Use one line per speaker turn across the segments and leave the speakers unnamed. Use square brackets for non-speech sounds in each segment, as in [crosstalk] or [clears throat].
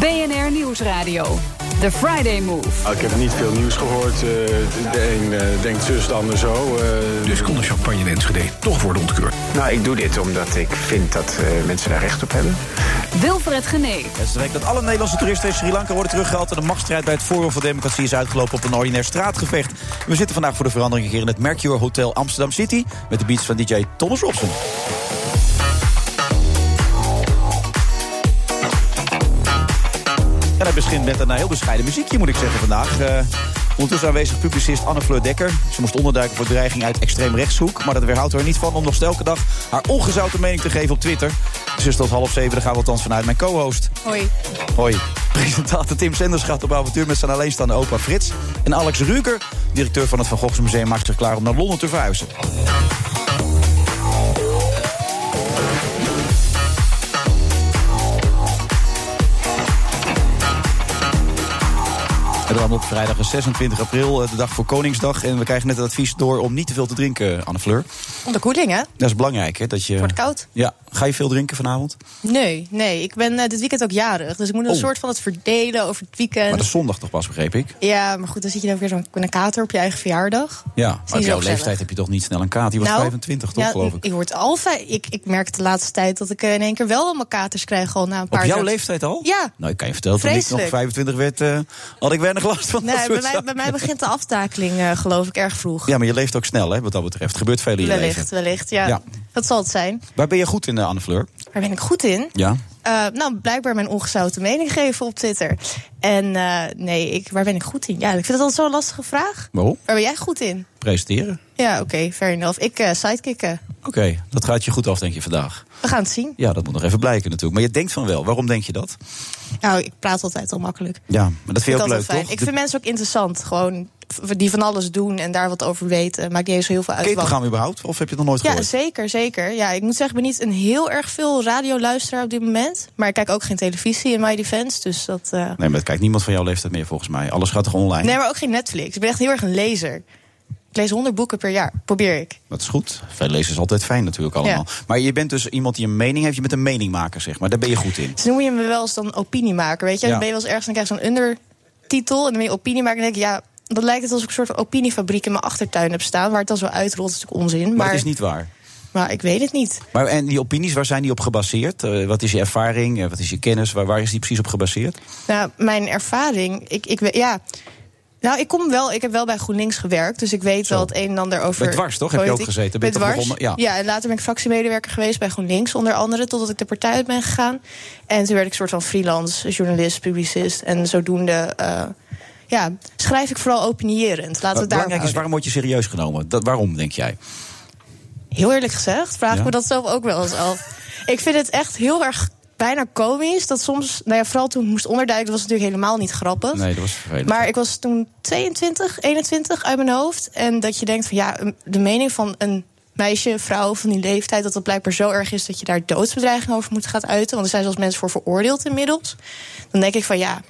BNR Nieuwsradio. The Friday Move.
Ah, Ik heb niet veel nieuws gehoord. Eh, de een eh, denkt zus, de ander zo. Eh,
Dus kon de champagne in Enschede toch worden ontkeurd.
Nou, ik doe dit omdat ik vind dat eh, mensen daar recht op hebben.
Wilfred Genee.
Het is de week dat alle Nederlandse toeristen in Sri Lanka worden teruggehaald... en de machtsstrijd bij het Forum voor Democratie is uitgelopen op een ordinair straatgevecht. We zitten vandaag voor de verandering hier in het Mercure Hotel Amsterdam City... met de beats van DJ Thomas Robson. En hij begint met een eh, heel bescheiden muziekje, moet ik zeggen, vandaag. Eh, ondertussen aanwezig publicist Anne-Fleur Dekker. Ze moest onderduiken voor dreiging uit extreemrechtshoek... maar dat weerhoudt haar niet van om nog eens elke dag haar ongezouten mening te geven op Twitter. Dus tot half zeven, daar gaan we althans vanuit mijn co-host.
Hoi.
Hoi. Presentator Tim Senders gaat op avontuur met zijn alleenstaande opa Frits. En Alex Ruker, directeur van het Van Goghs Museum, maakt zich klaar om naar Londen te verhuizen. En dan op vrijdag 26 april, eh, de dag voor Koningsdag. En we krijgen net het advies door om niet te veel te drinken, Anne Fleur.
Onder koeling, hè?
Dat is belangrijk, hè? Dat je...
Wordt koud.
Ja. Ga je veel drinken vanavond?
Nee, nee. Ik ben eh, dit weekend ook jarig. Dus ik moet een
Oh.
soort van het verdelen over het weekend.
Maar dat is zondag toch pas, begreep ik?
Ja, maar goed, dan zit je dan weer zo'n met een kater op je eigen verjaardag.
Ja.
Zie
Op
je
jouw
ook zelf.
leeftijd heb je toch niet snel een kaart? Die was 25, toch,
ja,
geloof ik?
Ik word al vij- ik, ik merk het de laatste tijd dat ik eh, in één keer wel allemaal katers krijg al na een paar
Op jouw
drugs.
leeftijd al?
Ja.
Nou, ik kan je vertellen, toen ik
Vreselijk.
nog 25 werd, eh, had ik weinig last van dat
Nee, bij
soort
mij,
zaken.
bij mij begint de aftakeling, eh, geloof ik, erg vroeg.
Ja, maar je leeft ook snel, hè, wat dat betreft. Er gebeurt veel in je
wellicht,
leven.
wellicht. Ja.
Ja.
Dat zal het zijn.
Waar ben je goed in, eh, Anne Fleur?
Waar ben ik goed in?
Ja.
Eh, nou, blijkbaar mijn ongezouten mening geven op Twitter. En eh, nee, ik, waar ben ik goed in? Ja, ik vind dat altijd zo'n lastige vraag.
Waarom?
Waar ben jij goed in?
Presenteren.
Ja, oké, fair enough. Ik eh sidekicken.
Oké, dat gaat je goed af, denk je, vandaag.
We gaan het zien.
Ja, dat moet nog even blijken natuurlijk. Maar je denkt van wel. Waarom denk je dat?
Nou, ik praat altijd al makkelijk.
Ja, maar dat vind je ook leuk,
altijd
toch?
fijn. Ik vind mensen ook interessant. Gewoon v- die van alles doen en daar wat over weten. Maakt niet eens zo heel veel uit.
Ken je het
wat.
programma überhaupt? Of heb je het nog nooit
Ja,
gehoord?
zeker, zeker. Ja, ik moet zeggen, ik ben niet een heel erg veel radioluisteraar op dit moment. Maar ik kijk ook geen televisie in my defense. Dus dat. eh,
Nee, maar dat kijkt niemand van jouw leeftijd meer, volgens mij. Alles gaat toch online?
Nee, maar ook geen Netflix. Ik ben echt heel erg een lezer. Ik lees 100 boeken per jaar. Probeer ik.
Dat is goed. Veel lezen is altijd fijn natuurlijk allemaal. Maar je bent dus iemand die een mening heeft. Je bent een meningmaker, zeg maar. Daar ben je goed in.
Ze noemen je me wel eens Dus dan opiniemaker, weet je?
Ja.
Dan ben je wel eens ergens, dan krijg je zo'n undertitel... en dan ben je opiniemaker en dan denk je, ja... dat lijkt het alsof ik een soort van opiniefabriek in mijn achtertuin heb staan... waar het dan zo uitrolt, dat is natuurlijk onzin. Maar,
Maar het is niet waar.
maar ik weet het niet.
Maar en die opinies, waar zijn die op gebaseerd? Eh, wat is je ervaring? Eh, wat is je kennis? Waar, waar is die precies op gebaseerd?
Nou, mijn ervaring, ik, ik weet- ja... Nou, ik kom wel, ik heb wel bij GroenLinks gewerkt, dus ik weet
Zo.
wel het een en ander over.
Bij Dwars, toch? Heb je ook
politiek.
gezeten? Ben
Bij
je toch
dwars.
begonnen? Ja.
en later ben ik fractiemedewerker geweest bij GroenLinks, onder andere, totdat ik de partij uit ben gegaan. En toen werd ik soort van freelance journalist, publicist. En zodoende, eh, ja, schrijf ik vooral opinierend. Laten we
Wa-
het daar
Eh, belangrijk is, waarom word je serieus genomen? Dat, waarom, denk jij?
Heel eerlijk gezegd, vraag ik
Ja?
me dat zelf ook wel eens af. ik vind het echt heel erg bijna komisch dat soms, nou ja, vooral toen ik moest onderduiken, dat was natuurlijk helemaal niet grappig.
Nee, dat was vervelend.
Maar ik was toen 22, 21 uit mijn hoofd. En dat je denkt van ja, de mening van een meisje, vrouw van die leeftijd, dat dat blijkbaar zo erg is dat je daar doodsbedreiging over moet gaan uiten. Want er zijn zelfs mensen voor veroordeeld inmiddels. Dan denk ik van ja,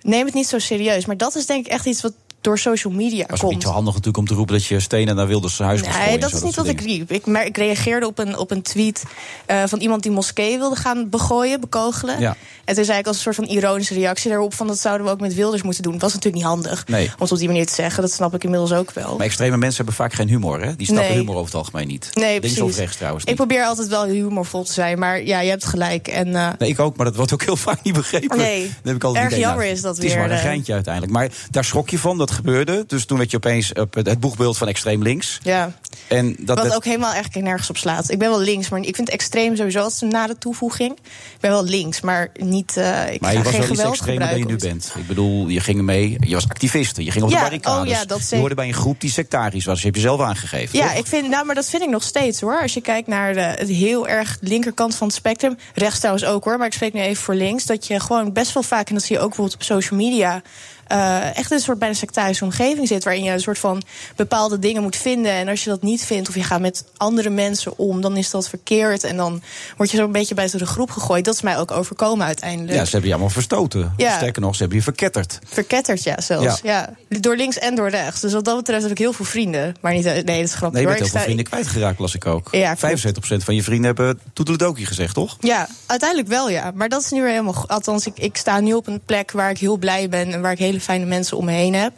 neem het niet zo serieus. Maar dat is denk ik echt iets wat door social media
was ook
komt.
niet zo handig natuurlijk om te roepen dat je stenen naar Wilders huis moest gooien
Nee,
en
dat
zo,
is niet
soort
wat ik
dingen.
riep. Ik, mer- ik reageerde op een, op een tweet eh, van iemand die moskee wilde gaan begooien, bekogelen.
Ja.
En toen zei ik als een soort van ironische reactie daarop... van dat zouden we ook met Wilders moeten doen. Dat was natuurlijk niet handig
Nee.
om het op die manier te zeggen. Dat snap ik inmiddels ook wel.
Maar extreme mensen hebben vaak geen humor, hè? Die snappen
Nee.
humor over het algemeen niet.
Nee,
Links
precies.
of rechts trouwens.
ik
niet.
probeer altijd wel humorvol te zijn, maar ja, je hebt gelijk. En, eh,
Nee, ik ook, maar dat wordt ook heel [laughs] vaak niet begrepen.
Nee,
Dat heb ik altijd
erg
idee, nou,
jammer is dat
Het is
weer,
maar een
eh.
geintje uiteindelijk. Maar daar schrok je van, dat gebeurde. Dus toen werd je opeens op het het boegbeeld van extreem links.
ja,
En dat
wat
werd-
ook helemaal eigenlijk nergens op slaat. Ik ben wel links, maar ik vind extreem sowieso altijd een nare toevoeging. Ik ben wel links, maar niet. eh ik
Maar
ga
je was wel
geen
iets
geweld
extremer dan je nu
gebruiken.
bent. Ik bedoel, je ging mee, je was activist, je ging op de
Ja,
barricades.
oh ja, dat
je
zeker.
hoorde bij een groep die sectarisch was, je hebt je zelf aangegeven.
Ja,
toch?
ik vind, nou, maar dat vind ik nog steeds hoor. Als je kijkt naar de, het heel erg linkerkant van het spectrum. Rechts trouwens ook hoor, maar ik spreek nu even voor links. Dat je gewoon best wel vaak, en dat zie je ook bijvoorbeeld op social media. eh, echt in een soort bijna sectarische omgeving zit. Waarin je een soort van bepaalde dingen moet vinden. En als je dat niet vindt of je gaat met andere mensen om, dan is dat verkeerd. En dan word je zo'n beetje buiten de groep gegooid. Dat is mij ook overkomen uiteindelijk.
Ja, ze hebben je allemaal verstoten.
Ja.
Sterker nog, ze hebben je verketterd.
Verketterd, ja, zelfs. Ja. Door links en door rechts. Dus wat dat betreft heb ik heel veel vrienden. Maar niet, nee, dat is grappig.
Nee, je bent heel
hoor. Ik
veel
sta-
vrienden kwijtgeraakt, las ik ook.
Ja, klopt.
75% van je vrienden hebben toedeledokie gezegd, toch?
Ja, uiteindelijk wel, ja. Maar dat is nu weer helemaal... go- Althans, ik, ik sta nu op een plek waar ik heel blij ben... en waar ik hele fijne mensen om me heen heb.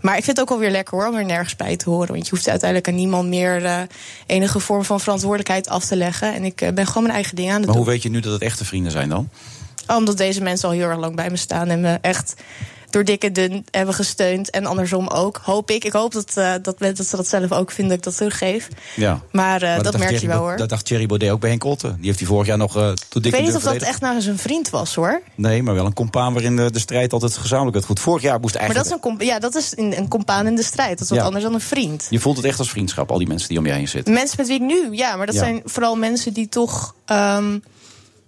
Maar ik vind het ook alweer lekker, hoor, om er nergens bij te horen. Want je hoeft uiteindelijk aan niemand meer... eh, enige vorm van verantwoordelijkheid af te leggen. En ik eh, ben gewoon mijn eigen dingen aan het
Maar hoe
doen. Oh,
weet je nu dat het echte vrienden zijn dan?
Omdat deze mensen al heel erg lang bij me staan... en me echt door dik en dun hebben gesteund. En andersom ook, hoop ik. Ik hoop dat, eh, dat, men- dat ze dat zelf ook vinden dat ik dat teruggeef.
Ja.
Maar, eh, dat,
dacht
merk je
Thierry
wel,
Bau-
hoor.
Dat dacht Thierry Baudet ook bij Henk Otten. Die heeft hij vorig jaar nog eh toen
ik
dik
weet
en dun
niet of dat
verdedigd.
echt nou zijn vriend was, hoor.
Nee, maar wel een compaan waarin de, de strijd altijd gezamenlijk werd goed. Vorig jaar moest
Maar dat
eigenlijk...
is, een, comp- ja, dat is een, een compaan in de strijd. Dat is wat
Ja.
anders dan een vriend.
Je voelt het echt als vriendschap, al die mensen die om je heen zitten.
Mensen met wie ik nu, ja, maar dat
Ja.
zijn vooral mensen die toch. ehm,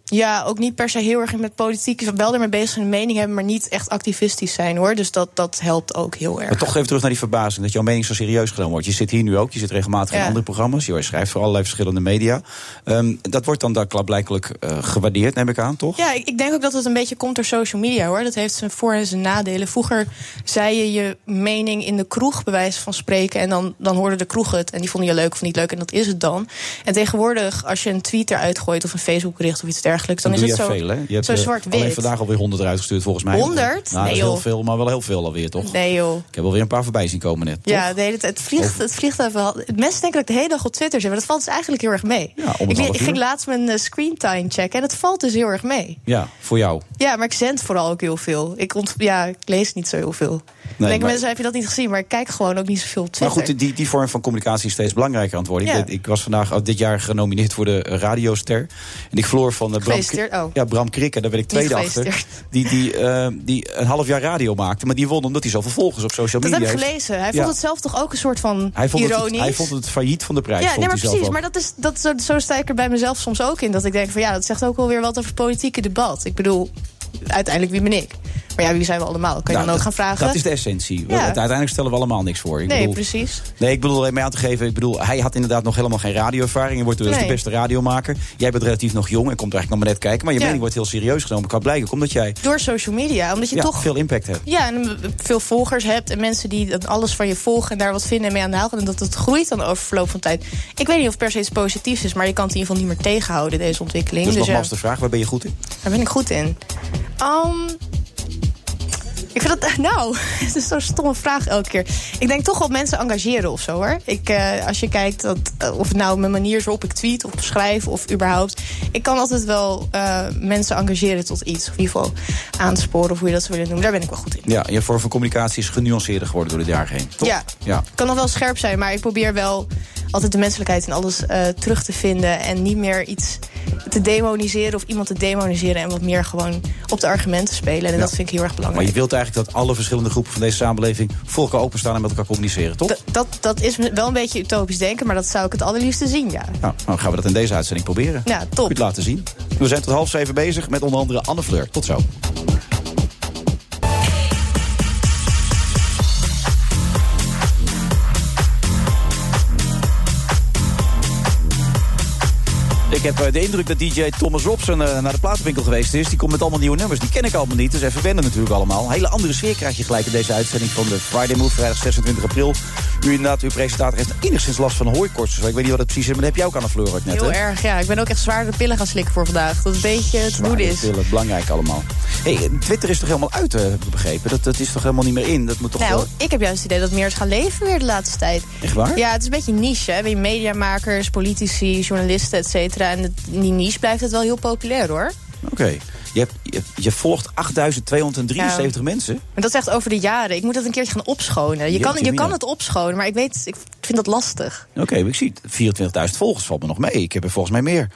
ja, ook niet per se heel erg met politiek. Wel ermee bezig zijn, een mening hebben, maar niet echt activistisch zijn hoor. Dus dat, dat helpt ook heel erg.
Maar toch even terug naar die verbazing, dat jouw mening zo serieus genomen wordt. Je zit hier nu ook, je zit regelmatig in
Ja.
andere programma's. Je schrijft voor allerlei verschillende media. Ehm, dat wordt dan daar blijkbaar gewaardeerd, neem ik aan, toch?
Ja, ik, ik denk ook dat het een beetje komt door social media hoor. Dat heeft zijn voor- en zijn nadelen. Vroeger zei je je mening in de kroeg, bij wijze van spreken. En dan, dan hoorde de kroeg het. En die vonden je leuk of niet leuk. En dat is het dan. En tegenwoordig, als je een tweet eruit gooit of een Facebookbericht of iets dergelijks, dan,
doe
is het
jij
zo,
veel, hè? Je hebt
zo
eh, Alleen
zwart-wit.
vandaag alweer 100 eruit gestuurd, volgens mij.
100?
Nou, dat is
Nee,
heel
joh.
veel, maar wel heel veel alweer, toch?
Nee joh.
Ik heb alweer een paar voorbij zien komen net, toch?
Ja, de hele tijd. Het vliegt, het vliegt even. Mensen denken dat ik de hele dag op Twitter zit, maar dat valt dus eigenlijk heel erg mee.
Ja, om het
ik,
half
ik
uur.
ging laatst mijn eh, screentime checken en dat valt dus heel erg mee.
Ja, voor jou.
Ja, maar ik zend vooral ook heel veel. Ik, ont ja, ik lees niet zo heel veel. Dan denken
maar-
mensen, heb je dat niet gezien? Maar ik kijk gewoon ook niet zoveel op
Maar
Twitter.
goed, die, die vorm van communicatie is steeds belangrijker aan het worden. Ik
Ja.
weet- Ik, was vandaag al dit jaar genomineerd voor de eh, radioster. En ik verloor van eh, Bram,
Gefeliciteerd,
Kri-
oh.
ja, Bram Krikke, daar ben ik tweede achter.
gefeliciteerd.
Die, die, eh, die een half jaar radio maakte, maar die won omdat hij zoveel volgers op social
dat
media
heb ik
heeft.
gelezen. Hij
Ja.
vond het zelf toch ook een soort van
Hij vond, het,
ironisch.
hij vond het failliet van de prijs.
ja,
vond
nee, maar
hij zelf
precies.
ook.
Maar dat is, dat, zo, zo sta ik er bij mezelf soms ook in. Dat ik denk van ja, dat zegt ook wel weer wat over politieke debat. Ik bedoel, uiteindelijk wie ben ik? Maar ja, wie zijn we allemaal? Kan je
Nou,
dan ook gaan
dat-
vragen?
Dat is de essentie. We-
Ja.
Uiteindelijk stellen we allemaal niks voor. Ik
Nee,
bedoel-
precies.
Nee, ik bedoel alleen mee aan te geven. Ik bedoel, hij had inderdaad nog helemaal geen radioervaring. Je wordt dus
Nee.
de beste radiomaker. Jij bent relatief nog jong en komt eigenlijk nog maar net kijken. Maar je
Ja.
mening wordt heel serieus genomen. Kan blijken omdat jij
Door social media, omdat je
ja,
toch
veel impact hebt.
ja, en veel volgers hebt en mensen die dat alles van je volgen en daar wat vinden en mee aan de haal gaan. En dat het groeit dan over verloop van tijd. Ik weet niet of het per se iets positiefs is, maar je kan het in ieder geval niet meer tegenhouden, deze ontwikkeling.
Dus,
Dus, ja,
nogmaals de vraag, waar ben je goed in?
daar ben ik goed in. Ehm, ik vind dat, nou, het [laughs] is zo'n stomme vraag elke keer. Ik denk toch wel mensen engageren of zo hoor. Ik, eh, als je kijkt dat, eh, of het nou mijn manier is waarop ik tweet of schrijf of überhaupt. Ik kan altijd wel eh, mensen engageren tot iets. Of in ieder geval aansporen of hoe je dat zou willen noemen. Daar ben ik wel goed in.
Ja, je vorm van communicatie is genuanceerder geworden door de jaren heen. toch?
Ja.
ja.
Ik kan nog wel scherp zijn, maar ik probeer wel altijd de menselijkheid in alles eh, terug te vinden. En niet meer iets te demoniseren of iemand te demoniseren. En wat meer gewoon op de argumenten spelen. En dat vind ik heel erg
Maar
belangrijk.
je wilt eigenlijk dat alle verschillende groepen van deze samenleving... voor elkaar openstaan en met elkaar communiceren, toch?
Dat, dat, dat is wel een beetje utopisch denken, maar dat zou ik het allerliefste zien, ja.
Nou, nou gaan we dat in deze uitzending proberen.
Ja, top.
Goed laten zien. We zijn tot half zeven bezig met onder andere Anne Fleur. Tot zo. Ik heb eh, de indruk dat DJ Thomas Robson eh, naar de platenwinkel geweest is. Die komt met allemaal nieuwe nummers. Die ken ik allemaal niet, dus even wennen natuurlijk allemaal. Een hele andere sfeer krijg je gelijk in deze uitzending van de Friday Move. Vrijdag 26 april. U inderdaad, uw presentator heeft enigszins last van hooikoorts. Dus ik weet niet wat het precies is, maar dat heb jij ook aan de fleur ooit net,
Heel
hè?
erg, ja. Ik ben ook echt zwaardere pillen gaan slikken voor vandaag. Dat een beetje het
Zwaar,
moed
die
is.
pillen, belangrijk allemaal. Hey, Twitter is toch helemaal uit, eh, heb ik begrepen? Dat, dat is toch helemaal niet meer in? Dat moet toch
Nou,
wel-
ik heb juist het idee dat meer het gaan leven weer de laatste tijd.
Echt waar?
Ja, het is een beetje een niche. Hè? Bij mediamakers, politici, journalisten, et cetera. En het- in die niche blijft het wel heel populair, hoor.
Oké. Je, hebt- je, je volgt 8273 mensen.
En dat is echt over de jaren. Ik moet dat een keertje gaan opschonen. Je, kan,
Jeetje
je kan
mina.
het opschonen, maar ik weet, ik vind dat lastig.
Oké, maar ik zie het. 24.000 volgers valt me nog mee. Ik heb er volgens mij meer.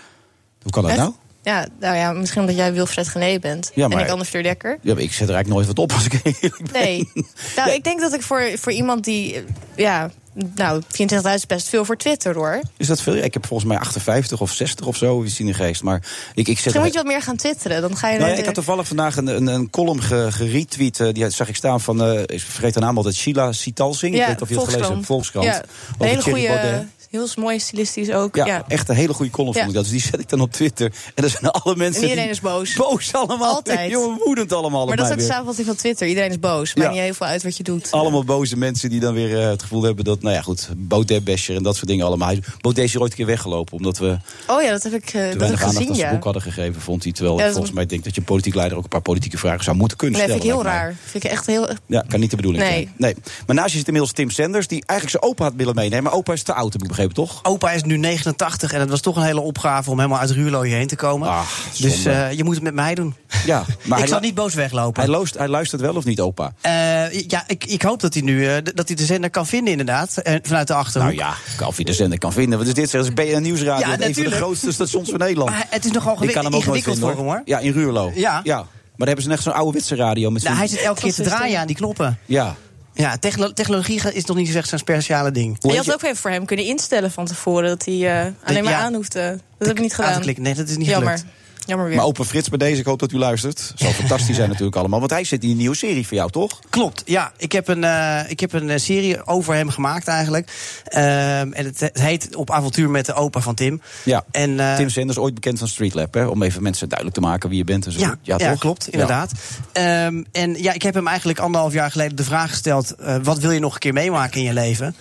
Hoe kan dat
Echt?
nou?
Ja, nou ja, misschien omdat jij Wilfred Gené bent.
Ja, maar-
En ik Anders Fleur
[laughs]
Dekker.
Ja, maar ik [laughs] zet er eigenlijk nooit wat op als ik eerlijk ben.
Nee. Nou,
Ja.
ik denk dat ik voor, voor iemand die eh, ja, nou, 24.000 is best veel voor Twitter hoor.
Is dat veel? Ja, ik heb volgens mij 58 of 60 of zo, iets in de geest. Maar ik, ik zet
Misschien moet je wat meer gaan twitteren. Dan ga je
Nou ja,
naar
ik had
de-
toevallig vandaag een, een, een column ge- geretweet. eh, die zag ik staan van, eh, ik vergeet haar naam altijd, Sheila Sitalsing. ik weet niet of je het gelezen hebt, Volkskrant.
Ja,
Over
een hele
Thierry Baudet.
goede, heel mooi stilistisch ook.
Ja,
Ja,
echt een hele goede column
Ja.
vond ik dat. Dus die zet ik dan op Twitter. En dan zijn alle mensen
En iedereen
die
is boos.
Boos [laughs] allemaal. [laughs]
Altijd.
Jongen, woedend allemaal
Maar
op
dat is
mij
ook de
weer.
samenvatting van Twitter. Iedereen is boos.
Ja.
Maakt niet heel veel uit wat je doet.
Allemaal boze mensen die dan weer eh, het gevoel hebben dat, nou ja goed, Baudet-basher en dat soort dingen allemaal. Hij- Baudet is hier ooit een keer weggelopen, omdat we
Oh ja, dat heb ik, eh,
te
dat
weinig
heb ik
aandacht
gezien,
aan zijn
ja.
boek hadden gegeven, vond hij. Terwijl
Ja,
ik
dat-
volgens mij denk dat je politiek leider ook een paar politieke vragen zou moeten kunnen
Nee, vind ik
stellen.
heel
lijkt mij.
raar. Vind ik echt heel... eh,
Ja, kan niet de bedoeling
Nee.
zijn. Nee. Maar naast je zit inmiddels Tim Sanders, die eigenlijk zijn opa had willen meenemen. Maar opa is te oud, heb ik begrepen, toch?
Opa is nu 89 en het was toch een hele opgave om helemaal uit Ruurlooien heen te komen.
Ach,
dus
Ah, zonde.
eh, je moet het met mij doen.
Ja, maar hij
ik zal
lu-
niet boos weglopen.
Hij, loost, hij luistert wel of niet, opa?
[laughs] Eh, ja, ik, ik hoop dat hij nu eh, d- dat hij de zender kan vinden, inderdaad. en vanuit de achterhoek.
Nou ja, of je de zender kan vinden. Wat is dit? zeg? Dat is BN Nieuwsradio.
Ja,
dat is een van de
natuurlijk.
grootste stations van Nederland.
Maar het is nogal
Ik kan hem ook nooit
ingewikkeld
vinden,
voor hem hoor.
Ja, in Ruurlo.
Ja.
ja. Maar daar hebben ze echt zo'n oude witse radio. Met
Nou,
zo'n-
hij zit elke keer te draaien aan die knoppen.
Ja.
Ja, techno- technologie is nog niet echt zijn speciale ding.
En
heet
je had
je-
ook even voor hem kunnen instellen van tevoren... dat hij eh, alleen maar
ja.
aan hoeft. eh, dat heb ik niet
Aan te
gedaan.
klikken. Nee, dat is niet
Jammer.
gelukt.
Jammer weer.
Maar opa Frits bij deze, ik hoop dat u luistert.
[laughs]
Zal fantastisch zijn natuurlijk allemaal. Want hij zit in een nieuwe serie voor jou, toch?
Klopt, ja. Ik heb een, eh, ik heb een eh, serie over hem gemaakt eigenlijk. Ehm, en het, het heet Op avontuur met de opa van Tim.
Ja.
En, eh,
Tim Sanders, ooit bekend van Streetlab. Hè? Om even mensen duidelijk te maken wie je bent en zo.
Ja, ja,
toch?
klopt,
Ja.
inderdaad. Ehm, en ja, ik heb hem eigenlijk anderhalf jaar geleden de vraag gesteld... eh, wat wil je nog een keer meemaken in je leven?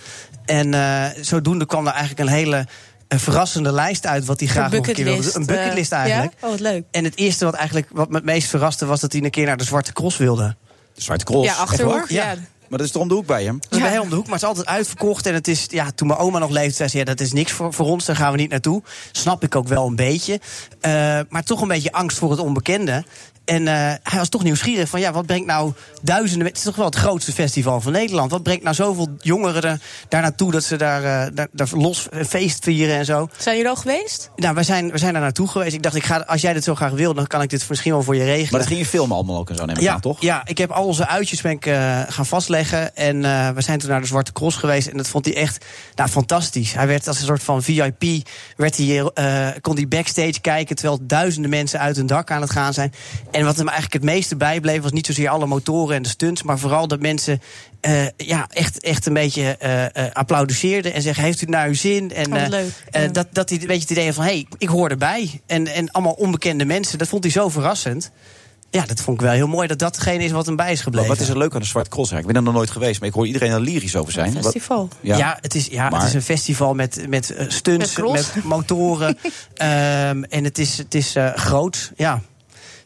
En eh, zodoende kwam er eigenlijk een hele eh, verrassende lijst uit... wat hij graag nog een keer wilde.
bucketlist.
Een bucketlist
eh,
eigenlijk.
Ja? Oh, wat leuk.
En het eerste wat, eigenlijk, wat me het meest verraste was... dat hij een keer naar de Zwarte Cross wilde.
De Zwarte Cross.
Ja,
Echt
Achterhoek,
waar?
ja.
Maar dat is toch om de hoek bij hem?
Dat is
Ja.
bij heel om de hoek, maar het is altijd uitverkocht. En het is, ja, toen mijn oma nog leefde, zei ze, ja, dat is niks voor, voor ons, daar gaan we niet naartoe. Snap ik ook wel een beetje. Eh, maar toch een beetje angst voor het onbekende. En eh, hij was toch nieuwsgierig van, ja, wat brengt nou duizenden... Het is toch wel het grootste festival van Nederland. Wat brengt nou zoveel jongeren er, daar naartoe dat ze daar, eh, daar, daar los een feest vieren en zo?
Zijn jullie al geweest?
Nou, wij zijn, wij zijn daar naartoe geweest. Ik dacht, ik ga, als jij dit zo graag wil, dan kan ik dit misschien wel voor je regelen.
Maar dat ging je filmen allemaal ook en zo, neem ik
Ja,
aan, toch?
ja, ik heb al onze uitjes ben ik, eh, gaan vastleggen. En eh, we zijn toen naar de Zwarte Cross geweest. En dat vond hij echt nou, fantastisch. Hij werd als een soort van VIP. Werd hij, eh, kon hij backstage kijken. Terwijl duizenden mensen uit hun dak aan het gaan zijn. En wat hem eigenlijk het meeste bijbleef. was niet zozeer alle motoren en de stunts. maar vooral dat mensen. eh, ja, echt, echt een beetje eh eh, applaudisseerden en zeggen: Heeft u het naar uw zin? En
Oh, wat
eh,
leuk,
eh,
ja.
dat, dat hij een beetje het idee had van: hé, hey, ik hoor erbij. En, en allemaal onbekende mensen. Dat vond hij zo verrassend. Ja, dat vond ik wel heel mooi dat dat degene is wat hem bij is
Maar
gebleven.
wat is er leuk aan de Zwarte Cross eigenlijk? Ik ben er nog nooit geweest, maar ik hoor iedereen er lyrisch over zijn. Wat-
Festival.
ja. het is, ja,
Maar-
het is een festival met, met eh, stunts,
Met
met,
cross. [laughs]
motoren. ehm, en het is, het is eh, groot, ja.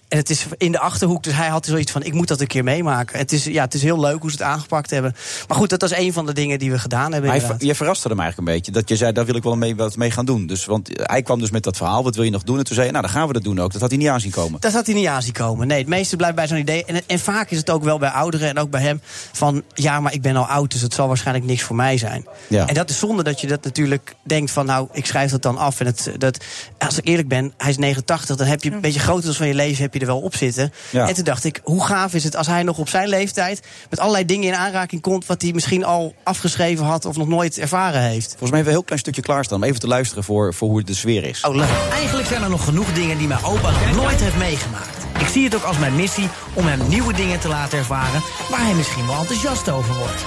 En het is in de achterhoek, dus hij had zoiets van: ik moet dat een keer meemaken. Het is, ja, het is heel leuk hoe ze het aangepakt hebben. Maar goed, dat was een van de dingen die we gedaan hebben.
Hij,
inderdaad.
ver- je verraste hem eigenlijk een beetje. Dat je zei, daar wil ik wel mee, wat mee gaan doen. Dus, want hij kwam dus met dat verhaal, wat wil je nog doen? En toen zei je, nou, dan gaan we dat doen ook. Dat had hij niet aan zien komen.
Dat had hij niet aan zien komen. Nee, het meeste blijft bij zo'n idee. En, en vaak is het ook wel bij ouderen en ook bij hem van... ja, maar ik ben al oud, dus het zal waarschijnlijk niks voor mij zijn.
Ja.
En dat is zonde dat je dat natuurlijk denkt van... nou, ik schrijf dat dan af. En het, dat, als ik eerlijk ben, hij is 89... dan heb je een beetje groot deel van je leven heb je er wel op zitten.
Ja.
En toen dacht ik, hoe gaaf is het als hij nog op zijn leeftijd... met allerlei dingen in aanraking komt... wat hij misschien al afgeschreven had of nog nooit ervaren heeft.
Volgens mij hebben we een heel klein stukje klaarstaan. Om even te luisteren voor, voor hoe de sfeer is.
Oh, leuk.
Eigenlijk zijn er nog genoeg dingen die mijn opa nog nooit heeft meegemaakt. Ik zie het ook als mijn missie om hem nieuwe dingen te laten ervaren waar hij misschien wel enthousiast over wordt.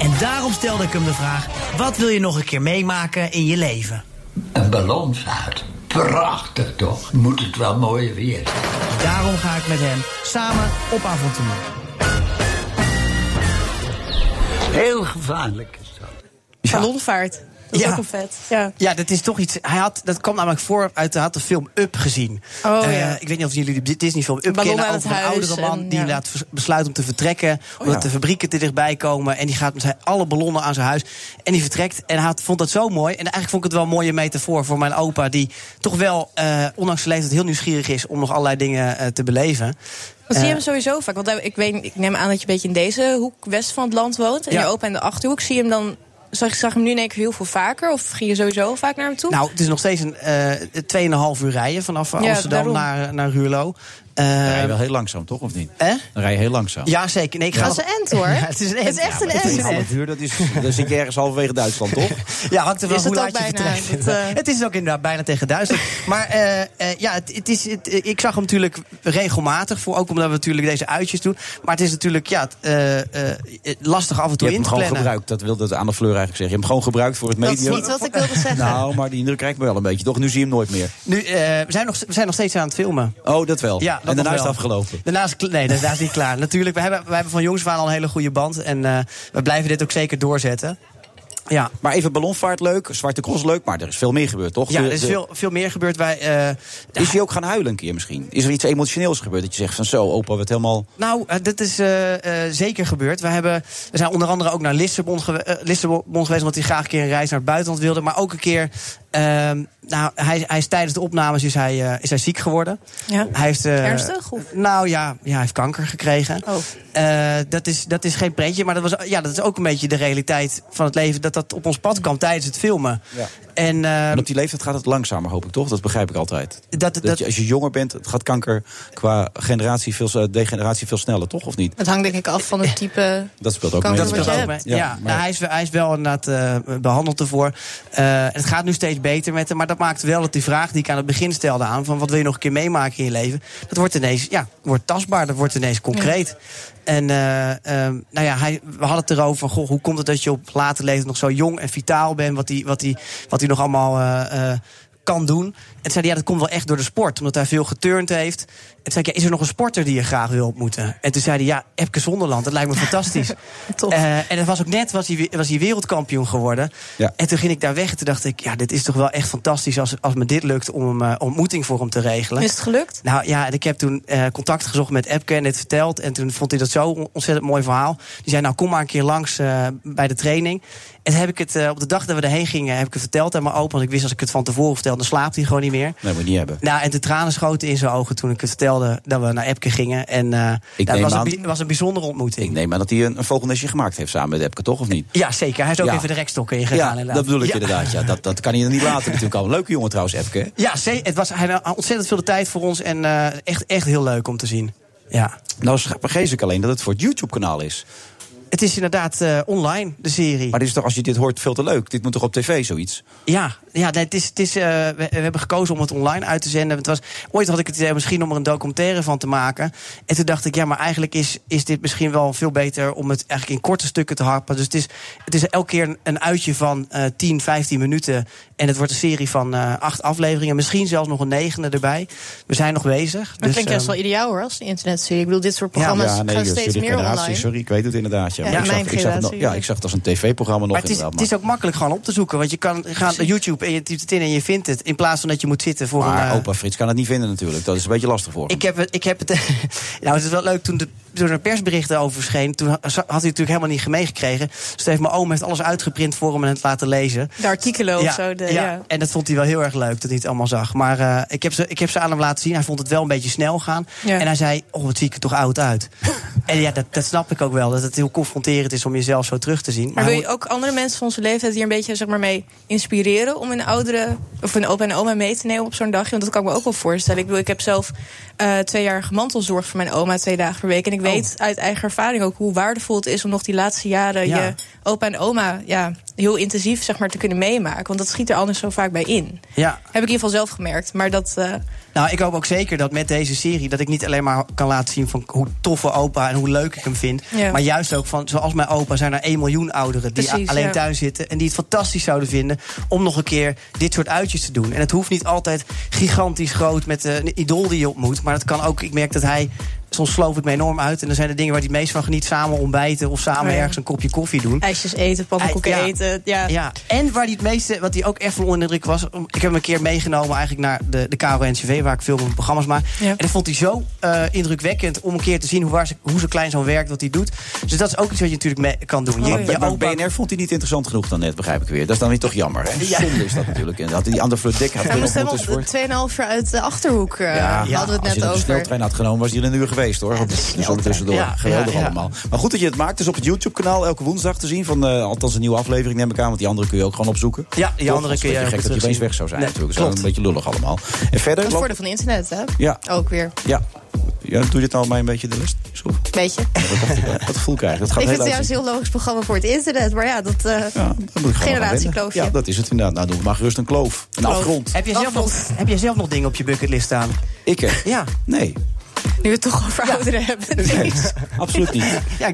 En daarom stelde ik hem de vraag: wat wil je nog een keer meemaken in je leven?
Een ballonvaart. Prachtig toch? Moet het wel mooi weer.
Daarom ga ik met hem samen op avontuur.
Heel gevaarlijk is dat.
Ballonvaart. Dat is
Ja.
ook een vet. Ja.
Ja, dat is toch iets. Hij had, dat kwam namelijk voor uit hij had de film Up gezien.
Oh,
Eh,
ja.
ik weet niet of jullie die Disney-film Up
Ballon
kennen
aan
over
het
een
huis
oudere man
en,
die
ja. Oh,
laat vers- besluit om te vertrekken omdat
ja.
de fabrieken te dichtbij komen en die gaat met zijn alle ballonnen aan zijn huis en die vertrekt en hij had- vond dat zo mooi en eigenlijk vond ik het wel een mooie metafoor voor mijn opa die toch wel eh, ondanks zijn leeftijd heel nieuwsgierig is om nog allerlei dingen eh, te beleven.
Dat zie je
Eh,
hem sowieso vaak. Want hij- ik, weet, ik neem aan dat je een beetje in deze hoek, west van het land woont. En
Ja.
je opa in de achterhoek. Zie je hem dan. Zag, zag hem nu in één keer heel veel vaker? Of ging je sowieso vaak naar hem toe?
Nou, het is nog steeds een eh 2,5 uur rijden vanaf eh,
Ja,
Amsterdam
daarom.
naar, naar Ruurlo. Eh,
Dan rij je wel heel langzaam, toch? Of niet?
Hè?
Dan rij je heel langzaam.
Ja, zeker. Nee, ik ga
Dat is een end,
[laughs]
hoor.
Ja, het is een end.
Het is echt een
Ja, maar
end.
Een half uur, dat is, dan zit je ergens halverwege Duitsland, [laughs] toch?
Ja, hangt er wel
Is
hoe
het
laat
ook
je
bijna?
vertrekt.
Dat, eh,
[laughs] Het is ook inderdaad bijna tegen Duitsland. Maar eh, eh, ja, het, het is, het- eh, ik zag hem natuurlijk regelmatig. Voor, ook omdat we natuurlijk deze uitjes doen. Maar het is natuurlijk ja, het, eh, eh, lastig af en
Je
toe
hebt
in
hem
te
gewoon
plannen.
gebruikt. Dat wilde de Anne Fleur eigenlijk zeggen. Je hebt hem gewoon gebruikt voor het
Dat is
medium.
niet wat ik wilde
[laughs]
zeggen.
Nou, maar die indruk krijg ik wel een beetje, toch? Nu zie je hem nooit meer.
Nu, eh, we, zijn nog, we zijn nog steeds aan het filmen.
Oh, dat wel.
Ja, dat
en daarna
nog
is het
wel.
afgelopen.
Daarna is, kl- nee, daarna is niet
[laughs]
klaar. Natuurlijk, we hebben, we hebben van jongs af aan al een hele goede band. En eh, we blijven dit ook zeker doorzetten. Ja,
Maar even ballonvaart leuk, zwarte cross leuk, maar er is veel meer gebeurd, toch?
ja
De-
er is
de-
veel, veel meer gebeurd. Wij, eh,
Is hij ook gaan huilen een keer misschien? Is er iets emotioneels gebeurd dat je zegt van zo, opa werd helemaal...
Nou, eh, dit is eh, eh, zeker gebeurd. We, hebben, we zijn onder andere ook naar Lissabon, gewe- eh, Lissabon geweest... omdat hij graag een keer een reis naar het buitenland wilde. Maar ook een keer... ehm, nou, hij, hij is tijdens de opnames is hij, eh, is hij ziek geworden.
Ja.
Hij heeft, eh,
Ernstig, of?
Nou ja, ja, hij heeft kanker gekregen.
Oh.
Eh, dat, is, dat is geen pretje, maar dat, was, ja, dat is ook een beetje de realiteit van het leven... dat dat op ons pad kwam tijdens het filmen.
Ja.
En, eh,
En op die leeftijd gaat het langzamer, hoop ik, toch? Dat begrijp ik altijd.
Dat- dat-
je, als je jonger bent, het gaat kanker qua generatie veel, eh, degeneratie veel sneller, toch? Of niet?
Het hangt denk ik af van het type.
Dat speelt ook
Kan
mee.
dat wat
Dat
je
ook
hebt.
mee. Ja,
Ja, maar-
nou, hij, is, hij is wel inderdaad eh, behandeld ervoor. Eh, het gaat nu steeds beter met hem. Maar dat maakt wel dat die vraag die ik aan het begin stelde aan... van wat wil je nog een keer meemaken in je leven... dat wordt ineens ja, wordt tastbaar, dat wordt ineens concreet. En eh, ehm, nou ja, hij, we hadden het erover van... Goh, hoe komt het dat je op later leeftijd nog zo jong en vitaal bent... wat hij wat die, wat die nog allemaal... eh, eh, kan doen. En toen zei hij, ja, dat komt wel echt door de sport. Omdat hij veel geturnd heeft. En toen zei ik, ja, is er nog een sporter die je graag wil ontmoeten? En toen zei hij, ja, Epke Zonderland. Dat lijkt me
[laughs]
fantastisch.
Tof.
Eh, en dat was ook net, was hij, was hij wereldkampioen geworden.
Ja.
En toen ging ik daar weg en toen dacht ik... ja, dit is toch wel echt fantastisch als, als me dit lukt... om een eh, ontmoeting voor hem te regelen.
Is het gelukt?
Nou ja, en ik heb toen eh, contact gezocht met Epke en dit verteld. En toen vond hij dat zo on- ontzettend mooi verhaal. Die zei, nou kom maar een keer langs eh, bij de training. En toen heb ik het, eh, op de dag dat we daarheen gingen, heb ik het verteld aan mijn opa. Want ik wist als ik het van tevoren vertelde, dan slaapt hij gewoon niet meer.
Nee, moet je niet hebben.
Nou, en de tranen schoten in zijn ogen toen ik het vertelde dat we naar Epke gingen. En eh
Ik
dat
neem
was een,
aan-
bi- was een bijzondere ontmoeting.
Ik neem aan dat hij een, een vogelnestje gemaakt heeft samen met Epke, toch? Of niet?
Ja, zeker. Hij is ook
Ja.
even de rekstok in gegaan.
ja,
inderdaad.
dat bedoel ik
Ja.
inderdaad. Ja, dat, dat kan hij dan niet laten natuurlijk al. Een leuke jongen trouwens, Epke. hè?
Ja, ze- het was, hij had ontzettend veel de tijd voor ons en eh, echt, echt heel leuk om te zien. Ja.
Nou vergeet ik alleen dat het voor het YouTube-kanaal is.
Het is inderdaad eh, online, de serie.
Maar dit is toch, als je dit hoort, veel te leuk. Dit moet toch op tv zoiets?
Ja, ja nee, het is, het is, eh, we, we hebben gekozen om het online uit te zenden. Het was, ooit had ik het idee misschien om er een documentaire van te maken. En toen dacht ik, ja, maar eigenlijk is, is dit misschien wel veel beter om het eigenlijk in korte stukken te harpen. Dus het is, het is elke keer een, een uitje van eh 10, 15 minuten. En het wordt een serie van eh, acht afleveringen. Misschien zelfs nog een negende erbij. We zijn nog bezig.
Dat klinkt
ehm,
best wel ideaal hoor, als een internetserie. Ik bedoel, dit soort programma's gaan
dus
steeds
jullie
meer
generatie,
online.
Sorry, ik weet het inderdaad. Ja,
Ja,
Maar ik,
mijn
zag, ik, zag het nog- ja
generatie.
ik zag het als een tv-programma nog
Maar het is,
inderdaad,
het is ook makkelijk gewoon op te zoeken. Want je kan gaan naar YouTube en je typt het in en je vindt het. In plaats van dat je moet zitten voor een...
Maar
eh,
opa Frits kan het niet vinden natuurlijk. Dat is een beetje lastig voor hem.
Ik heb het. Ik heb het nou, het [laughs] is wel leuk. Toen, de, toen er persberichten over verschenen. toen ha- had hij het natuurlijk helemaal niet meegekregen. Dus toen heeft mijn oom heeft alles uitgeprint voor hem en het laten lezen.
De artikelen of zo. De, ja.
En dat vond hij wel heel erg leuk dat hij het allemaal zag. Maar eh, ik, heb ze, ik heb ze aan hem laten zien. Hij vond het wel een beetje snel gaan.
Ja.
En hij zei: Oh, wat zie ik er toch oud
[laughs]
uit. en ja, dat, dat snap ik ook wel. Dat het heel confronterend is om jezelf zo terug te zien.
Maar wil je
hoe-
ook andere mensen van onze leeftijd hier een beetje zeg maar, mee inspireren om hun oudere of hun opa en oma mee te nemen op zo'n dagje? Want dat kan ik me ook wel voorstellen. Ik bedoel, ik heb zelf eh twee jaar gemantelzorg voor mijn oma twee dagen per week. En ik weet uit eigen ervaring ook hoe waardevol het is om nog die laatste jaren
Ja.
je opa en oma ja, heel intensief zeg maar, te kunnen meemaken. Want dat schiet er anders zo vaak bij in.
Ja.
Heb ik in ieder geval zelf gemerkt. Maar dat. eh,
Nou, ik hoop ook zeker dat met deze serie... dat ik niet alleen maar kan laten zien van hoe toffe opa en hoe leuk ik hem vind.
Ja.
Maar juist ook van, zoals mijn opa, zijn er 1 miljoen ouderen... die
Precies,
a- alleen
ja.
thuis zitten en die het fantastisch zouden vinden... om nog een keer dit soort uitjes te doen. En het hoeft niet altijd gigantisch groot met eh, een idool die je ontmoet. Maar dat kan ook, ik merk dat hij... Soms sloof ik me enorm uit. En dan zijn er dingen waar hij het meest van geniet. Samen ontbijten of samen
Oh ja.
ergens een kopje koffie doen.
ijsjes eten, pannenkoeken
Ja.
eten. Ja.
Ja, en waar die het meeste, wat hij ook echt van onder de indruk was. om- Ik heb hem een keer meegenomen eigenlijk naar de, de KRO-NCV, waar ik veel mijn programma's maak.
Ja.
En dat vond hij zo eh, indrukwekkend om een keer te zien hoe, waar ze, hoe zo klein zo'n werk wat hij doet. Dus dat is ook iets wat je natuurlijk mee kan doen. Je,
Oh, ja.
je
Maar- maar
opa-
BNR vond hij niet interessant genoeg dan net, begrijp ik weer. Dat is dan weer toch jammer. Hè? Zonde is dat natuurlijk. En dat die andere Fleur Dek had
Ja,
er
we
nog
moesten
moeten
helemaal
worden.
2,5 uur uit de achterhoek. eh, hadden we
als
het
je
net
dat dus de
over.
sneltrein had genomen, was hij er een uur geweest hoor. Op de zon tussendoor.
Ja,
Geweldig
ja, ja.
allemaal. Maar goed dat je het maakt. Het is op het YouTube-kanaal elke woensdag te zien. Van, eh, althans een nieuwe aflevering neem ik aan. Want die andere kun je ook gewoon opzoeken.
Ja, die
Toch?
andere
Het is
kun je ook
een beetje gek dat je
terugzien.
opeens weg zou zijn
Nee,
natuurlijk. Dat is wel
klopt.
een beetje lullig allemaal. En verder...
Dat is
loopt-
het voordeel van internet, hè?
Ja.
Ook weer.
Ja. Ja, doe je dit nou mij een beetje de lust? Soep.
[laughs]
Beetje.
Dat gevoel krijg ik. Dat gaat
ik vind
heel
het
uit.
juist een heel logisch programma voor het internet. Maar ja, dat eh
Dat moet ik gewoon aan
generatiekloofje.
wennen. Ja, dat is het inderdaad. Nou, doe maar gerust een kloof. Een afgrond.
Heb jij zelf, nog, heb jij zelf nog dingen op je bucketlist staan?
Ik hè?
Ja.
Nee.
Nu we het toch over ouderen hebben.
[laughs]
[laughs]
Absoluut niet.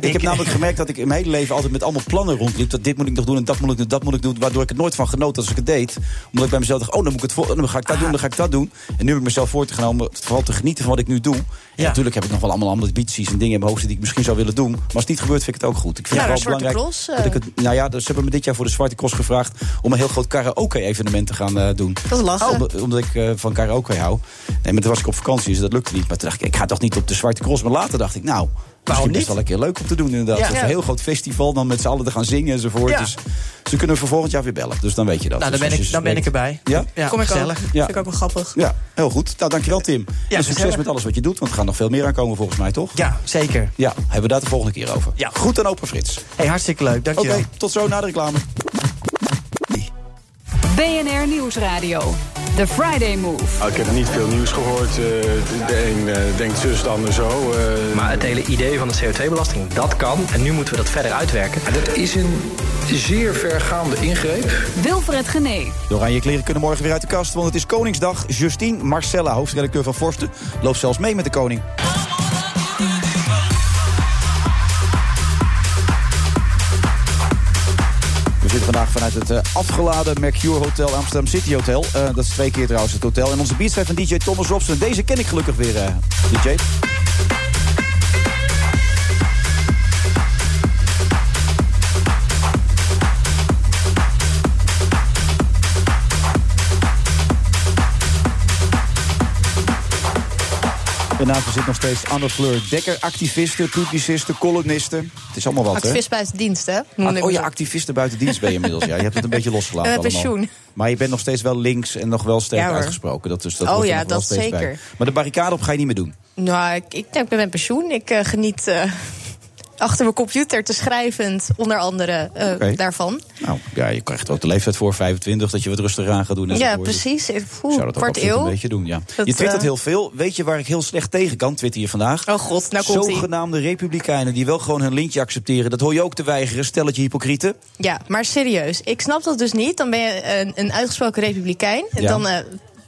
ik, heb namelijk gemerkt dat ik in mijn hele leven altijd met allemaal plannen rondliep. Dat dit moet ik nog doen en dat moet ik doen, dat moet ik doen. Waardoor ik het nooit van genoot als ik het deed. Omdat ik bij mezelf dacht, oh, dan, moet ik het voor, dan ga ik
Ah.
dat doen, dan ga ik dat doen. En nu heb ik mezelf voor te genomen om vooral te genieten van wat ik nu doe. En natuurlijk heb ik nog wel allemaal ambities en dingen in mijn hoofd die ik misschien zou willen doen. Maar als het niet gebeurt, vind ik het ook goed. Ik vind
Ja,
het
de
wel
Zwarte
belangrijk
Cross, eh.
dat ik het... Nou ja, dus ze hebben me dit jaar voor de Zwarte Cross gevraagd... om een heel groot karaoke-evenement te gaan eh, doen.
Dat is lachen.
Omdat, omdat ik eh, van karaoke hou. Nee, maar toen was ik op vakantie, dus dat lukte niet. Maar toen dacht ik, ik ga toch niet op de Zwarte Cross. Maar later dacht ik, nou... Waarom
niet?
is wel een keer leuk om te doen inderdaad.
Ja.
Of een heel groot festival, dan met z'n allen te gaan zingen enzovoort.
Ja.
Dus ze kunnen voor volgend jaar weer bellen. Dus dan weet je dat.
Nou, dan
Dus
ben
als
ik-
je
dan ben ik
spreekt-
erbij.
Ja?
Ja, Kom ik ook. gezellig.
Ja.
Vind ik ook wel grappig.
ja, heel goed. Nou, dankjewel Tim. en succes
gezellig.
met alles wat je doet, want er gaan nog veel meer aankomen volgens mij, toch?
Ja, zeker.
Ja, hebben we daar de volgende keer over. Ja. Goed en open, Frits.
Hey, hartstikke leuk.
Oké,
Dankjewel.
tot zo na de reclame.
BNR Nieuwsradio. The Friday Move.
Nou, ik heb niet veel nieuws gehoord. eh, de een eh, denkt zus, de ander zo. eh.
Maar het hele idee van de CO2-belasting, dat kan. En nu moeten we dat verder uitwerken.
Dat is een zeer vergaande ingreep.
Wilfred Genee.
De oranje kleren kunnen morgen weer uit de kast, want het is Koningsdag. Justine Marcella, hoofdredacteur van Forsten, loopt zelfs mee met de koning. We zitten vandaag vanuit het eh, afgeladen Mercure Hotel Amsterdam City Hotel. Eh, dat is twee keer trouwens het hotel. En onze beats zijn van DJ Thomas Robson. Deze ken ik gelukkig weer, eh, DJ. En naast me zit nog steeds Anne Fleur Dekker. Activiste, publiciste, columniste. Het is allemaal wat, hè?
Activist buiten dienst, hè?
Ah,
Noemde ik
oh
me
ja,
zo.
activisten buiten dienst ben je inmiddels. Ja. Je hebt het een
[laughs]
beetje losgelaten
Eh,
allemaal.
pensioen.
Maar je bent nog steeds wel links en nog wel sterk
Ja, hoor.
uitgesproken. Dat, dus, dat
Oh
hoort er
ja,
nog wel
dat
steeds
zeker.
bij. Maar de barricade op ga je niet meer doen.
Nou, ik, ik, nou, ik ben met pensioen. Ik eh, geniet eh, achter mijn computer te schrijvend, onder andere eh,
Oké.
daarvan.
Nou, ja, je krijgt ook de leeftijd voor 25, dat je wat rustiger aan gaat doen.
Ja,
en zo.
precies. Ik
Dus zou
voel
dat ook
kwart
absoluut een
eeuw.
beetje doen, ja.
Dat,
je twittert
eh,
heel veel. Weet je waar ik heel slecht tegen kan? Twitter je vandaag.
Oh god, nou komt-ie.
Zogenaamde republikeinen die wel gewoon hun lintje accepteren. Dat hoor je ook te weigeren, stelletje hypocrieten.
Ja, maar serieus. Ik snap dat dus niet. Dan ben je een, een uitgesproken republikein. En
Ja.
dan eh,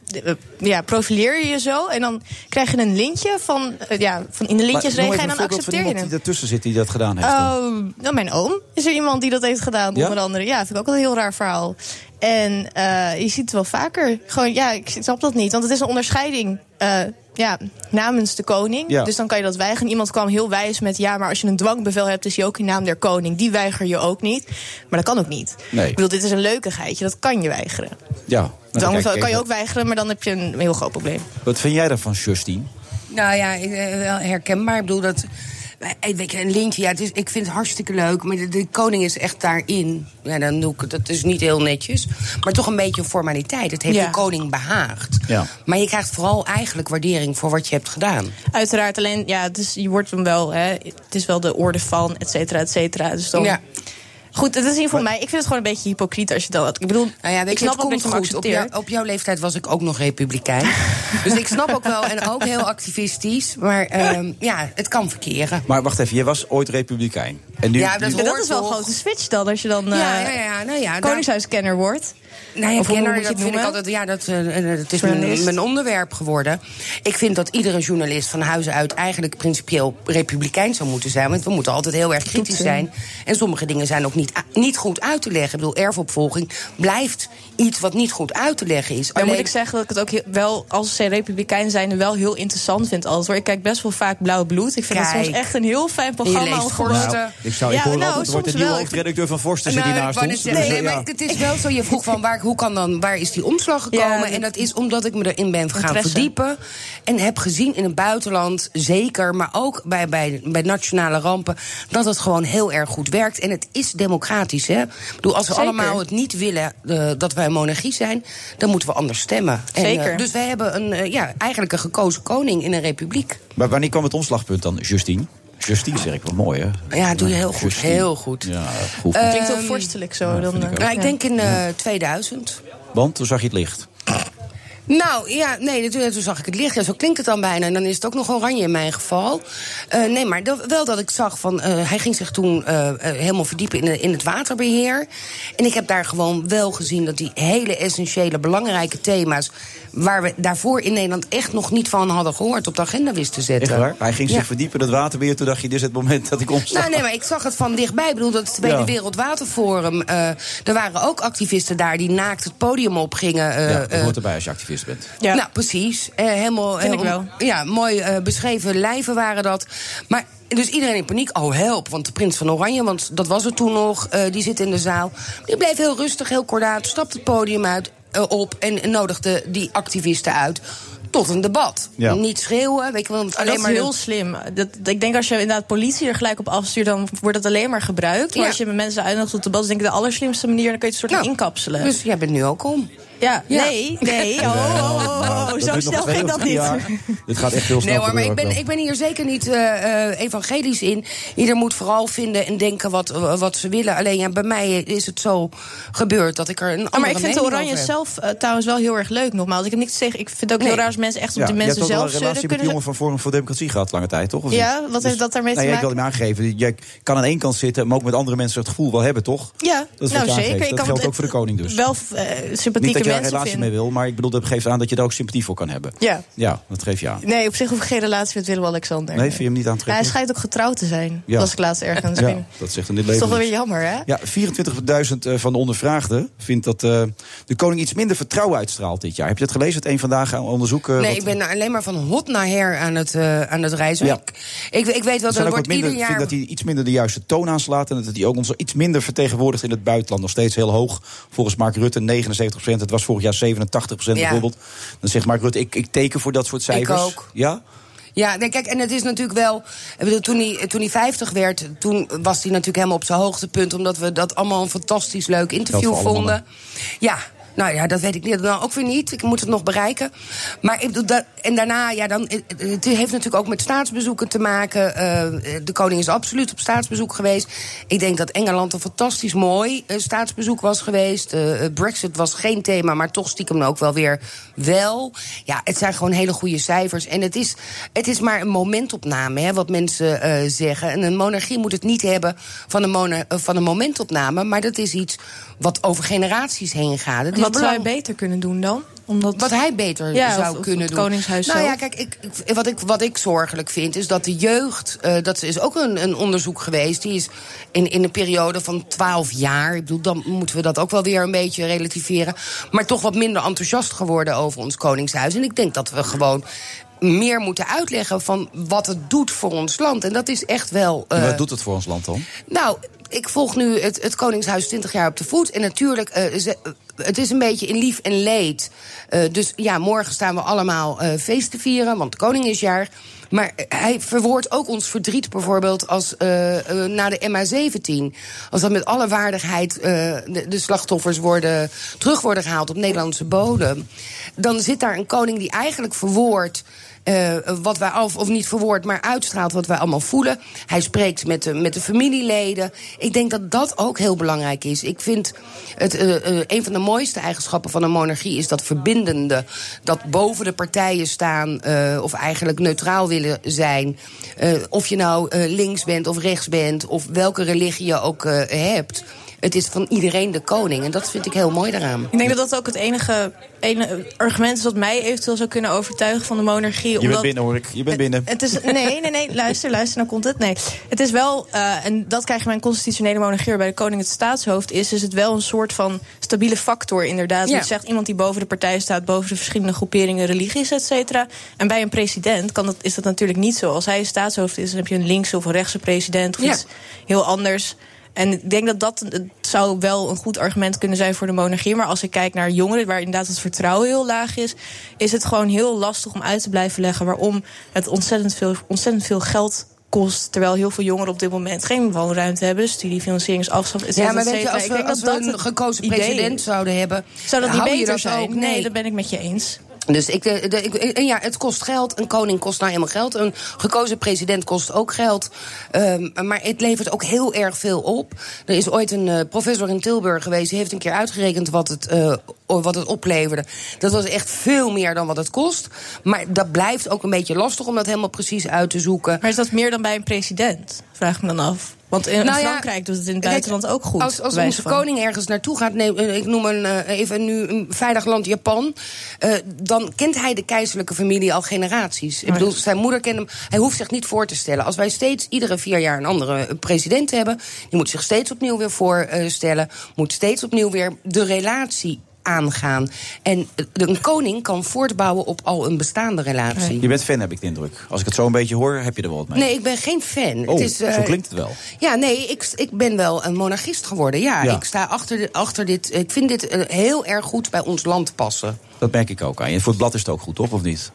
d- eh, ja, profileer je je zo. En dan krijg je een lintje van, eh, ja, van in de
Maar noem even
lintjesregen. En
een
dan
voorbeeld van
accepteer je
iemand
hem.
die ertussen zit die dat gedaan heeft. dan.
Oh, nou, mijn oom is er iemand die dat heeft gedaan,
Ja?
onder andere. Ja, vind ik ook wel een heel raar verhaal. En eh, je ziet het wel vaker. Gewoon, ja, ik snap dat niet. Want het is een onderscheiding eh, ja, namens de koning.
Ja.
Dus dan kan je dat weigeren. Iemand kwam heel wijs met... ja, maar als je een dwangbevel hebt, is je ook in naam der koning. Die weiger je ook niet. Maar dat kan ook niet.
Nee.
Ik bedoel, dit is een leukigheidje. Dat kan je weigeren.
Ja. nou, dan
Dan
kijk ik
kan je
even.
ook weigeren, maar dan heb je een heel groot probleem.
Wat vind jij daarvan, Justine?
Nou ja, ik, eh, wel herkenbaar. Ik bedoel dat. eh, Weet je, een lintje, ja, het is, ik vind het hartstikke leuk. Maar de, de koning is echt daarin. Ja, dan doe ik, het. dat is niet heel netjes. Maar toch een beetje een formaliteit. Het heeft
Ja.
de koning behaagd.
Ja.
Maar je krijgt vooral eigenlijk waardering voor wat je hebt gedaan.
Uiteraard, alleen ja, dus je wordt hem wel, hè, het is wel de orde van, et cetera, et cetera. Dus dan.
Ja.
Goed, het is in ieder geval mij. Ik vind het gewoon een beetje hypocriet als je dat. Ik bedoel,
Nou ja, weet
ik
je,
snap
het
ook
komt
dat je hem
goed. Op, jou-
accepteert.
op jouw leeftijd was ik ook
[laughs]
nog republikein. dus ik snap ook wel, en ook heel activistisch. Maar ehm, ja, het kan verkeren.
Maar wacht even, jij was ooit republikein. En nu,
Ja, dat
nu-
hoort
Dat is wel een
toch?
grote switch dan, als je dan
Ja,
eh,
ja, ja, nou ja, daar-
koningshuiskenner wordt.
Nou ja,
Of hoe moet
kenner,
je
dat
het
vind ik
noemen?
altijd. Ja, dat, eh, eh, het is mijn,
Journalist.
mijn onderwerp geworden. Ik vind dat iedere journalist van huis uit eigenlijk principieel republikein zou moeten zijn. Want we moeten altijd heel erg kritisch
Toetsen.
zijn. En sommige dingen zijn ook niet, a- niet goed uit te leggen. Ik bedoel, erfopvolging blijft iets wat niet goed uit te leggen is.
Dan
Alleen-
moet ik zeggen dat ik het ook heel- wel, als ze republikein zijn, wel heel interessant vind altijd. Hoor. Ik kijk best wel vaak Blauw Bloed. Ik vind dat
Kijk.
soms echt een heel fijn programma.
leest
om
voor-
gewoon-
Nou,
Forsten.
ik zou, ik
Ja,
hoor
nou,
altijd, er wordt de
soms
nieuwe
wel.
hoofdredacteur van Forsten zit
Nou,
hier
ik
naast
wou
ons.
net zeggen,
Dus,
nee,
eh,
maar
ja.
het is wel zo. Je vroeg van waar, hoe kan dan, waar is die omslag gekomen? en dat is omdat ik me erin ben gaan
Interesse.
verdiepen. En heb gezien in het buitenland, zeker, maar ook bij, bij, bij nationale rampen, dat het gewoon heel erg goed werkt. En het is democratisch. Hè? Ik bedoel, als we
Zeker.
allemaal het niet willen eh, dat wij een monarchie zijn, dan moeten we anders stemmen. En, eh,
Zeker.
dus wij hebben een, eh, ja, eigenlijk een gekozen koning in een republiek.
Maar wanneer kwam het omslagpunt dan, Justine? Justine zeg ik wel mooi, hè?
Ja, doe je heel goed,
Justine.
heel goed.
Ja, goed.
Eh,
Klinkt heel vorstelijk zo. dan,
vind ik
eh,
Nou,
ja.
ik denk in eh, 2000.
Want toen zag je het licht.
Nou ja, nee, toen, toen zag ik het licht. Ja, zo klinkt het dan bijna. En dan is het ook nog oranje in mijn geval. Eh, nee, maar dat- wel dat ik zag van. eh, hij ging zich toen eh, eh, helemaal verdiepen in, de- in het waterbeheer. En ik heb daar gewoon wel gezien dat die hele essentiële, belangrijke thema's. waar we daarvoor in Nederland echt nog niet van hadden gehoord, op de agenda wist te zetten.
Echt waar? Hij ging zich
Ja.
verdiepen, dat waterbeheer. Toen dacht je, dit is het moment dat ik omsta.
Nou, nee, maar ik zag het van dichtbij. Ik bedoel, dat Tweede
Ja.
Wereldwaterforum. eh, er waren ook activisten daar die naakt het podium op gingen. eh,
ja, dat
eh,
hoort erbij als je activist bent.
ja. Nou, precies. Eh, helemaal
Vind ik
eh, om- Ja, mooi eh, beschreven lijven waren dat. Maar dus iedereen in paniek. Oh, help. Want de prins van Oranje, want dat was er toen nog, eh, die zit in de zaal. Die bleef heel rustig, heel kordaat, stapt het podium uit, eh, op en, en nodigde die activisten uit tot een debat.
Ja.
Niet schreeuwen, weet je wel. want
Oh, dat
alleen
is
maar
heel slim. Dat, ik denk als je inderdaad politie er gelijk op afstuurt, dan wordt dat alleen maar gebruikt. Maar
Ja.
als je mensen uitnodigt tot debat, is denk ik de allerslimste manier. Dan kun je het soort van inkapselen.
Dus jij bent nu ook om.
Ja,
Ja.
nee, nee. Oh, oh, oh, oh,
Nou, Dat
zo
duurt nog
snel
twee
ging
of
dat
drie
niet.
jaar. Dit gaat echt heel snel.
Nee hoor, maar ik
gebeuren
ben, ik ben hier zeker niet eh, eh, evangelisch in. Ieder moet vooral vinden en denken wat, wat ze willen. Alleen ja, bij mij is het zo gebeurd dat ik er een [laughs] andere
Oh, maar ik vind de
mening
oranje
over heb.
zelf eh, trouwens wel heel erg leuk. Nogmaals, ik heb niks tegen. Ik vind het ook heel
Nee.
raar als mensen echt op
Ja,
die mensen
Je hebt ook
zelf
wel een relatie
zullen
met de
kunnen.
jongen van Forum voor Democratie gehad lange tijd, toch? Of
Ja,
niet?
wat heeft dat daarmee
nou,
te
ja, Ik wilde hem aangeven. Je kan aan één kant zitten, maar ook met andere mensen het gevoel wel hebben, toch?
Ja,
Dat is wat
nou
je aangeeft.
zeker. Ik
Dat
kan
geldt
het-
ook voor de koning dus.
Wel eh,
Niet dat
sympathieke
je daar een
mensen
relatie
vinden.
mee wil, maar ik bedoel, dat geeft aan dat je daar ook sympathie voor kan hebben.
Ja.
Ja, dat geef je aan.
Nee, op zich hoef ik geen relatie met Willem-Alexander.
Nee, vind je hem niet
Maar hij
aantrekkelijk?
schijnt ook getrouwd te zijn.
Ja.
Was ik laatst ergens. Ik
Ja,
vind-
dat zegt in dit
Dat
leven
is toch wel weer
niks.
jammer, hè?
Ja, 24.000 eh, van de ondervraagden vindt dat eh, de koning iets minder vertrouwen uitstraalt dit jaar. Heb je dat gelezen? Het een vandaag aan onderzoek. eh,
Nee,
wat-
ik ben alleen maar van hot naar her aan het, eh, aan het reizen.
Ja.
Ik, ik, ik weet wel,
Er zijn
dat
ook
wordt
wat minder,
ieder
ik
jaar...
vind dat hij iets minder de juiste toon aanslaat. En dat hij ook ons iets minder vertegenwoordigt in het buitenland. Nog steeds heel hoog. Volgens Mark Rutte 79 Het was vorig jaar 87
Ja.
bijvoorbeeld. Dan zegt Mark Rutte, ik, ik teken voor dat soort cijfers.
ook.
Ja?
Ja, nee, kijk, en het is natuurlijk wel. Ik bedoel, toen, hij, toen hij 50 werd, toen was hij natuurlijk helemaal op zijn hoogtepunt. Omdat we dat allemaal een fantastisch leuk interview
Geldt voor alle
vonden. Ja. Nou ja, dat weet ik niet. Nou, ook weer niet. Ik moet het nog bereiken. Maar ik bedoel, dat, en daarna, ja, dan. eh, eh, Het heeft natuurlijk ook met staatsbezoeken te maken. Eh, eh, de koning is absoluut op staatsbezoek geweest. Ik denk dat Engeland een fantastisch mooi eh, staatsbezoek was geweest. Eh, eh, Brexit was geen thema, maar toch stiekem ook wel weer wel. Ja, het zijn gewoon hele goede cijfers. En het is, het is maar een momentopname, hè, wat mensen eh, zeggen. En een monarchie moet het niet hebben van een, mono- eh, van een momentopname. Maar dat is iets wat over generaties heen gaat. Het is
Wat zou je
belang-
beter kunnen doen dan? Omdat...
Wat hij beter
Ja,
zou
of- of
kunnen
het
doen.
Koningshuis
nou
zelf.
ja, kijk, ik, ik- wat, ik, wat ik zorgelijk vind is dat de jeugd. eh, dat is ook een, een onderzoek geweest. Die is in, in een periode van 12 jaar. Ik bedoel, dan moeten we dat ook wel weer een beetje relativeren. Maar toch wat minder enthousiast geworden over ons Koningshuis. En ik denk dat we gewoon meer moeten uitleggen van wat het doet voor ons land. En dat is echt wel. eh,
En wat doet het voor ons land dan?
nou, ik volg nu het, het Koningshuis 20 jaar op de voet. En natuurlijk, eh, ze- eh, het is een beetje in lief en leed. Eh, dus ja, morgen staan we allemaal eh feest te vieren, want de koning is jaar. Maar eh, hij verwoordt ook ons verdriet bijvoorbeeld als, eh, eh, na de MH17. Als dat met alle waardigheid eh, de, de slachtoffers worden, terug worden gehaald op Nederlandse bodem. Dan zit daar een koning die eigenlijk verwoordt eh, wat wij af, of niet verwoord, maar uitstraalt wat wij allemaal voelen. Hij spreekt met de, met de familieleden. Ik denk dat dat ook heel belangrijk is. Ik vind het, eh, eh, een van de mooiste eigenschappen van een monarchie is dat verbindende. Dat boven de partijen staan eh, of eigenlijk neutraal willen zijn. Eh, of je nou eh, links bent of rechts bent of welke religie je ook eh, hebt. Het is van iedereen de koning en dat vind ik heel mooi daaraan.
Ik denk dat dat ook het enige, ene- argument is dat mij eventueel zou kunnen overtuigen van de monarchie.
Je bent
omdat-
binnen hoor ik. Je bent binnen.
Het is, nee, nee, nee, luister, luister, nou komt het. Nee. Het is wel, eh, en dat krijgen wij een constitutionele monarchie waarbij de koning het staatshoofd is, is het wel een soort van stabiele factor inderdaad.
Ja.
Je zegt iemand die boven de partij staat, boven de verschillende groeperingen, religies, et cetera. En bij een president kan dat, is dat natuurlijk niet zo. Als hij staatshoofd is, dan heb je een linkse of een rechtse president of
Ja.
iets heel anders. En ik denk dat dat het zou wel een goed argument kunnen zijn voor de monarchie. Maar als ik kijk naar jongeren, waar inderdaad het vertrouwen heel laag is, is het gewoon heel lastig om uit te blijven leggen waarom het ontzettend veel, ontzettend veel geld kost. Terwijl heel veel jongeren op dit moment geen woonruimte hebben, studiefinanciering is afstand. et cetera,
Ja, maar
et
weet je,
cetera.
als
Ik
we,
denk
als we
dat dat
een
het
gekozen
idee
president
is.
zouden hebben...
Zou dat niet
hou je
beter
dat
zijn?
Ook?
nee, dat ben ik met je eens.
Dus ik, eh, de- ik- en ja, het kost geld. Een koning kost nou helemaal geld. Een gekozen president kost ook geld. Ehm, maar het levert ook heel erg veel op. Er is ooit een eh, professor in Tilburg geweest. Die heeft een keer uitgerekend wat het, eh, o- wat het opleverde. Dat was echt veel meer dan wat het kost. Maar dat blijft ook een beetje lastig om dat helemaal precies uit te zoeken.
Maar is dat meer dan bij een president? Vraag ik me dan af. Want in
Nou ja,
Frankrijk doet het in het
kijk,
buitenland ook goed.
Als, als
bij
onze
wijze van.
koning ergens naartoe gaat, neem, eh, ik noem een, eh, even nu een veilig land Japan. eh, dan kent hij de keizerlijke familie al generaties. Ik bedoel, zijn moeder kent hem. Hij hoeft zich niet voor te stellen. Als wij steeds iedere vier jaar een andere eh, president hebben. die moet zich steeds opnieuw weer voorstellen. moet steeds opnieuw weer de relatie aangaan. En eh, een koning kan voortbouwen op al een bestaande relatie.
Je bent fan, heb ik de indruk. Als ik het zo een beetje hoor, heb je er wel wat mee.
Nee, ik ben geen
Oh,
fan. het is, eh,
zo klinkt het wel.
ja, nee, ik, ik ben wel een monarchist geworden. Ja,
Ja.
ik sta achter, di- achter dit. Ik vind dit eh, heel erg goed bij ons land passen.
Dat merk ik ook aan je. Voor het blad is het ook goed, toch? Of niet?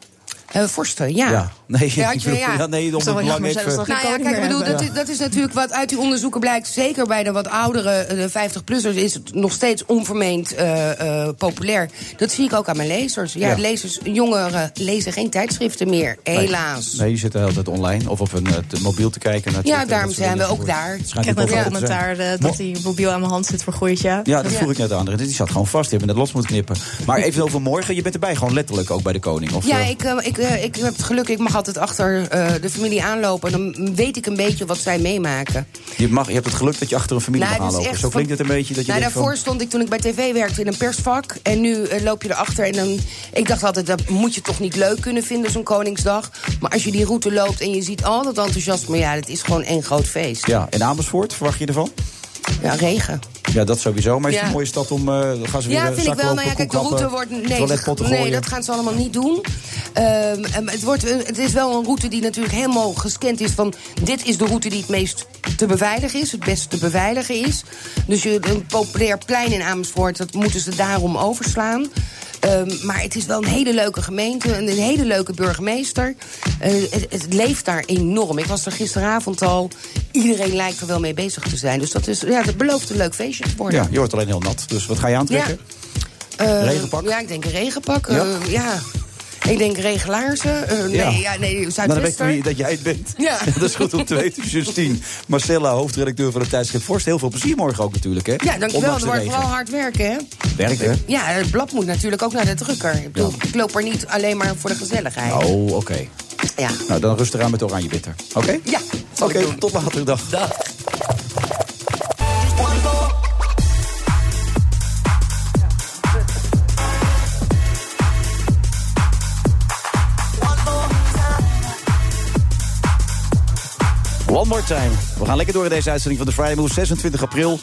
Eh vorsten, ja.
[laughs] Ja. Nee, [laughs]
ja,
ik
ik-
bedoel, ja, nee, om het belang even-
Nou ja, kijk, ik bedoel, dat, is, dat is natuurlijk wat uit die onderzoeken blijkt. Zeker bij de wat oudere eh, de 50-plussers is het nog steeds onvermeend eh, eh, populair. Dat zie ik ook aan mijn lezers. Ja,
Ja.
lezers, jongeren lezen geen tijdschriften meer, helaas.
Nee, nee, je zit de hele tijd online of op een eh, te- mobiel te kijken. Naar Twitter,
Ja, daarom
dat soort
zijn we
dingen.
ook daar.
Het
Ik
schijnt
heb
ook
net een
wel te zijn.
commentaar eh, dat hij mobiel aan mijn hand zit voor gooit, ja.
Ja, dat vroeg ik net aan André. Die zat gewoon vast. Die hebben net los moeten knippen. Maar even over morgen. Je bent erbij, gewoon letterlijk ook bij de koning. Of,
ja,
eh,
ik, eh, ik, eh, ik heb het geluk, ik mag altijd achter eh, de familie aanlopen. En dan weet ik een beetje wat zij meemaken.
je, mag, je hebt het geluk dat je achter een familie
Nou,
mag
dat is
aanlopen.
echt
Zo
van-
klinkt het een beetje dat je
nou,
denkt
daarvoor
van...
stond ik toen ik bij tv werkte in een persvak. En nu eh, loop je erachter. En dan, ik dacht altijd, dat moet je toch niet leuk kunnen vinden, zo'n Koningsdag. Maar als je die route loopt en je ziet al dat enthousiasme... ja, dat is gewoon één groot feest.
Ja, en Amersfoort, verwacht je ervan?
Ja, regen.
Ja, dat sowieso. Maar is het
Ja.
een mooie stad om... eh, dan gaan ze weer
Ja,
eh,
vind ik
zakken
wel.
lopen,
Nou ja, kijk, de
koekhappen,
route wordt. Nee,
toiletpotten
nee,
gooien.
dat gaan ze allemaal niet doen. Ehm, ehm, het, wordt, het is wel een route die natuurlijk helemaal gescand is. Van dit is de route die het meest te beveiligen is, het best te beveiligen is. Dus je, een populair plein in Amersfoort, dat moeten ze daarom overslaan. Ehm, maar het is wel een hele leuke gemeente en een hele leuke burgemeester. Eh, het, het leeft daar enorm. Ik was er gisteravond al. Iedereen lijkt er wel mee bezig te zijn. Dus dat, is, ja, dat belooft een leuk feestje te worden.
Ja, je wordt alleen heel nat. Dus wat ga je aantrekken?
Eh,
Regenpak?
Ja, ik denk een regenpak. eh,
Ja?
Ja. Ik denk regelaarzen. eh, nee,
Ja.
ja.
Nou,
nee,
dan weet
Zuidwester.
wie dat jij het bent.
Ja.
[laughs] Dat is goed om te weten. Just 10. Marcella, hoofdredacteur van het tijdschrift Forst. Heel veel plezier morgen ook natuurlijk, hè?
ja, dankjewel.
Ondanks
Het
de
wordt
regen.
wel hard werken, hè?
Werkt, hè?
Ja, het blad moet natuurlijk ook naar de drukker. Ik, bedoel, ik loop er niet alleen maar voor de gezelligheid.
Oh, oké.
Ja.
Nou, dan rustig aan met de oranje bitter. Oké?
Ja.
Oké, tot later. Dag. One more time. We gaan lekker door in deze uitzending van de Friday Move, 26 april.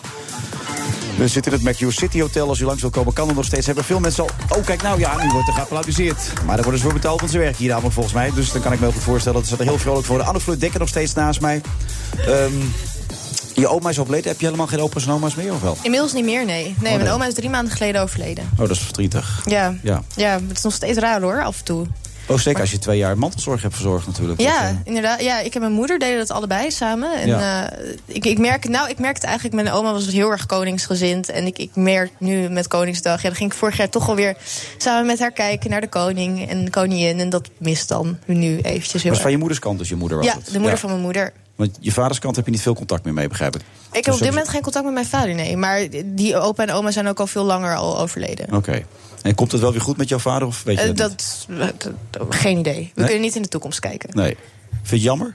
We zitten in het McHugh City Hotel. Als u langs wil komen, kan het nog steeds. Hebben veel mensen al... Oh, kijk nou, ja, nu wordt er geapplaudiseerd. Maar daar worden ze voor betaald, want ze werken hier namelijk volgens mij. Dus dan kan ik me heel goed voorstellen dat ze er heel vrolijk voor worden. Anne Fleur Dekker nog steeds naast mij. Ehm, je oma is overleden. Heb je helemaal geen opa's en oma's meer, of wel?
Inmiddels niet meer, nee. Nee,
Oh, nee.
mijn oma is drie maanden geleden overleden.
Oh, dat is verdrietig.
Ja.
Ja.
ja, het is nog steeds raar hoor, af en toe.
Oh, zeker als je twee jaar mantelzorg hebt verzorgd natuurlijk. Dat, eh,
Ja, inderdaad. Ja, ik en mijn moeder deden dat allebei samen. En
Ja.
eh, ik, ik merk het nou, ik merk het eigenlijk, mijn oma was heel erg koningsgezind. En ik, ik merk nu met Koningsdag, ja, dan ging ik vorig jaar toch alweer samen met haar kijken naar de koning en de koningin. En dat mist dan nu eventjes
eh,
heel
was van
erg.
je moeders kant, dus je moeder was
Ja,
het.
de moeder van mijn moeder.
Want je vaders kant heb je niet veel contact meer mee, begrijp ik.
Ik heb
Dus
op dit
sowieso-
moment geen contact met mijn vader, nee. Maar die opa en oma zijn ook al veel langer al overleden.
Oké. En komt het wel weer goed met jouw vader, of Oh, weet je
Eh,
dat
dat, dat- geen idee. We
Nee?
kunnen niet in de toekomst kijken.
niet? Nee. Vind je het jammer?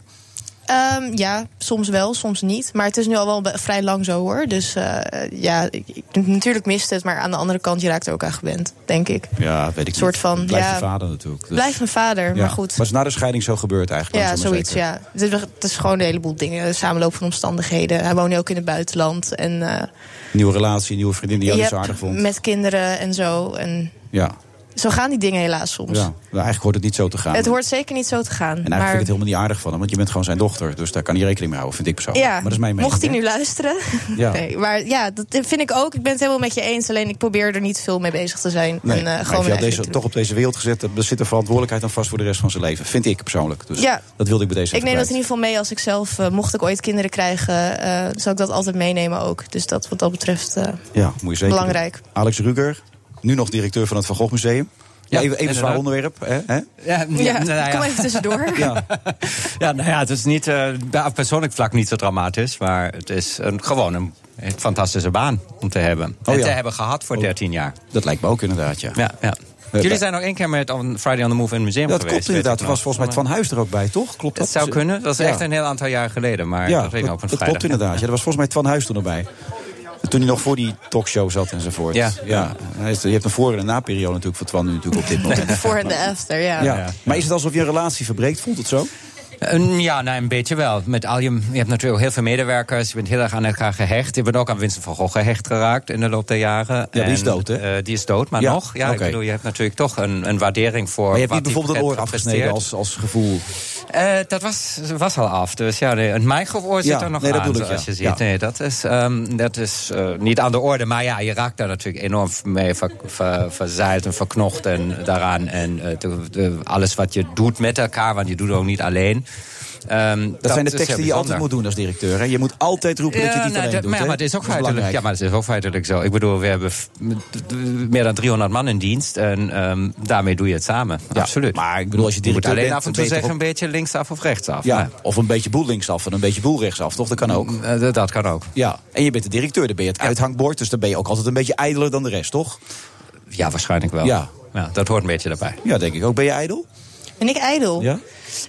Ehm, ja, soms wel, soms niet. Maar het is nu al wel be- vrij lang zo hoor. Dus eh, ja, ik, ik- natuurlijk mist het. Maar aan de andere kant, je raakt er ook aan gewend, denk ik.
Ja, weet ik
Soort
niet.
van,
Het Blijft
ja,
je vader natuurlijk. Dus-
Blijft mijn vader,
Ja.
maar goed.
Was na de scheiding zo gebeurd eigenlijk?
Ja,
langzaam maar
zoiets,
zeker.
ja. Het is, het is gewoon een heleboel dingen. De samenloop van omstandigheden. Hij woonde ook in het buitenland. En eh,
Nieuwe relatie, nieuwe vriendin die je
je
niet zo
hebt
aardig vond.
met kinderen en zo. En
Ja.
zo gaan die dingen helaas soms.
ja. Nou, eigenlijk hoort het niet zo te gaan.
Het hoort zeker niet zo te gaan.
En eigenlijk
maar...
vind ik het helemaal niet aardig van hem, want je bent gewoon zijn dochter. Dus daar kan hij rekening mee houden, vind ik persoonlijk.
Ja,
maar dat is mijn mening.
mocht hij
hè?
nu luisteren.
[laughs] Ja.
Nee, maar ja, dat vind ik ook. Ik ben het helemaal met je eens. Alleen ik probeer er niet veel mee bezig te zijn.
Nee,
en, eh,
maar ik
gewoon
heb
mijn
jou
eigen
deze,
ding
toch op deze wereld gezet. Er zit een verantwoordelijkheid aan vast voor de rest van zijn leven. Vind ik persoonlijk. Dus
Ja.
dat wilde ik bij deze
doen.
even
Ik neem
kwijt.
dat in ieder geval mee als ik zelf, eh, mocht ik ooit kinderen krijgen, eh, zal ik dat altijd meenemen ook. Dus dat wat dat betreft. eh,
Ja, moet je zeker
Belangrijk.
doen. Alex Ruger, nu nog directeur van het Van Gogh Museum. even even zwaar onderwerp. Hè? hè?
[laughs]
Ja,
Ja,
nou ja.
kom even
[laughs]
tussendoor.
[laughs] Ja, nou ja, het is niet, eh, ja, op persoonlijk vlak niet zo dramatisch, maar het is een, gewoon een, een fantastische baan om te hebben. en
Oh, ja.
te hebben gehad voor 13 jaar.
Dat lijkt me ook inderdaad, ja. Eh,
Ja, ja. Jullie zijn nog één keer met on Friday on the Move in het museum
Dat
geweest.
klopt inderdaad. Er
weet
was
ik nog.
volgens mij Van Huis er ook bij, toch? Klopt dat?
Het zou kunnen. Dat is
Ja.
echt een heel aantal jaar geleden, maar
ja,
dat ging op een
dat
vrijdag.
klopt inderdaad. Ja, er was volgens mij Twan Huis toen erbij. Toen hij nog voor die talkshow zat enzovoort.
Ja.
ja. Hij is- Je hebt een voor- en na-periode natuurlijk van Twan nu natuurlijk op dit
[laughs]
moment.
Voor en de after, ja.
Ja. Maar is het alsof je een relatie verbreekt? Voelt het zo?
Eh, Ja, nou, een beetje wel. Met al je, je hebt natuurlijk heel veel medewerkers. Je bent heel erg aan elkaar gehecht. Je bent ook aan Winston van Gogh gehecht geraakt in de loop der jaren.
Ja, die is
En,
dood, hè?
eh, die is dood, maar
Ja,
nog. Ja,
oké.
ik bedoel, je hebt natuurlijk toch een, een waardering voor
Maar je hebt niet
wat die
bijvoorbeeld een oor
heeft
afgesneden
gepresteerd.
als, als gevoel.
Eh, dat was, was al af. Dus ja, nee, het mijgeoor zit
Ja,
er nog
nee, dat
aan,
bedoel ik,
zoals
ja.
je ziet.
Ja.
Nee, dat is, ehm, dat is eh, niet aan de orde. Maar ja, je raakt daar natuurlijk enorm mee ver, ver- verzeild en verknocht en daaraan. En eh, de- de- alles wat je doet met elkaar, want je doet het ook niet alleen. Ehm,
Dat, zijn de
is
teksten die je
heel
altijd
bijzonder.
moet doen als directeur. Hè? Je moet altijd roepen dat je het
Ja,
niet
nou,
alleen
dat-
doet.
maar, ja,
hè?
maar het is ook
Dat
feitelijk.
belangrijk.
Ja, maar het is ook feitelijk zo. Ik bedoel, we hebben f- m- d- meer dan 300 man in dienst en ehm, daarmee doe je het samen. Absoluut. Maar ik
bedoel, als je
moet
directeur
alleen
bent,
af en
dan ben
toe
je
zeggen
toch
een beetje linksaf of rechtsaf.
Ja,
Maar-
of een beetje boel linksaf en een beetje boel rechtsaf, toch? Dat kan ook.
Mm, eh, dat kan ook.
Ja, en je bent de directeur, dan ben je het uithangbord. Dus dan ben je ook altijd een beetje ijdeler dan de rest, toch?
Ja, waarschijnlijk wel.
Ja,
ja dat hoort een beetje daarbij.
Ja, denk ik ook. Ben je ijdel?
Ben ik ijdel?
Ja.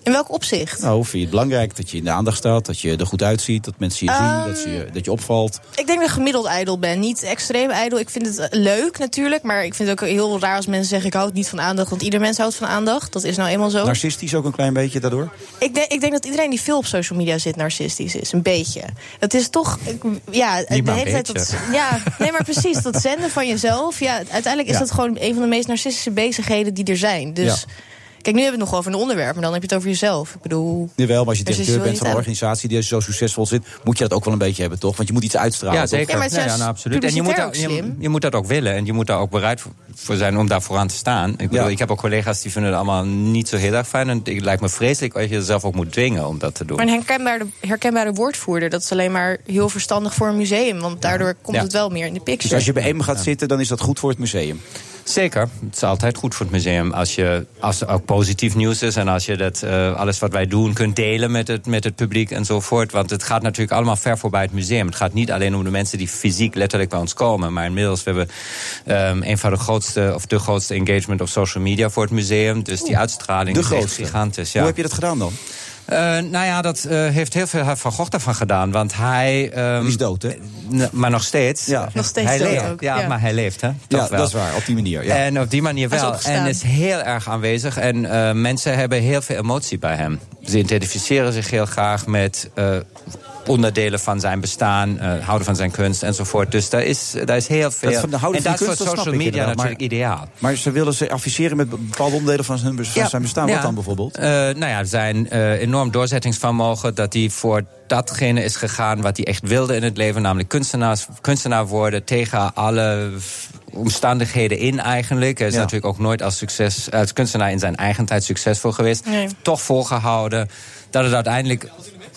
In welk opzicht?
Nou, vind je het belangrijk dat je in de aandacht staat, dat je er goed uitziet, dat mensen je zien, dat, ze je, dat je opvalt?
Ik denk dat ik gemiddeld ijdel ben. Niet extreem ijdel. Ik vind het eh, leuk natuurlijk. Maar ik vind het ook heel raar als mensen zeggen: ik houd niet van aandacht. Want ieder mens houdt van aandacht. Dat is nou eenmaal zo.
Narcistisch ook een klein beetje daardoor?
Ik denk, ik denk dat iedereen die veel op social media zit narcistisch is. Een beetje. Het is toch. ik- Ja,
Niet
de
maar een
hele tijd dat.
beetje.
Ja, nee, maar precies. Dat zenden van jezelf. Ja, uiteindelijk is
Ja.
dat gewoon een van de meest narcistische bezigheden die er zijn. Dus.
Ja.
Kijk, nu hebben we het nog over een onderwerp, maar dan heb je het over jezelf. Ik bedoel.
Jawel, maar als je directeur
Precies, wil je
bent van een
het
organisatie die zo succesvol zit, moet je dat ook wel een beetje hebben, toch? Want je moet iets uitstralen.
Ja,
toch?
zeker. Nee, ja, nou, absoluut. En je moet, daar- je, je moet dat ook willen en je moet daar ook bereid voor- voor zijn om daar vooraan te staan. Ik bedoel,
Ja.
ik heb ook collega's die vinden het allemaal niet zo heel erg fijn. En het lijkt me vreselijk als je jezelf ook moet dwingen om dat te doen.
Maar een herkenbare, herkenbare woordvoerder, dat is alleen maar heel verstandig voor een museum. Want daardoor komt
Ja.
het wel meer in de picture.
Dus als je bij hem gaat
Ja.
zitten, dan is dat goed voor het museum.
Zeker. Het is altijd goed voor het museum als, je, als er ook positief nieuws is. En als je dat, eh, alles wat wij doen kunt delen met het, met het publiek enzovoort. Want het gaat natuurlijk allemaal ver voorbij het museum. Het gaat niet alleen om de mensen die fysiek letterlijk bij ons komen. Maar inmiddels we hebben ehm, een van de grootste of de grootste engagement op social media voor het museum. Dus die uitstraling
de
is echt
grootste.
gigantisch. Ja.
Hoe heb je dat gedaan dan?
Eh, nou ja, dat eh, heeft heel veel Van Gogh daarvan gedaan. Want hij... is
dood, hè?
Maar nog steeds.
Nog steeds
hij
dood
leeft.
ook,
Ja,
ja.
maar hij leeft, hè? Toch
Ja,
wel. Eh,
dat is waar, op die manier. Ja.
En op die manier
Hij is
wel.
opgestaan.
En is heel erg aanwezig. En eh, mensen hebben heel veel emotie bij hem. Ze identificeren zich heel graag met eh, onderdelen van zijn bestaan, eh, houden van zijn kunst enzovoort. Dus daar is, daar is heel veel.
Dat van de houding
en
van
dat
kunst, dat
is voor
snap
social
ik
media
inderdaad, maar-
natuurlijk ideaal.
Maar ze willen ze adviseren met bepaalde onderdelen van, hun, van
Ja.
zijn bestaan.
Ja.
Wat dan bijvoorbeeld?
Eh, nou ja, zijn eh, enorm doorzettingsvermogen. Dat hij voor datgene is gegaan wat hij echt wilde in het leven. Namelijk kunstenaars, kunstenaar worden tegen alle f- omstandigheden in eigenlijk. Hij is
Ja.
natuurlijk ook nooit als, succes, als kunstenaar in zijn eigen tijd succesvol geweest.
Nee.
Toch volgehouden. Dat het uiteindelijk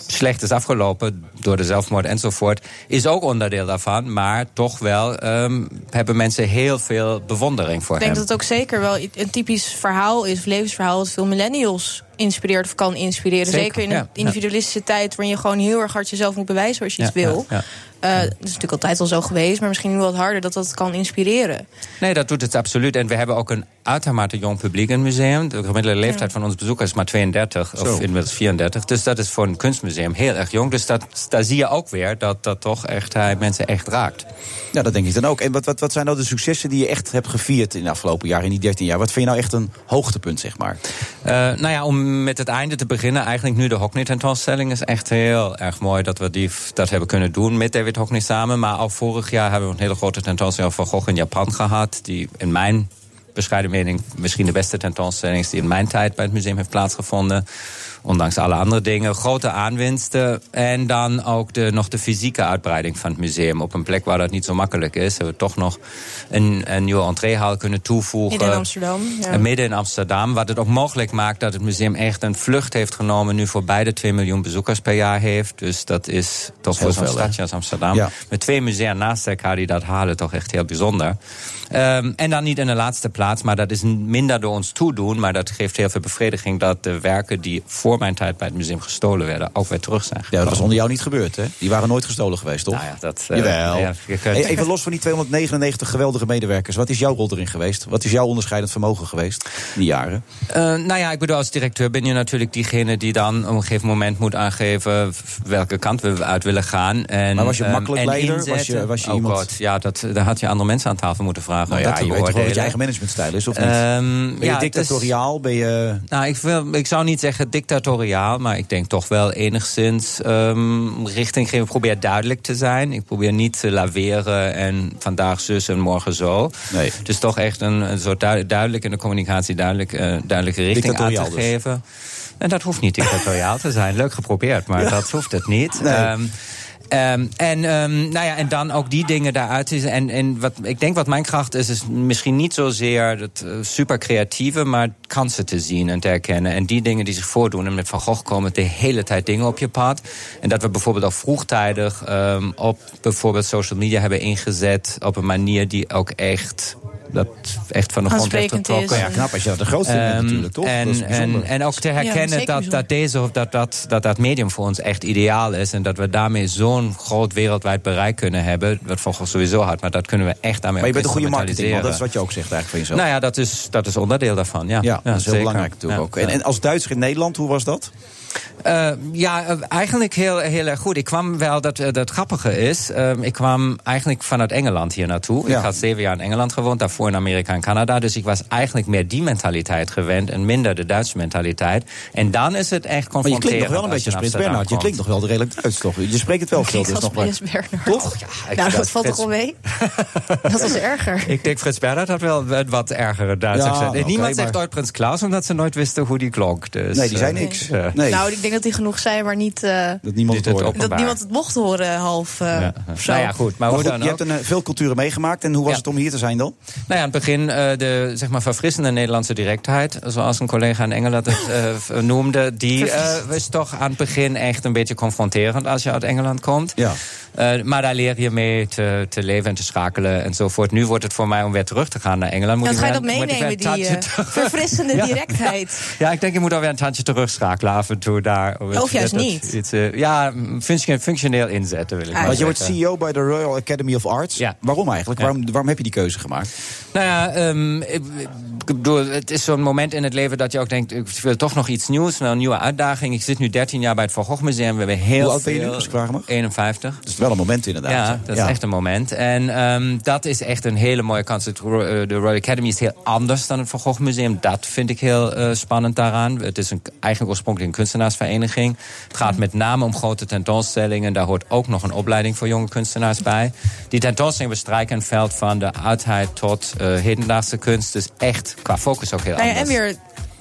slecht is afgelopen door de zelfmoord enzovoort... is ook onderdeel daarvan. Maar toch wel ehm, hebben mensen heel veel bewondering voor
Ik denk
hem.
dat het ook zeker wel i- een typisch verhaal is, of levensverhaal, dat veel millennials inspireert of kan inspireren.
Zeker,
Zeker, in een
ja, ja.
individualistische tijd waarin je gewoon heel erg hard jezelf moet bewijzen als je iets wil.
Ja, ja.
Eh, dat is natuurlijk altijd al zo geweest, maar misschien nu wat harder dat dat kan inspireren.
Nee, dat doet het absoluut. En we hebben ook een uitermate jong publiek in het museum. De gemiddelde leeftijd van onze bezoekers is maar 32,
Zo.
of inmiddels 34. Dus dat is voor een kunstmuseum heel erg jong. Dus dat, daar zie je ook weer dat dat toch echt hij mensen echt raakt.
Ja, dat denk ik dan ook. En wat, wat, wat zijn nou de successen die je echt hebt gevierd in de afgelopen jaar, in die 13 jaar? Wat vind je nou echt een hoogtepunt, zeg maar?
Eh, nou ja, om met het einde te beginnen, eigenlijk nu de Hockney-tentoonstelling is echt heel erg mooi dat we die, dat hebben kunnen doen met David Hockney samen. Maar al vorig jaar hebben we een hele grote tentoonstelling van Gogh in Japan gehad, die in mijn bescheiden mening misschien de beste tentoonstelling is die in mijn tijd bij het museum heeft plaatsgevonden. ondanks alle andere dingen, grote aanwinsten. En dan ook de, nog de fysieke uitbreiding van het museum. Op een plek waar dat niet zo makkelijk is, hebben we toch nog een, een nieuwe entreehal kunnen toevoegen.
Midden in Amsterdam, ja.
En midden in Amsterdam. Wat het ook mogelijk maakt dat het museum echt een vlucht heeft genomen. Nu voor beide 2 miljoen bezoekers per jaar heeft. Dus dat is toch
Heel
voor zo'n
veel, hè?
stadje als Amsterdam.
Ja.
Met twee musea naast elkaar die dat halen, toch echt heel bijzonder. Ehm, en dan niet in de laatste plaats, maar dat is minder door ons toedoen. Maar dat geeft heel veel bevrediging dat de werken die voor mijn tijd bij het museum gestolen werden, ook weer terug zijn.
Ja, dat was onder jou niet gebeurd, hè? Die waren nooit gestolen geweest, toch?
ja, dat, eh,
Jawel.
ja, je kunt-
Hey, even los van die 299 geweldige medewerkers. Wat is jouw rol erin geweest? Wat is jouw onderscheidend vermogen geweest in die jaren?
Eh, nou ja, ik bedoel, als directeur ben je natuurlijk diegene die dan op een gegeven moment moet aangeven f- welke kant we uit willen gaan. En,
Maar was je
ehm,
makkelijk
en
leider?
inzetten.
Was je- was je
oh
iemand-
God, ja, dat, daar had je andere mensen aan tafel moeten vragen.
Nou
om
ja,
dat te
je weet toch wel wat je eigen
beoordelen.
managementstijl is, of niet?
Ehm,
ben je
ja, het is-
dictatoriaal? Ben je...
Nou, ik, wil, ik zou niet zeggen dictatoriaal, maar ik denk toch wel enigszins ehm richting geven. Ik probeer duidelijk te zijn. Ik probeer niet te laveren en vandaag zus en morgen zo.
Nee.
Dus toch echt een, een soort duid- duidelijk in de communicatie duidelijk, eh, duidelijke richting aan
Dictatoriaal
te
dus.
geven. En dat hoeft niet dictatoriaal te zijn. Leuk geprobeerd, maar dat hoeft het niet.
Nee.
Ehm, Ehm, en, ehm, nou ja, en dan ook die dingen daaruit. is. En, en wat, ik denk wat mijn kracht is, is misschien niet zozeer het eh, super creatieve, maar kansen te zien en te herkennen. En die dingen die zich voordoen. En met Van Gogh komen de hele tijd dingen op je pad. En dat we bijvoorbeeld al vroegtijdig ehm, op bijvoorbeeld social media hebben ingezet. Op een manier die ook echt. Dat echt van de grond heeft
Aansprekend is.
getrokken.
Nou Ja, knap als je dat de grootste bent
Ehm,
natuurlijk, toch? Dat
En,
is bijzonder.
en, en ook te
Ja,
herkennen
zeker
dat, dat dat deze of dat dat, dat dat medium voor ons echt ideaal is. En dat we daarmee zo'n groot wereldwijd bereik kunnen hebben. Wat Van Gogh sowieso had, maar dat kunnen we echt daarmee
Maar je
ook
bent een goede marketingman,
instrumentaliseren.
dat is wat je ook zegt eigenlijk van jezelf.
Nou ja, dat is, dat is onderdeel daarvan. Ja,
Ja, dat is heel
zeker.
belangrijk natuurlijk
Ja,
ook. En,
ja.
en als Duitser in Nederland, hoe was dat?
Eh, ja, eh, eigenlijk heel, heel erg goed. Ik kwam wel, dat, eh, dat grappige is, eh, ik kwam eigenlijk vanuit Engeland hier naartoe.
Ja.
Ik had zeven jaar in Engeland gewoond, daarvoor in Amerika en Canada. Dus ik was eigenlijk meer die mentaliteit gewend en minder de Duitse mentaliteit. En dan is het echt
Maar je
confronterend.
klinkt nog wel een beetje als
als
Prins
je in Amsterdam
Bernhard. Je
komt.
klinkt nog wel redelijk Duits, toch? Je spreekt het wel veel.
Klinkt
Dus
als
nog maar.
Prins Bernhard.
Toch?
ik-
nou,
dat
dat valt
is-
toch wel mee?
[laughs]
dat was erger.
Ik denk Frits Bernhard had wel een wat ergere Duits
Ja,
accent. En
oké,
Niemand
maar-
zegt ooit Prins Klaus, omdat ze nooit wisten hoe die klonk. Dus,
Nee, die zei
eh,
niks.
ja.
Nou, ik denk dat die genoeg zijn, maar niet eh,
Dat niemand het
Dit het
hoorde.
dat niemand het mocht horen half. eh,
Nou
of zo.
maar hoe dan
je
ook.
hebt een, eh, veel culturen meegemaakt. En hoe was het om hier te zijn dan?
Nou ja, aan het begin eh, de zeg maar, verfrissende Nederlandse directheid, zoals een collega in Engeland het eh, v- noemde, die eh is toch aan het begin echt een beetje confronterend als je uit Engeland komt.
Ja.
Eh, maar daar leer je mee te, te leven en te schakelen enzovoort. Nu wordt het voor mij om weer terug te gaan naar Engeland.
Dan
ik
ga je dat
weer- moet ik weer
meenemen,
een
die
tandje
eh,
terug-
verfrissende
Ja.
directheid.
[laughs] Ja, ik denk je moet alweer een tandje terugschakelen af en toe daar.
Of juist
Dat-
niet. Ah.
iets, eh, ja, functio- functioneel inzetten wil ik maar
Want je wordt
zeggen.
CEO bij de Royal Academy of Arts. Waarom eigenlijk? Waarom, waarom heb je die keuze gemaakt?
Nou ja, ehm, ik, ik bedoel, het is zo'n moment in het leven dat je ook denkt... ik wil toch nog iets nieuws, wel een nieuwe uitdaging. Ik zit nu 13 jaar bij het Van Gogh Museum. We hebben heel
Hoe oud ben je nu,
veel...
als ik vragen mag?
51.
Dat is wel een moment inderdaad.
Ja, dat is echt een moment. En ehm, dat is echt een hele mooie kans. Het Ro- eh, De Royal Academy is heel anders dan het Van Gogh Museum. Dat vind ik heel eh, spannend daaraan. Het is een, eigenlijk oorspronkelijk een kunstenaarsvereniging. Het gaat met name om grote tentoonstellingen. Daar hoort ook nog een opleiding voor jonge kunstenaars bij. Die tentoonstellingen bestrijken een veld van de oudheid tot eh, hedendaagse kunst. Dus echt qua focus ook heel
Nou ja,
anders.
en weer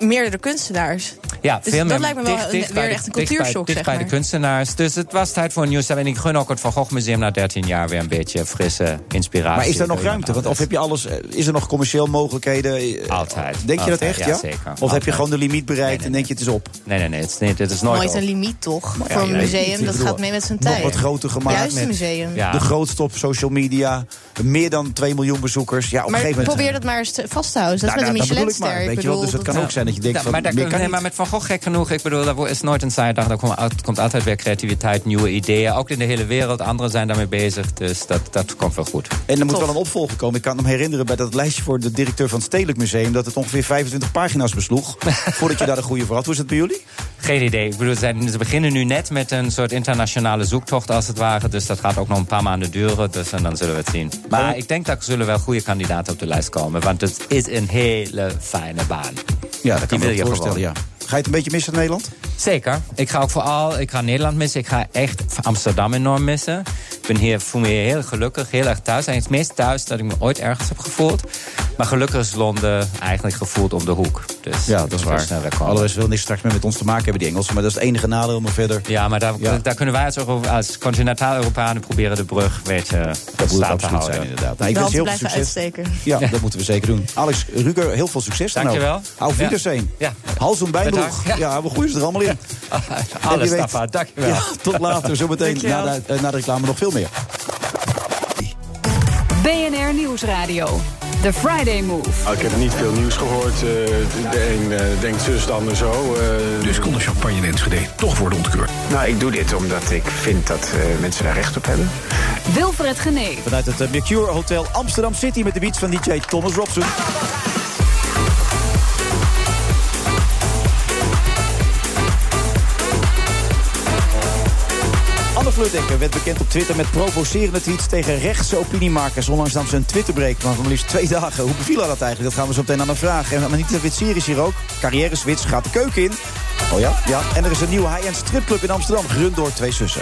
meerdere kunstenaars.
Ja,
Dus
veel meer.
dat lijkt me wel een- weer
bij de-
echt een
dicht bij-
cultuurshock,
Dicht
zeg
bij
maar.
de kunstenaars. Dus het was tijd voor een nieuw stem. En ik gun ook het Van Gogh Museum na 13 jaar weer een beetje frisse inspiratie.
Maar is daar nog
Door
ruimte? Want of heb je alles, eh, is er nog commercieel mogelijkheden? Eh,
Altijd.
Denk je dat
Altijd,
echt, ja?
ja, zeker.
Of heb je
Altijd.
gewoon de limiet bereikt en denk je het is op?
Nee, nee, nee. Het is, nee, dit is
Nooit,
nooit
een
over.
limiet, toch?
Maar ja,
Voor
je
een
weet
museum,
niet. Ik
dat
bedoel,
gaat mee met zijn
Nog
tijd.
wat groter gemaakt.
Juist een
met
museum.
De grootste op social media. Meer dan 2 miljoen bezoekers. Ja, op een
maar
gegeven moment...
probeer dat maar eens te- vast te houden. Dat
Nou,
is met
nou,
een
dat bedoel ik maar,
Michelinster.
weet je wel, dus het kan ook zijn dat je denkt
Ja,
van,
maar, daar
meer
kun-
kan
nee, maar met Van Gogh gek genoeg, ik bedoel, daar is nooit een saaie dag. Daar komt, uit- komt altijd weer creativiteit, nieuwe ideeën. Ook in de hele wereld, anderen zijn daarmee bezig. Dus dat, dat komt wel goed.
En er moet wel een opvolger komen. Ik kan hem herinneren bij dat lijstje voor de directeur van het Stedelijk Museum... dat het ongeveer 25 pagina's [laughs] besloeg voordat je daar de goede voor had. Hoe is het bij jullie?
Geen idee. Ik bedoel, ze zijn- ze beginnen nu net met een soort internationale zoektocht als het ware. Dus dat gaat ook nog een paar maanden duren. Dus en dan zullen we het zien. Maar ik denk dat er zullen wel goede kandidaten op de lijst komen. Want het is een hele fijne baan.
Ja, dat kan
wil
ik me
je
wel voorstellen,
gewoon.
ja. Ga je het een beetje missen in Nederland?
Zeker. Ik ga ook vooral ik ga Nederland missen. Ik ga echt Amsterdam enorm missen. Ik ben hier, voel me hier heel gelukkig, heel erg thuis. En het meest thuis dat ik me ooit ergens heb gevoeld. Maar gelukkig is Londen eigenlijk gevoeld om de hoek. Dus
Ja, dat is waar.
snel wegkomen.
Allereerst wil niks straks meer met ons te maken hebben, die Engelsen. Maar dat is het enige nadeel, maar verder...
Ja, maar daar, daar kunnen wij als, Euro- als continentaal-Europeanen proberen de brug een beetje
Dat moet het
staat te
absoluut
houden.
zijn, inderdaad.
Nou,
Nou, ik wens je heel veel
blijven
succes.
uitsteken.
Ja, dat moeten we zeker doen. Alex Ruger, heel veel succes dan
Dankjewel.
ook. Auf
Ja.
Wiedersehen.
Ja.
Hals en bijbroeg.
Bedankt.
Ja.
Ja.
we groeien ze er allemaal in. En wie
[laughs] Alles,
weet-
Tafa. Dankjewel.
Ja, tot later. Zometeen na,
Dankjewel.
de- eh, na de reclame nog veel meer.
BNR Nieuwsradio. The Friday Move.
Nou, ik heb niet veel nieuws gehoord. eh, de een eh, denkt zus, de ander zo. dus kon de champagne in Enschede toch worden ontkeurd?
Nou, ik doe dit omdat ik vind dat eh, mensen daar recht op hebben.
Wilfred Genee.
Vanuit het eh, Mercure Hotel Amsterdam City met de beats van DJ Thomas Robson. Anne Vleudekker werd bekend op Twitter met provocerende tweets tegen rechtse opiniemakers. Onlangs nam ze een Twitterbreak van maar liefst twee dagen. Hoe beviel haar dat eigenlijk? Dat gaan we zo meteen aan haar vragen. En Anita Witsier is hier ook. Carrière Switch gaat de keuken in. Oh ja? Ja. En er is een nieuwe high-end stripclub in Amsterdam, gerund door twee zussen.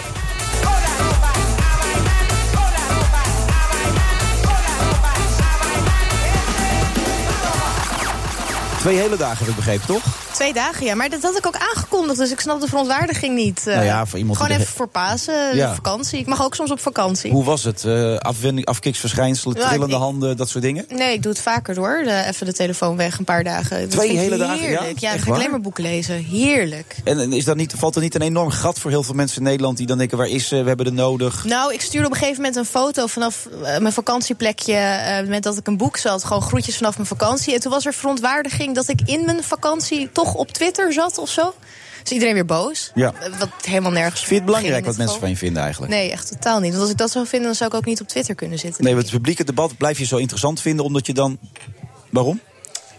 Twee hele dagen heb ik begrepen, toch?
Twee dagen, ja. Maar dat had ik ook aangekondigd, dus ik snap de verontwaardiging niet. eh.
Nou ja, voor iemand die
Gewoon even
de-
voor Pasen,
Ja.
vakantie. Ik mag ook soms op vakantie.
Hoe was het? Eh afwending, afkiksverschijnselen,
Ja, ik-
trillende
ik-
handen, dat soort dingen?
Nee, ik doe het vaker hoor. De- even de telefoon weg een paar dagen. Dat
Twee
vind ik
hele dagen, ja?
Heerlijk. Ja,
Echt
dan ga ik
waar?
alleen maar boeken lezen. Heerlijk.
En en is dat niet, valt er niet een enorm gat voor heel veel mensen in Nederland die dan denken: waar is ze? We hebben er nodig.
Nou, ik stuurde op een gegeven moment een foto vanaf eh, mijn vakantieplekje. eh, met dat ik een boek zat. Gewoon groetjes vanaf mijn vakantie. En toen was er verontwaardiging dat ik in mijn vakantie toch op Twitter zat of zo. Dus iedereen weer boos.
Ja.
Eh, Wat helemaal nergens.
Vind je het belangrijk
ging
wat
in
mensen
dit
van je
geval.
vinden eigenlijk?
Nee, echt totaal niet. Want als ik dat zou vinden, dan zou ik ook niet op Twitter kunnen zitten.
Nee, want het publieke debat blijf je zo interessant vinden omdat je dan. Waarom?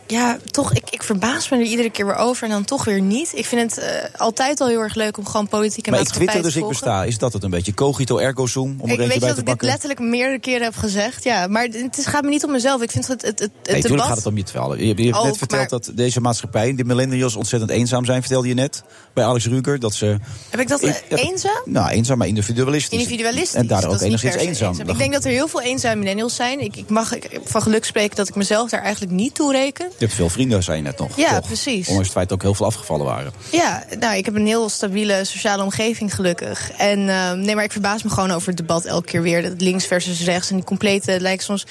Ja, toch, ik, ik verbaas me er iedere keer weer over en dan toch weer niet. Ik vind het eh, altijd al heel erg leuk om gewoon politiek en
maar ik
maatschappij
twitter,
te
dus ik
volgen.
besta. Is dat het een beetje? Cogito ergo sum? Om er
Ik
eentje
weet
bij
je dat
te
ik dit
pakken.
letterlijk meerdere keren heb gezegd. Ja, maar het is, gaat me niet om mezelf. Ik vind het, het, het, het
Nee,
debat...
natuurlijk gaat het om je twaalf. Je, je hebt
Ook,
net verteld
maar-
dat deze maatschappij, de millennials, ontzettend eenzaam zijn, vertelde je net. Bij Alex Ruger, dat ze.
Heb ik dat
Ik-
eh, eenzaam?
Nou, eenzaam, maar individualistisch.
Individualistisch.
En daardoor
dat
ook
is niet
enigszins
per se
eenzaam.
Ik denk dat er heel veel eenzame millennials zijn. Ik, ik mag ik- van geluk spreken dat ik mezelf daar eigenlijk niet toe reken.
Je hebt veel vrienden, zei je net nog.
Ja,
toch?
precies.
Ondanks het feit dat ook heel veel afgevallen waren.
Ja, nou, ik heb een heel stabiele sociale omgeving, gelukkig. En ehm, nee, maar ik verbaas me gewoon over het debat elke keer weer. Dat links versus rechts en die complete, het lijkt soms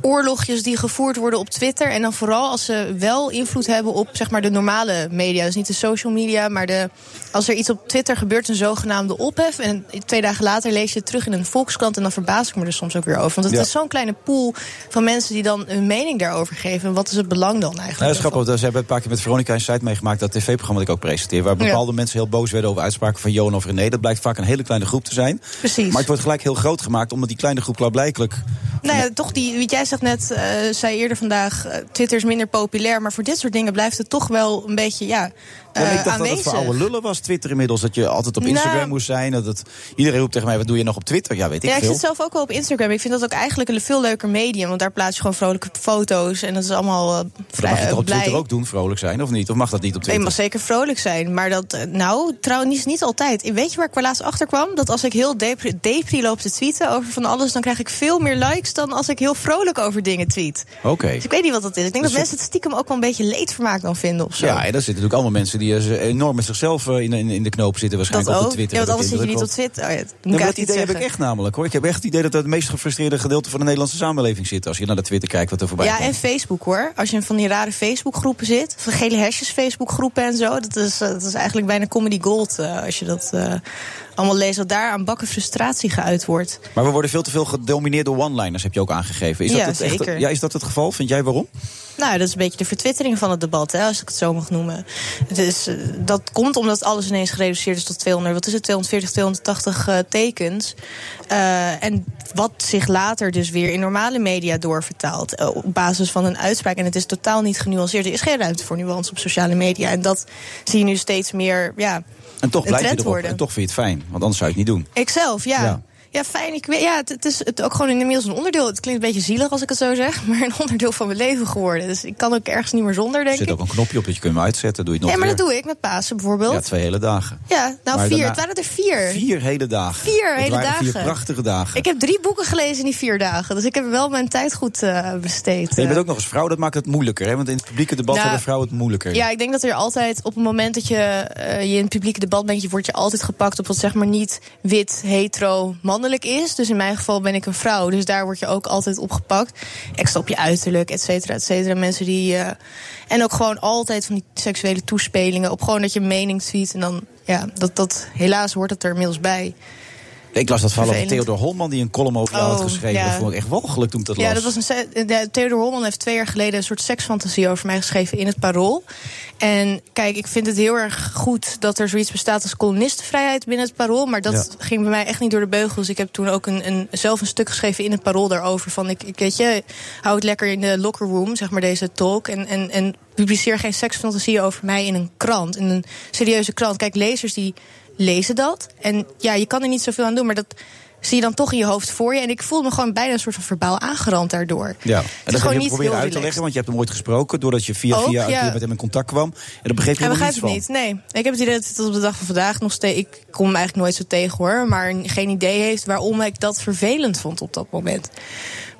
oorlogjes die gevoerd worden op Twitter. En dan vooral als ze wel invloed hebben op, zeg maar, de normale media. Dus niet de social media, maar de, als er iets op Twitter gebeurt, een zogenaamde ophef. En twee dagen later lees je het terug in een Volkskrant. En dan verbaas ik me er soms ook weer over. Want het
Ja.
is zo'n kleine pool van mensen die dan hun mening daarover geven. En wat is het belang dan eigenlijk?
Nou, dat is grappig, want ze hebben een paar keer met Veronica en Site meegemaakt... dat tv-programma dat ik ook presenteer... waar bepaalde mensen heel boos werden over uitspraken van Johan of René. Dat blijkt vaak een hele kleine groep te zijn.
Precies.
Maar het wordt gelijk heel groot gemaakt... omdat die kleine groep klaarblijkelijk...
Nou ja, toch die, want jij zegt net, eh, zei eerder vandaag, eh, Twitter is minder populair. Maar voor dit soort dingen blijft het toch wel een beetje, ja,
Ja, maar
eh,
ik dacht
aanwezig.
dat het voor oude lullen was, Twitter inmiddels. Dat je altijd op
Nou.
Instagram moest zijn. Dat het, iedereen roept tegen mij, wat doe je nog op Twitter? Ja, weet ik
ja, ik
veel.
zit zelf ook wel op Instagram. Ik vind dat ook eigenlijk een veel leuker medium. Want daar plaats je gewoon vrolijke foto's. En dat is allemaal eh,
dat
vrij
mag je toch
eh,
op
blij.
Twitter ook doen, vrolijk zijn, of niet? Of mag dat niet op
Nee, je
Twitter?
mag zeker vrolijk zijn. Maar dat, eh, nou, trouwens niet, niet altijd. Weet je waar ik wel laatst achter kwam? Dat als ik heel depri, depri loop te tweeten over van alles... dan krijg ik veel meer likes dan als ik heel vrolijk over dingen tweet.
Oké.
Dus ik weet niet wat dat is. Ik denk
Dus
dat mensen het stiekem ook wel een beetje leedvermaak dan vinden of zo.
Ja, en daar zitten natuurlijk allemaal mensen die eh, enorm met zichzelf eh, in, in, in de knoop zitten.
Dat
Waarschijnlijk op
ook.
de Twitter.
ja,
heb
want anders
ik
zit je
de
niet op
indruk,
Twitter. Oh, ja, dat
want-
moet
Ja, maar
ik
dat idee heb ik echt namelijk hoor. Ik heb echt het idee dat dat het meest gefrustreerde gedeelte van de Nederlandse samenleving zit. Als je naar de Twitter kijkt wat er voorbij
Ja,
komt.
en Facebook hoor. Als je in van die rare Facebookgroepen zit. Van gele hesjes Facebookgroepen en zo. Dat is, eh, dat is eigenlijk bijna comedy gold. eh, als je dat eh, allemaal leest. Dat daar aan bakken frustratie geuit wordt.
Maar we worden veel te veel gedomineerd door one-liners, heb je ook aangegeven. Is
Ja,
dat het echt-
zeker.
ja, is dat het geval? Vind jij waarom?
Nou, dat is een beetje de vertwittering van het debat. Hè, als ik het zo mag noemen. Dus, eh, dat komt omdat alles ineens gereduceerd is tot 200. Wat is het? 240, 280 eh, tekens. Eh, en wat zich later dus weer in normale media doorvertaalt. eh, op basis van een uitspraak. En het is totaal niet genuanceerd. Er is geen ruimte voor nuance op sociale media. En dat zie je nu steeds meer ja,
En toch
een
blijf je
trend
erop.
worden.
En toch vind je het fijn, want anders zou je het niet doen.
Ikzelf, ja.
Ja.
Ja, fijn. Ik weet, ja, het, het is het ook gewoon inmiddels een onderdeel. Het klinkt een beetje zielig als ik het zo zeg, [laughs] maar een onderdeel van mijn leven geworden. Dus ik kan ook ergens niet meer zonder,
Er
denk
zit
ik.
ook een knopje op dat je kunt hem uitzetten. Doe je het
Ja,
nog
maar dat
weer.
doe ik met Pasen bijvoorbeeld.
Ja, twee hele dagen.
Ja, nou
Maar
vier.
daarna-
Het waren er vier.
Vier hele dagen.
Vier
Het
hele
waren Vier
dagen.
prachtige dagen.
Ik heb drie boeken gelezen in die vier dagen. Dus ik heb wel mijn tijd goed eh, besteed.
En je
eh.
bent ook nog eens vrouw, dat maakt het moeilijker. Hè? Want in het publieke debat
Nou,
hebben vrouwen het moeilijker.
Ja, ik denk dat er altijd op het moment dat je, eh, je in het publieke debat bent, je wordt je altijd gepakt op wat zeg maar niet wit, hetero, mannelijk is. Dus in mijn geval ben ik een vrouw, dus daar word je ook altijd op gepakt. Extra op je uiterlijk, et cetera, et cetera. Mensen die. eh, en ook gewoon altijd van die seksuele toespelingen op gewoon dat je mening tweet. En dan, ja, dat, dat, helaas hoort het er inmiddels bij.
Ik las dat verhaal over
Vervelend.
Theodor Holman die een column over jou
Oh,
had geschreven.
ja.
Dat vond ik echt walgelijk toen ik dat las.
Ja, dat was een se- eh, de- Theodor Holman heeft twee jaar geleden een soort seksfantasie over mij geschreven in het Parool. En kijk, ik vind het heel erg goed dat er zoiets bestaat als kolonistenvrijheid binnen het Parool. Maar dat
Ja.
ging bij mij echt niet door de beugels. Ik heb toen ook een, een, zelf een stuk geschreven in het Parool daarover. Van ik, ik weet je, hou het lekker in de locker room, zeg maar deze talk. En, en, en publiceer geen seksfantasieën over mij in een krant, in een serieuze krant. Kijk, lezers die lezen dat. En ja, je kan er niet zoveel aan doen, maar dat zie je dan toch in je hoofd voor je. En ik voelde me gewoon bijna een soort van verbaal aangerand daardoor.
Ja, en
is
dat
gewoon
ga je
niet
proberen
heel
uit te
relaxed.
leggen, want je hebt hem ooit gesproken. Doordat je via,
Ook,
via een
ja.
keer met hem in contact kwam. En dat begreep je
Hij
helemaal
begrijpt
niets
het
van.
niet. Nee, ik heb het idee dat het op de dag van vandaag nog steeds. Ik kom hem eigenlijk nooit zo tegen hoor. Maar geen idee heeft waarom ik dat vervelend vond op dat moment.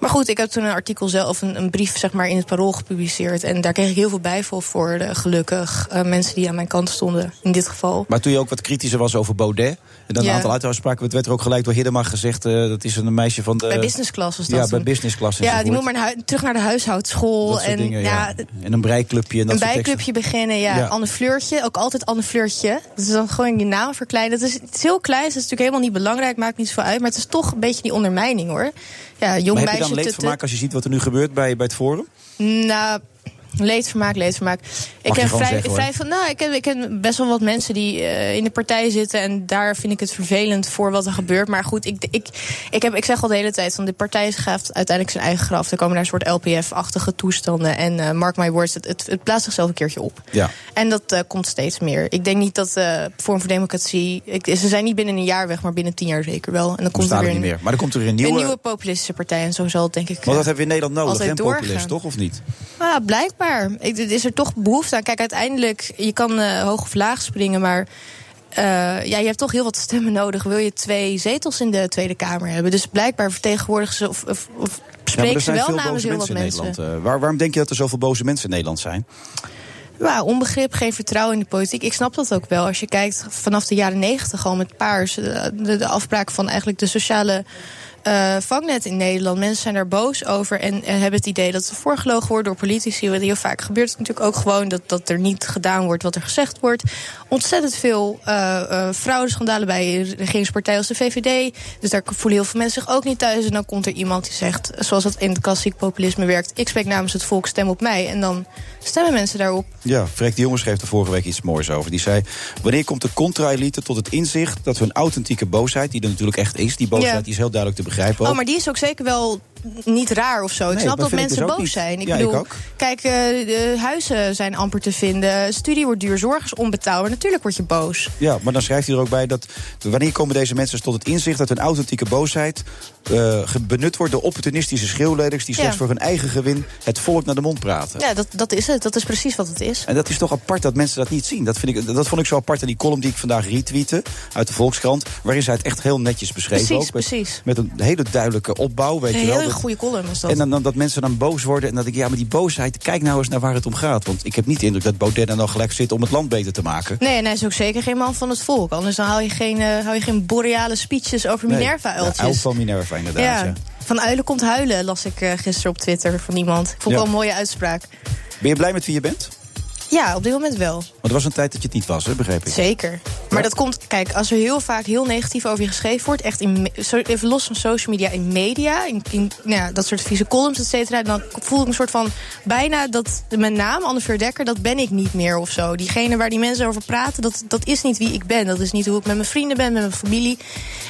Maar goed, ik heb toen een artikel zelf, of een, een brief zeg maar in het parool gepubliceerd. En daar kreeg ik heel veel bijval voor, eh, gelukkig. eh, mensen die aan mijn kant stonden, in dit geval.
Maar toen je ook wat kritischer was over Baudet. En dan
Ja.
een aantal uitspraken. Het werd er ook gelijk door Hiddema gezegd. eh, dat is een meisje van de.
Bij business class was dat
Eh, Ja, bij
toen.
business class.
Ja, die
enzovoort.
moet maar naar hui- terug naar de huishoudschool.
Dat soort
en
dingen, ja.
ja,
En een breiklubje en dat
een
soort teksten.
bijclubje beginnen, ja.
Ja.
Anne Fleurtje, ook altijd Anne Fleurtje. Dus dan gewoon je naam verkleinen. Dat is, het is heel klein, dat is natuurlijk helemaal niet belangrijk, maakt niet zoveel uit. Maar het is toch een beetje die ondermijning hoor. Ja, jong
Maar heb je
meisje.
dan leed
tut,
van maken als je ziet wat er nu gebeurt bij, bij het forum?
tut. Nou, leedvermaak, leedvermaak. Ik
je
heb
gewoon
vrij,
zeggen, hoor.
vrij van. Nou, ik ken, ik ken best wel wat mensen die eh, in de partij zitten. En daar vind ik het vervelend voor wat er gebeurt. Maar goed, ik, ik, ik, heb, ik zeg al de hele tijd: van de partij graaft uiteindelijk zijn eigen graf. Er komen daar een soort LPF-achtige toestanden. En eh, mark my words, het, het, het plaatst zichzelf een keertje op.
Ja.
En dat eh, komt steeds meer. Ik denk niet dat eh Vorm voor Democratie. Ik, ze zijn niet binnen een jaar weg, maar binnen tien jaar zeker wel. En dan komt er
Bestaan er
weer
niet
een,
meer. Maar er komt er weer een nieuwe.
een nieuwe populistische partij. En zo zal het denk ik. eh,
Want dat hebben we in Nederland nodig,
altijd
hè?
doorgaan.
Populist, toch? Of niet?
Ah, blijkbaar. Ik, er is er toch behoefte aan. Kijk, uiteindelijk, je kan eh, hoog of laag springen, maar eh, ja, je hebt toch heel wat stemmen nodig. Wil je twee zetels in de Tweede Kamer hebben? Dus blijkbaar vertegenwoordigen ze of, of, of
Ja,
spreken
maar er
ze
zijn
wel
veel
namens
boze
heel wat
mensen in
mensen.
Nederland. eh. Waar- waarom denk je dat er zoveel boze mensen in Nederland zijn?
Ja, onbegrip, geen vertrouwen in de politiek. Ik snap dat ook wel. Als je kijkt vanaf de jaren negentig al met paars. De, de afbraak van eigenlijk de sociale eh, vangnet in Nederland. Mensen zijn daar boos over en, en hebben het idee dat ze voorgelogen worden door politici. Wat heel vaak gebeurt het natuurlijk ook gewoon dat, dat er niet gedaan wordt wat er gezegd wordt. Ontzettend veel eh eh fraudeschandalen bij regeringspartijen als de VVD. Dus daar voelen heel veel mensen zich ook niet thuis. En dan komt er iemand die zegt, zoals dat in het klassiek populisme werkt... ik spreek namens het volk, stem op mij. En dan stemmen mensen daarop.
Ja, Freek de Jonge schreef er vorige week iets moois over. Die zei, wanneer komt de contra-elite tot het inzicht... dat hun authentieke boosheid, die er natuurlijk echt is... die boosheid
Ja.
die is heel duidelijk te begrijpen ook.
Oh, maar die is ook zeker wel niet raar of zo. Ik
Nee,
snap
dat
dat
vind ik
mensen
dus ook
boos
niet.
zijn. Ik
Ja, ik
bedoel,
ook.
kijk, eh, de huizen zijn amper te vinden. Studie wordt duur, zorg is onbetaalbaar. Natuurlijk word je boos.
Ja, maar dan schrijft hij er ook bij dat... wanneer komen deze mensen tot het inzicht dat hun authentieke boosheid... eh, ge- benut wordt door opportunistische schreeuwleders... die
Ja.
slechts voor hun eigen gewin het volk naar de mond praten.
Ja, dat, dat is het. Dat is precies wat het is.
En dat is toch apart dat mensen dat niet zien. Dat, vind ik, dat vond ik zo apart aan die column die ik vandaag retweette uit de Volkskrant. Waarin zij het echt heel netjes beschreven.
Precies,
ook, met,
precies.
Met een hele duidelijke opbouw. Weet
een
je wel,
hele
dat-
goede column was dat.
en dan, dan dat mensen dan boos worden. En dat ik, ja, maar die boosheid, kijk nou eens naar waar het om gaat. Want ik heb niet de indruk dat Baudet dan al gelijk zit om het land beter te maken.
Nee, en hij is ook zeker geen man van het volk. Anders dan hou je geen, eh, hou je geen boreale speeches over
Ja, uil
Minerva-uiltjes.
van Minerva, inderdaad.
Ja.
ja.
Van uilen komt huilen, las ik eh, gisteren op Twitter van iemand. Ik vond het
Ja.
wel een mooie uitspraak.
Ben je blij met wie je bent?
Ja, op dit moment wel.
Want er was een tijd dat je het niet was, hè, begreep ik.
Zeker. Maar dat komt, kijk, als er heel vaak heel negatief over je geschreven wordt, echt in, me- zo- even los van social media, in media, in, in, nou ja, dat soort vieze columns, et cetera, dan voel ik een soort van bijna dat mijn naam, Anne Verdekker, dat ben ik niet meer of zo. Diegene waar die mensen over praten, dat, dat is niet wie ik ben. Dat is niet hoe ik met mijn vrienden ben, met mijn familie.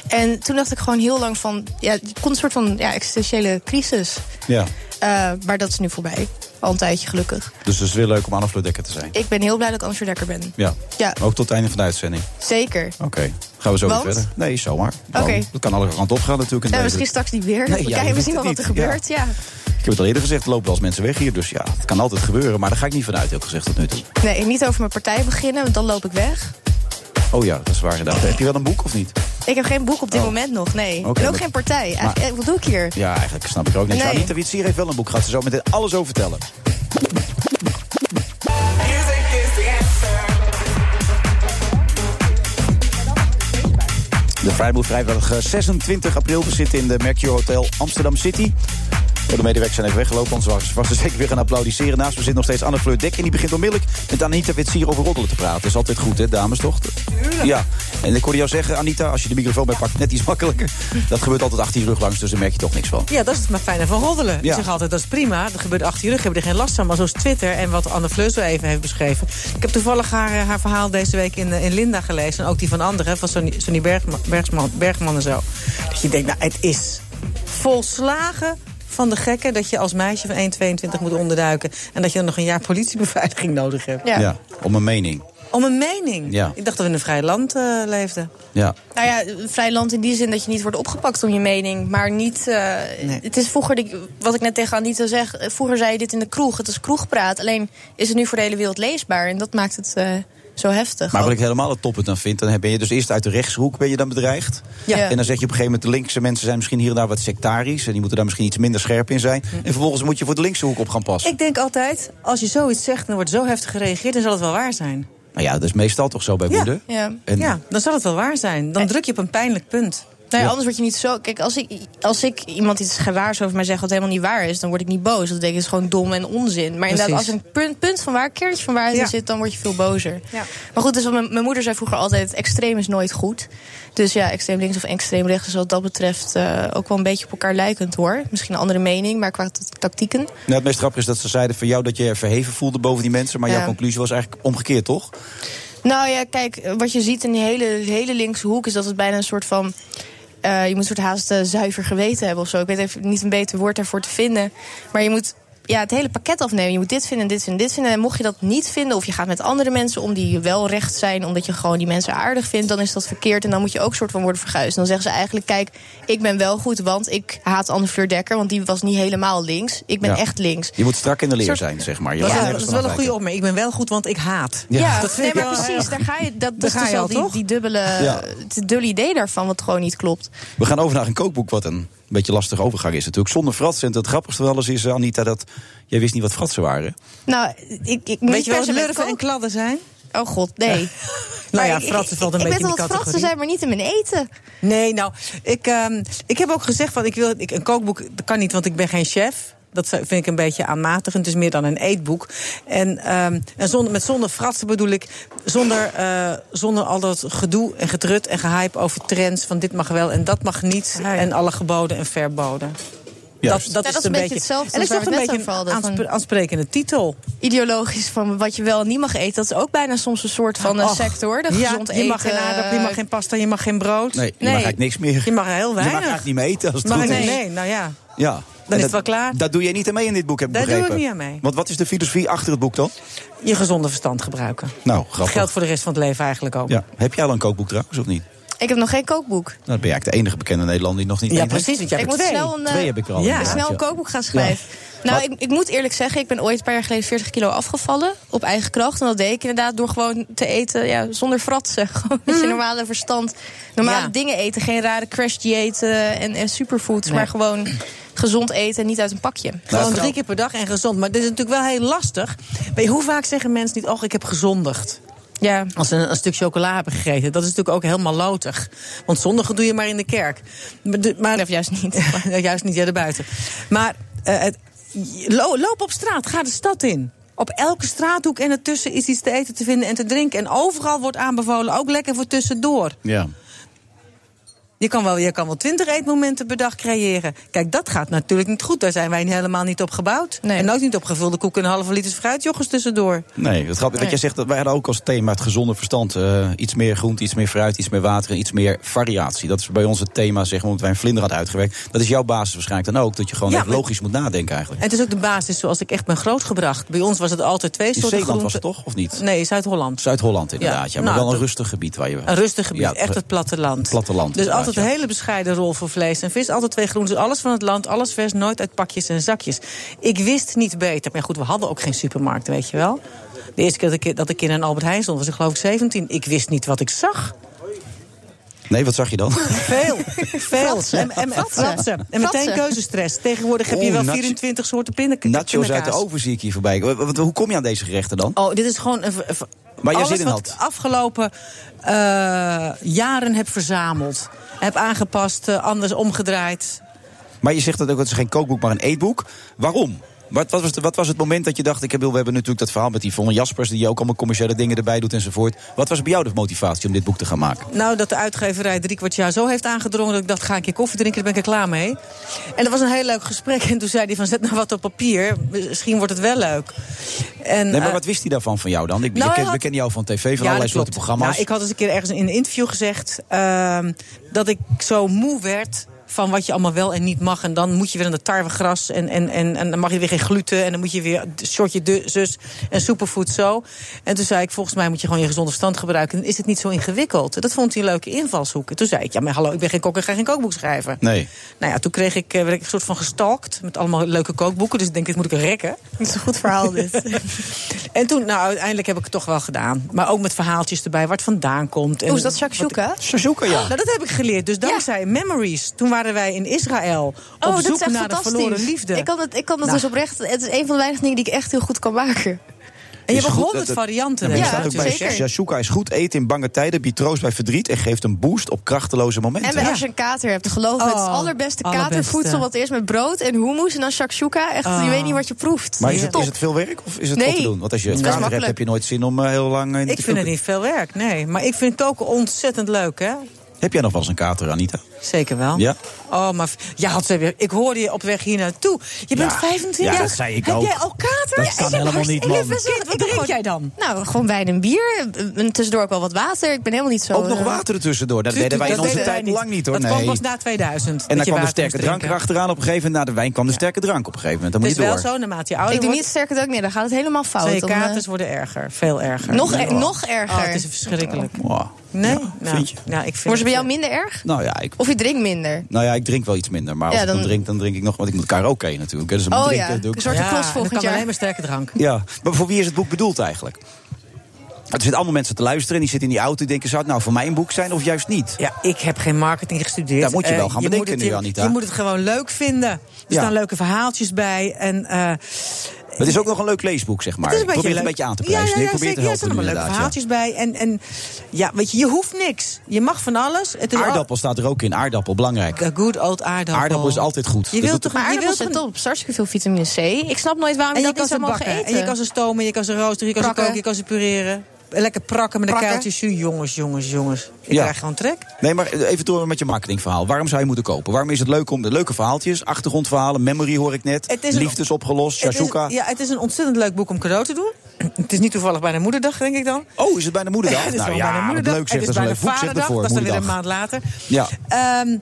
En toen dacht ik gewoon heel lang van, ja, het komt een soort van ja, existentiële crisis.
Ja.
Eh, maar dat is nu voorbij. Al een tijdje gelukkig.
Dus het is weer leuk om Anne Fleur Dekker te zijn.
Ik ben heel blij dat ik Anne Verdekker ben.
Ja.
Ja.
Ook tot het einde van de uitzending.
Zeker.
Oké, gaan we zo
Want?
weer verder. Nee, zomaar.
Oké.
Gewoon. Dat kan alle kanten op gaan natuurlijk. in
En
deze-
misschien straks niet weer.
Nee, ja,
we kijken
je
misschien
weet
wel wat
het
er
niet.
gebeurt. Ja.
Ik heb het al eerder gezegd, er lopen als mensen weg hier. Dus ja, het kan altijd gebeuren. Maar daar ga ik niet vanuit, heel gezegd tot nu toe.
Nee, niet over mijn partij beginnen, want dan loop ik weg.
Oh ja, dat is waar inderdaad. Heb je wel een boek of niet?
Ik heb geen boek op dit moment nog, nee.
Oh. Oké,
en ook
maar-
geen partij. Eigenlijk,
maar-
eh, wat doe ik hier?
Ja, eigenlijk snap ik er ook niks
Nee.
van. Anita Witsier heeft wel een boek. Gaat ze zo meteen alles over vertellen. De Vrijboer vrijdag eh, 26 april. We zitten in de Mercure Hotel Amsterdam City. Oh, De medewerkers zijn even weggelopen, anders was, was er [laughs] zeker weer gaan applaudisseren. Naast me zit nog steeds Anne Fleur Dek en die begint onmiddellijk met Anita Witsier over roddelen te praten. Dat is altijd goed, hè, dames, toch? Ja, en ik hoorde jou zeggen, Anita, als je de microfoon bij pakt, net iets makkelijker. Dat gebeurt altijd achter je rug langs, dus daar merk je toch niks van.
Ja, dat is het maar fijne van roddelen.
Ja.
Ik zeg altijd, dat is prima. Dat gebeurt achter je rug, heb je er geen last van. Maar zoals Twitter en wat Anne Fleur zo even heeft beschreven. Ik heb toevallig haar, eh, haar verhaal deze week in, eh, in Linda gelezen. En ook die van anderen, van Sonny, Sonny Bergman, Bergsman- Bergman en zo. Dat je denkt, nou, het is volslagen van de gekken... dat je als meisje van 1,22 moet onderduiken... en dat je dan nog een jaar politiebeveiliging nodig hebt.
Ja. om een mening.
Om een mening.
Ja.
Ik dacht dat we in een vrij land eh, leefden.
Ja.
Nou ja, een vrij land in die zin dat je niet wordt opgepakt om je mening. Maar niet. eh, Het is vroeger, de- wat ik net tegen Anita zeg. eh, Vroeger zei je dit in de kroeg. Het is kroegpraat. Alleen is het nu voor de hele wereld leesbaar. En dat maakt het eh, zo heftig.
Maar wat ik helemaal het toppunt aan vind, dan ben je dus eerst uit de rechtshoek ben je dan bedreigd.
Ja.
En dan zeg je op een gegeven moment, de linkse mensen zijn misschien hier en daar wat sectarisch. En die moeten daar misschien iets minder scherp in zijn. En vervolgens moet je voor de linkse hoek op gaan passen.
Ik denk altijd, als je zoiets zegt en er wordt zo heftig gereageerd... dan zal het wel waar zijn.
Nou ja, dat is meestal toch zo bij woede.
Ja.
En-
ja, dan zal het wel waar zijn. Dan druk je op een pijnlijk punt.
Nou ja, anders word je niet zo. Kijk, als ik, als ik iemand iets gewaars over mij zeg wat helemaal niet waar is, dan word ik niet boos. Dat denk ik is gewoon dom en onzin. Maar inderdaad, als
Precies.
er een punt, punt van waar, keertje van waarheid in
Ja.
zit, dan word je veel bozer. Maar goed, dus wat mijn, mijn moeder zei vroeger altijd: extreem is nooit goed. Dus ja, extreem links of extreem rechts is wat dat betreft eh, ook wel een beetje op elkaar lijkend hoor. Misschien een andere mening, maar qua t- tactieken.
Nou, het meest grappige is dat ze zeiden van jou dat je je verheven voelde boven die mensen. Maar
Ja.
jouw conclusie was eigenlijk omgekeerd, toch?
Nou ja, kijk, wat je ziet in die hele, hele linkse hoek is dat het bijna een soort van. eh, je moet een soort haast eh, zuiver geweten hebben of zo. Ik weet even niet een beter woord daarvoor te vinden. Maar je moet ja, het hele pakket afnemen. Je moet dit vinden, dit vinden, dit vinden. En mocht je dat niet vinden, of je gaat met andere mensen om die wel recht zijn, omdat je gewoon die mensen aardig vindt, dan is dat verkeerd. En dan moet je ook soort van worden verguisd. En dan zeggen ze eigenlijk: kijk, ik ben wel goed, want ik haat Anne Fleur Dekker, want die was niet helemaal links. Ik ben
Ja.
echt links.
Je moet strak in de leer
Soort-
zijn, zeg maar. Je
Dat,
laat
is, wel-
nergens
dat is
van
wel een goede
afwijken.
opmerking. Ik ben wel goed, want ik haat.
Ja. Ja,
dat
nee,
vind ik
maar
wel
precies,
erg.
daar ga je. Dat, dat
Daar
is
ga
dus
je
al
al,
die,
toch?
die dubbele,
Ja.
het dubbele idee daarvan, wat gewoon niet klopt.
We gaan over naar een kookboek, wat een beetje lastige overgang is natuurlijk. Zonder frats. En het grappigste wel eens is, eh, Anita, dat jij wist niet wat fratsen waren.
Nou, ik, ik
Weet
niet
je wel
per se
wat
met
lurven en
koken.
kladden zijn?
Oh god, nee.
[laughs] Nou
Maar
ja,
ik-
fratsen valt een
ik,
beetje
Ik
in die
weet wel dat fratsen
categorie.
zijn, maar niet in mijn eten.
Nee, nou, ik, ehm, ik heb ook gezegd van ik wil ik, een kookboek. Dat kan niet, want ik ben geen chef. Dat zou- vind ik een beetje aanmatigend. Het is meer dan een eetboek. En, ehm, en zonder, met zonder fratsen bedoel ik zonder, eh, zonder al dat gedoe en getrut en gehype over trends. Van dit mag wel en dat mag niet. En alle geboden en verboden.
Juist. Ja, dat is een beetje hetzelfde
En ik
als waar
dacht
we
een
het net
beetje
over hadden,
een aansp-
van-
aansprekende titel.
Ideologisch van wat je wel en niet mag eten, dat is ook bijna soms een soort van een
Och,
sector. De
ja,
gezond
je
eten.
mag geen aardappel, je mag geen pasta, je mag geen brood.
Nee, je mag eigenlijk niks meer.
Je mag heel
Je mag
weinig.
eigenlijk niet meer eten als het
Mag
goed
ik-
is.
Nee, nou ja.
Ja. En
is
dat-
het wel klaar.
Daar doe jij niet aan mee in dit boek, heb ik
Daar doe ik
begrepen.
niet aan mee.
Want wat is de filosofie achter het boek dan?
Je gezonde verstand gebruiken.
Nou,
Dat
grappig. Nou,
geldt voor de rest van het leven eigenlijk ook.
Ja. Heb jij al een kookboek trouwens, of niet? Nou,
Ik heb nog geen kookboek.
dan ben je eigenlijk de enige bekende Nederlander die nog niet
Ja,
één heeft.
precies, want jij
Ik
hebt
moet
er twee.
snel een, eh,
Twee heb ik er al,
ja.
inderdaad,
snel een
ja.
kookboek gaan schrijven. Nou, ik, ik moet eerlijk zeggen, ik ben ooit een paar jaar geleden 40 kilo afgevallen. Op eigen kracht. En dat deed ik inderdaad door gewoon te eten ja, zonder fratsen. [laughs] Gewoon met je normale verstand. Normale
Mhm. Ja.
dingen eten. Geen rare crash diëten en, en superfoods.
Nee.
Maar gewoon gezond eten en niet uit een pakje.
Gewoon drie keer per dag en gezond. Maar dit is natuurlijk wel heel lastig. Weet je, Hoe vaak zeggen mensen niet, oh, ik heb gezondigd?
Ja.
Als ze een, een stuk chocola hebben gegeten. Dat is natuurlijk ook helemaal lotig. Want zondigen doe je maar in de kerk. Maar, de- maar, of
juist niet.
juist niet, [laughs] ja, daarbuiten. Maar eh, het, lo- loop op straat, ga de stad in. Op elke straathoek en ertussen is iets te eten, te vinden en te drinken. En overal wordt aanbevolen, ook lekker voor tussendoor.
Ja.
Je kan, wel, je kan wel twintig eetmomenten per dag creëren. Kijk, dat gaat natuurlijk niet goed. Daar zijn wij helemaal niet op gebouwd. En ook niet op gevulde koeken en halve liters fruitjoggers tussendoor.
Nee, het grappige dat
Nee.
jij zegt dat wij hadden ook als thema het gezonde verstand. eh, iets meer groente, iets meer fruit, iets meer water en iets meer variatie. Dat is bij ons het thema, zeg maar, omdat wij een vlinder hadden uitgewerkt. Dat is jouw basis waarschijnlijk dan ook. Dat je gewoon
Ja,
echt
maar-
logisch moet nadenken eigenlijk.
En het is ook de basis zoals ik echt ben grootgebracht. Bij ons was het altijd twee
In
soorten
Zeeland was
groenten.
het toch, of niet?
Nee, Zuid-Holland.
Zuid-Holland inderdaad, ja.
Ja,
Maar
nou,
wel een
dat-
rustig gebied waar je...
Een rustig gebied, echt het
platteland. Platteland.
Dus
inderdaad,
altijd
ja.
een hele bescheiden rol voor vlees en vis. Altijd twee groenten, alles van het land, alles vers, nooit uit pakjes en zakjes. Ik wist niet beter. Maar goed, we hadden ook geen supermarkt, weet je wel. De eerste keer dat ik, dat ik in een Albert Heijn stond, was ik geloof ik 17. Ik wist niet wat ik
[laughs]
zag.
Nee, wat zag je
[laughs]
dan?
Veel, veel. En, en, en,
Fratsen.
fratsen. en meteen
Fratsen.
keuzestress. Tegenwoordig heb je
Oeh,
wel
nacho-
24 soorten pinnen,
Nachos Oh, uit de
pindakaas.
oven zie ik hier voorbij. Wat- wat- Hoe kom je aan deze gerechten dan?
Oh, dit is gewoon een, een-
jij
alles
zin in
wat
had.
ik afgelopen eh, jaren heb verzameld. Heb aangepast, eh, anders omgedraaid.
Maar je zegt dat ook, het is geen kookboek, maar een eetboek. Waarom? Wat, wat, was, de- wat was het moment dat je dacht, ik bedoel, we hebben natuurlijk dat verhaal met die Yvonne Jaspers... die ook allemaal commerciële dingen erbij doet enzovoort. Wat was bij jou de motivatie om dit boek te gaan maken?
Nou, dat de uitgeverij drie kwart jaar zo heeft aangedrongen... dat ik dacht, ga ik een keer koffie drinken, daar ben ik er klaar mee. En dat was een heel leuk gesprek. [laughs] En toen zei hij van, zet nou wat op papier. Misschien wordt het wel leuk. En,
nee, maar
eh,
wat wist hij daarvan van jou dan? Ik,
nou,
ik
hij
ken,
had-
We kennen jou van tv, van
Ja,
allerlei
dat
soorten
klopt.
programma's.
Nou, ik had eens een keer ergens in een interview gezegd ehm, dat ik zo moe werd van wat je allemaal wel en niet mag. En dan moet je weer aan de tarwegras en, en, en, en dan mag je weer geen gluten... en dan moet je weer een shortje de, zus en superfood zo. En toen zei ik, volgens mij moet je gewoon je gezonde verstand gebruiken... en is het niet zo ingewikkeld. Dat vond hij een leuke invalshoek. En toen zei ik, ja, maar hallo, ik ben geen kok en ga geen kookboek schrijven.
Nee.
Nou ja, toen kreeg ik, eh, werd ik een soort van gestalkt met allemaal leuke kookboeken. Dus ik denk, dit moet ik rekken. [laughs] Dat is een goed verhaal,
[laughs]
[laughs]
dit. en toen, nou, uiteindelijk heb ik het toch wel gedaan. Maar ook met verhaaltjes erbij, waar het vandaan komt. En
Oeh, is dat
wat-
shakshuka?
Shakshuka, ja.
Nou, dat heb ik geleerd. Dus dankzij Memories, toen waren wij in Israël
Oh,
op
dat
zoek
is
naar
echt
de
fantastisch.
verloren liefde.
Ik kan dat, ik kan dat
Nou.
dus oprecht. Het is een van de weinige dingen die ik echt heel goed kan maken.
En je
Is
hebt
Dus goed
honderd
dat het-
varianten.
Ja, maar
hè?
er staat ook bij Shasha Shuka is goed eten in bange tijden, biedt troost bij verdriet... en geeft een boost op krachteloze momenten.
En bij- als je een kater hebt, geloof me, het is het
Oh,
allerbeste
allerbeste.
katervoedsel. Want eerst met brood en hummus en dan shakshuka. Echt,
Ah.
je weet niet wat je proeft.
Oh. Maar is het,
Top.
is het veel werk of is het
Nee.
goed te doen? Want als je het
Het is best
kater hebt, heb
makkelijk.
je nooit zin om eh, heel lang... eh, te
Ik vind
koken.
het niet veel werk, nee. Maar ik vind koken ontzettend leuk, hè?
Heb jij nog wel eens een kater, Anita?
Zeker wel.
Ja?
Oh, maar ja, had ze weer. Ik hoorde je op weg hier naartoe. Je bent 25.
ja, dat zei ik
Heb
ook.
jij al kater?
Dat kan
ik heb
helemaal
hartst-
niet,
ik heb
man.
best wel-
Kind,
wat drink jij dan?
Nou, gewoon wijn en bier. En tussendoor ook wel wat water. Ik ben helemaal niet zo...
Ook nog
eh,
water ertussendoor. Dat deden wij in onze tijd lang niet, hoor.
Dat kwam
Nee.
pas na 2000.
En
dat
dan
je
kwam de
water
sterke
moest
drank
drinken.
erachteraan op een gegeven moment. Na de wijn kwam de sterke drank op een gegeven moment. Dan
Het
moet
is
je door.
wel zo, naarmate je ouder
Ik doe
Oh, wordt...
niet sterker dan ook meer. Dan gaat het helemaal fout.
Zijn je
Dan, eh,
katers worden erger, veel erger.
Nog er-
Oh.
nog erger.
Oh, het is verschrikkelijk.
Wow.
Nee? nou,
vind je?
nou, ik vind
Wordt ze bij
het-
jou minder erg?
Nou ja, ik...
Of je drinkt minder?
Nou ja, ik drink wel iets minder. Maar als
Ja,
ik dan
dan-
drink, dan drink ik nog. Want ik moet karaoke natuurlijk. hè, Dus dan
Oh
moet
ja,
drinken, doe ik.
een soort klos
en dan
volgend
kan
jaar.
alleen maar sterke drank.
Ja, maar voor wie is het boek bedoeld eigenlijk? Er zitten allemaal mensen te luisteren en die zitten in die auto. Die denken, zou het nou voor mij een boek zijn of juist niet?
Ja, ik heb geen marketing gestudeerd.
Dat moet je
Eh,
wel gaan
moet
bedenken
het
nu,
in-
Anita.
Je moet het gewoon leuk vinden. Er
Ja.
staan leuke verhaaltjes bij. En, eh,
Het is ook nog een leuk leesboek, zeg maar.
Het is een
Ik probeer
beetje
het een beetje
leuk.
aan te
Ja,
prijzen.
ja,
ik
ja,
probeer
zeker.
te
Ja, er
helpen
staan allemaal
inderdaad,
leuke
ja.
verhaaltjes bij. En, en ja, weet je, je hoeft niks. Je mag van alles. Het is al-
Aardappel staat er ook in. Aardappel, belangrijk.
The good old aardappel.
Aardappel is altijd goed.
Je
Dat
wilt
doet-
toch
Maar
je wilt
aardappels
toch
zijn top. Er is hartstikke veel vitamine C. Ik snap nooit waarom
En
je
je
dat
kan ze
niet zou mogen
bakken.
eten.
En je kan ze stomen, je kan ze roosteren, je kan
Prakken.
ze koken, je kan ze pureren. Lekker prakken met een
Prakken.
kuiltje. Su, jongens, jongens, jongens. Ik
Ja.
krijg gewoon trek.
Nee, maar even door met je marketingverhaal. Waarom zou je moeten kopen? Waarom is het leuk om de leuke verhaaltjes, achtergrondverhalen, memory hoor ik net,
Het is een-
liefdes opgelost,
Het is,
shashuka.
ja, het is een ontzettend leuk boek om cadeau te doen. [clears throat] Het is niet toevallig bijna moederdag, denk ik dan.
Oh, is het bijna moederdag?
[laughs] het is
Nou
wel
ja,
bijna
wat
moederdag.
leuk zeg,
het
dat
is
is een
bijna
leuk boek, zeg, dat
vaderdag,
voor
dat is dan weer een
moederdag.
maand later.
Ja.
Ehm,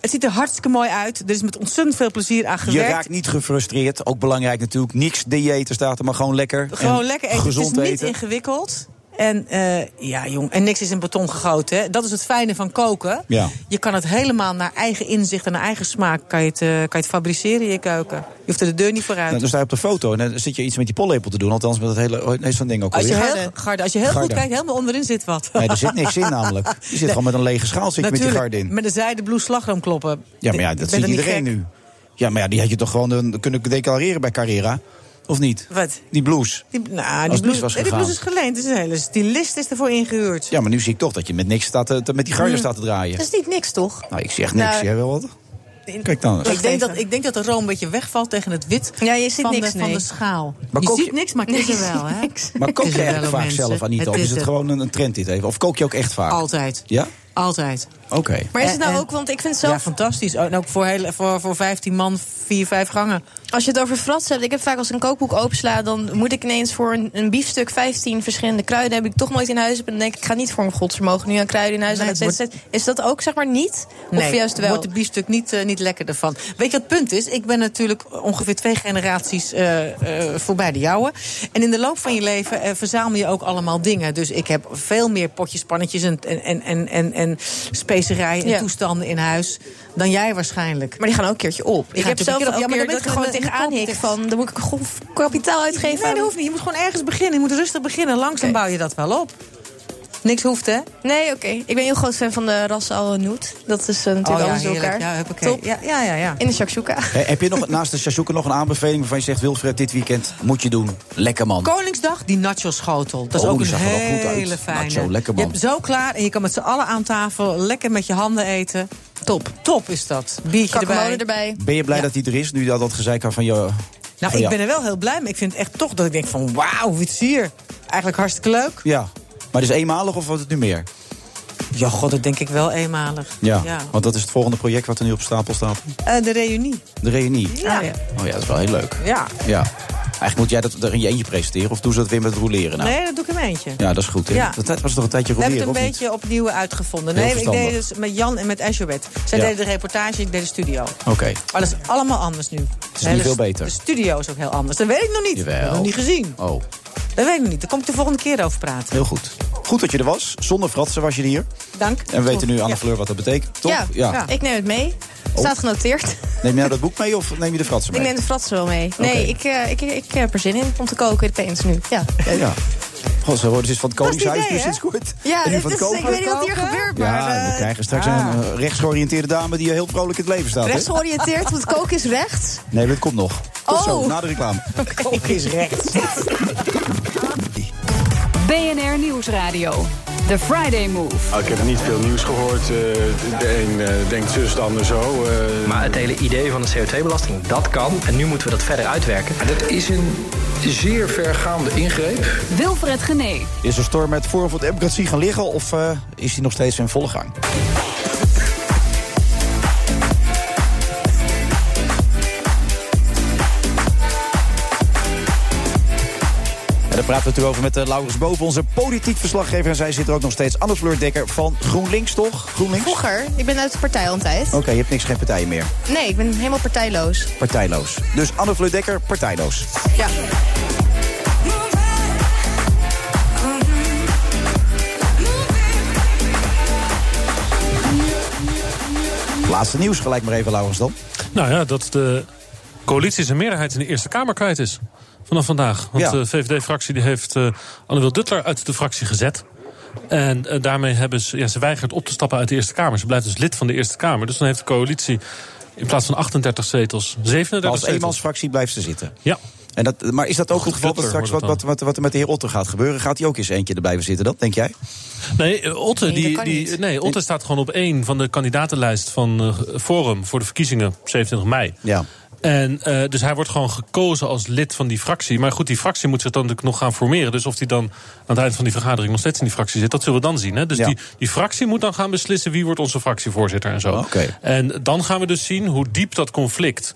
het ziet er hartstikke mooi uit. Er is met ontzettend veel plezier aan
Je
gewerkt.
raakt niet gefrustreerd, ook belangrijk natuurlijk. Niks dieeten staat er, maar gewoon lekker.
Gewoon
en
lekker eten.
Gezond
het is niet
eten.
ingewikkeld. En eh, ja, jong, en niks is in beton gegoten. Hè. Dat is het fijne van koken.
Ja.
Je kan het helemaal naar eigen inzicht en naar eigen smaak kan je het, eh, kan je het fabriceren in je keuken. Je hoeft er de deur niet voor uit.
Nou, dan sta je op de foto en dan zit je iets met die pollepel te doen. Althans, met dat hele. Oh, nee, zo'n ding ook
als je
alweer.
heel, Garde, als je heel
Garde.
goed kijkt, helemaal onderin zit wat.
Nee, er zit niks in namelijk. Je zit
[laughs] Nee.
gewoon met een lege schaal zit je met je
Natuurlijk,
garde in.
Met een zijde blouse slagroom kloppen.
Ja, maar ja,
Ik
dat
ben
ziet
er niet
iedereen
gek.
nu. Ja, maar ja, die had je toch gewoon eh, kunnen declareren bij Carrera? Of niet?
Wat?
Die blouse.
Die, nou,
Als
die
het mis
blouse,
was
nee, die
gegaan.
blouse is geleend. Het is een hele stylist is ervoor ingehuurd.
Ja, maar nu zie ik toch dat je met niks staat te, te- met die
Mm.
garde
Hmm.
staat te draaien.
Dat is niet niks, toch?
Nou, ik zeg niks.
Nou,
Jij wel wat? Kijk dan eens.
Ik denk, dat, ik denk dat de room een beetje wegvalt tegen het wit van,
niks,
de,
nee.
van de schaal.
Maar
je
kook
ziet
je-
niks, maar het is er wel. Hè?
[laughs] Maar kook
Het is
je
er
eigenlijk
wel,
vaak
mensen.
zelf, Anita?
Het
Of is
is
het
er.
gewoon een, een trend dit even? Of kook je Eh, ook echt vaak?
Altijd.
Ja?
Altijd.
Oké.
Maar is het nou ook, want ik vind zelf...
Ja, fantastisch. En ook voor, heel, voor, voor 15 man, 4, 5 gangen.
Als je het over frats hebt, ik heb vaak als ik een kookboek opensla... dan moet ik ineens voor een, een biefstuk 15 verschillende kruiden... heb ik toch nooit in huis. En dan denk ik, ik ga niet voor mijn godsvermogen nu aan kruiden in huis.
Nee,
aan het zetten.
het
Is dat ook, zeg maar, niet? of juist wel?
wordt de biefstuk niet, eh, niet lekker ervan. Weet je wat het punt is? Ik ben natuurlijk ongeveer twee generaties eh, eh, voorbij de jouwe. En in de loop van je leven eh, verzamel je ook allemaal dingen. Dus ik heb veel meer potjes, pannetjes en, en, en, en, en specerijen en
Ja.
toestanden in huis... dan jij waarschijnlijk.
Maar die gaan ook een keertje op.
Die
Ik
gaan
heb
natuurlijk
zelf
een keer op.
ook
Ja, maar
keer
dan
dat ik
ben
er
je
gewoon
gewoon
tegenaan hik van... dan moet ik gewoon kapitaal uitgeven.
Nee,
aan-
dat hoeft niet. Je moet gewoon ergens beginnen. Je moet rustig beginnen. Langzaam bouw je dat wel op. Niks hoeft, hè?
Nee, oké. Ik ben heel groot fan van de ras al Noet. Dat is eh, natuurlijk
Oh ja,
alles door
heerlijk.
elkaar.
Ja, huppakee.
Top.
Ja, ja, ja, ja.
In de shakshuka.
Hey, heb je nog naast de shashouken nog een aanbeveling waarvan je zegt... Wilfred, dit weekend moet je doen. Lekker man.
Koningsdag, die nacho-schotel. Dat is
Oh,
ook
die
een
zag er wel goed uit.
hele fijne.
Nacho, lekker man.
Je hebt zo klaar en je kan met z'n allen aan tafel lekker met je handen eten. Top. Top is dat. Biertje erbij.
Kakemolen erbij.
Ben je blij dat hij er is, nu dat dat gezeik aan van je...
Nou,
Oh
ik ben er wel heel blij mee. Ik vind het echt toch dat ik denk van wauw, wat is hier? Eigenlijk hartstikke leuk.
Ja, maar het is eenmalig of wordt het nu meer?
Ja, god, dat denk ik wel eenmalig.
Ja, want dat is het volgende project wat er nu op stapel staat.
Eh, de reunie. Ah,
De reunie.
Ja. ja.
Oh ja, dat is wel heel leuk. Ja. Eigenlijk moet jij dat er in je eentje presenteren of doen ze dat weer met roleren? Nou?
Nee, dat doe ik in mijn eentje.
Ja, dat is goed. hè?
Ja.
Dat tijd was toch een tijdje
We hebben het
roleren,
een
of niet?
beetje opnieuw uitgevonden.
Heel
Nee, ik deed
verstandig.
dus met Jan en met Ashobet. Zij
Ja.
deden de reportage, ik deed de studio.
Oké.
Maar dat is allemaal anders nu. Het
is nu veel beter.
De studio is ook heel anders. Dat weet ik nog niet. Dat heb ik nog niet gezien.
Oh,
Dat weet ik nog niet. Daar kom ik de volgende keer over praten.
heel goed. Goed dat je er was. Zonder fratsen was je hier.
Dank.
En we weten nu aan de fleur wat dat betekent. Toch?
Ja, ik neem het mee.
Oh.
Staat genoteerd.
Neem je nou dat boek mee of neem je de fratsen
Ik
mee?
neem de fratsen wel mee. Nee,
Oké.
ik, eh, ik, ik, heb er zin in om te koken opeens nu. Ja, leuk.
Ja. God, ze worden dus van het
Dat is het
Koningshuis
idee,
nu
hè?
sinds kort.
Ja,
En nu
dit
van
is,
het
ik
koken.
weet niet wat hier gebeurt, maar...
Ja, we krijgen straks een eh, rechtsgeoriënteerde dame die heel vrolijk in het leven staat. hè?
Rechtsgeoriënteerd, want koken is
[laughs]
rechts.
Nee, dat komt nog. Tot zo,
Oh.
na de reclame.
Koken is
rechts.
BNR Nieuwsradio. The Friday Move.
Ah, ik heb niet veel nieuws gehoord. eh, de een eh, denkt zus, de ander zo. eh.
Maar het hele idee van de CO2-belasting, dat kan. En nu moeten we dat verder uitwerken.
Dat is een zeer vergaande ingreep.
Wilfred Gené.
Is de storm met Forum voor Democratie gaan liggen of eh, is die nog steeds in volle gang? En daar praten we natuurlijk over met eh, Laurens Boven, onze politiek verslaggever. En zij zit er ook nog steeds. Anne Fleur Dekker van GroenLinks, toch? GroenLinks? Oké,
Vroeger, ik ben uit de partij altijd.
je hebt niks, geen partijen meer.
Nee, ik ben helemaal partijloos.
Partijloos. Dus Anne Fleur Dekker, partijloos.
Ja.
Laatste nieuws gelijk maar even, Laurens dan.
Nou ja, dat de coalitie zijn meerderheid in de Eerste Kamer kwijt is. Vanaf vandaag. Want eh,
Ja.
de VVD-fractie die heeft eh Anne-Wil Duttler uit de fractie gezet. En eh, daarmee hebben ze, ja, ze weigert op te stappen uit de Eerste Kamer. Ze blijft dus lid van de Eerste Kamer. Dus dan heeft de coalitie in plaats van 38 zetels, 37
Als
zetels.
eenmansfractie blijft ze zitten.
Ja.
En dat, maar is dat ook
Goed,
het geval dat
Rutte
straks wat,
wordt
wat,
het
wat, wat er met de heer Otter gaat gebeuren? Gaat hij ook eens eentje er blijven zitten dan, denk jij?
Nee, eh, Otte,
Nee, dat
die,
kan
die,
niet.
nee, Otte staat gewoon op één van de kandidatenlijst van eh, Forum voor de verkiezingen op 27 mei.
Ja.
En, eh, dus hij wordt gewoon gekozen als lid van die fractie. Maar goed, die fractie moet zich dan natuurlijk nog gaan formeren. Dus of hij dan aan het eind van die vergadering nog steeds in die fractie zit, dat zullen we dan zien. Hè? Dus die, die fractie moet dan gaan beslissen wie wordt onze fractievoorzitter en zo. En dan gaan we dus zien hoe diep dat conflict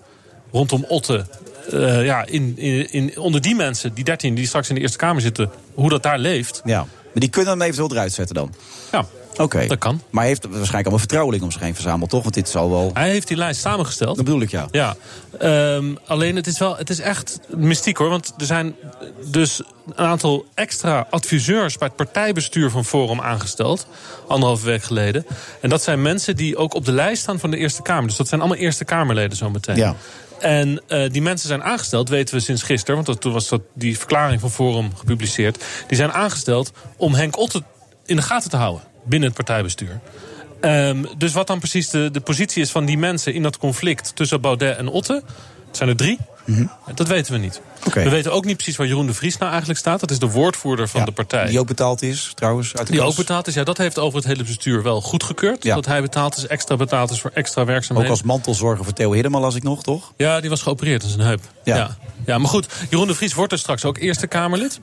rondom Otte. eh, ja, in, in, in, onder die mensen, die 13 die straks in de Eerste Kamer zitten, hoe dat daar leeft.
Ja. Maar die kunnen hem eventueel eruit zetten dan?
Ja.
Oké. Dat kan. Maar hij heeft waarschijnlijk allemaal vertrouweling om zich heen verzameld, toch? Want dit zal wel...
Hij heeft die lijst samengesteld. Dat
bedoel ik, ja.
Ja, ehm, alleen het is wel, het is echt mystiek hoor. Want er zijn dus een aantal extra adviseurs bij het partijbestuur van Forum aangesteld. Anderhalve week geleden. En dat zijn mensen die ook op de lijst staan van de Eerste Kamer. Dus dat zijn allemaal Eerste Kamerleden zometeen.
Ja.
En eh, die mensen zijn aangesteld, weten we sinds gisteren, want dat, toen was dat, die verklaring van Forum gepubliceerd. Die zijn aangesteld om Henk Otte in de gaten te houden binnen het partijbestuur. Ehm, dus wat dan precies de, de positie is van die mensen in dat conflict tussen Baudet en Otte. Het zijn er drie. Dat weten we niet.
Mhm. Oké.
We weten ook niet precies waar Jeroen de Vries nou eigenlijk staat. Dat is de woordvoerder van de partij.
Die ook betaald is, trouwens. Uit de
Die
kas.
ook betaald is. Ja, dat heeft over het hele bestuur wel goedgekeurd. Dat hij betaald is, extra betaald is voor extra
Ook
werkzaamheden.
als mantelzorger voor Theo Hiddema las ik nog, toch?
Ja, die was geopereerd aan zijn heup.
Ja.
Ja. Ja. maar goed, Jeroen de Vries wordt dus straks ook Eerste Kamerlid.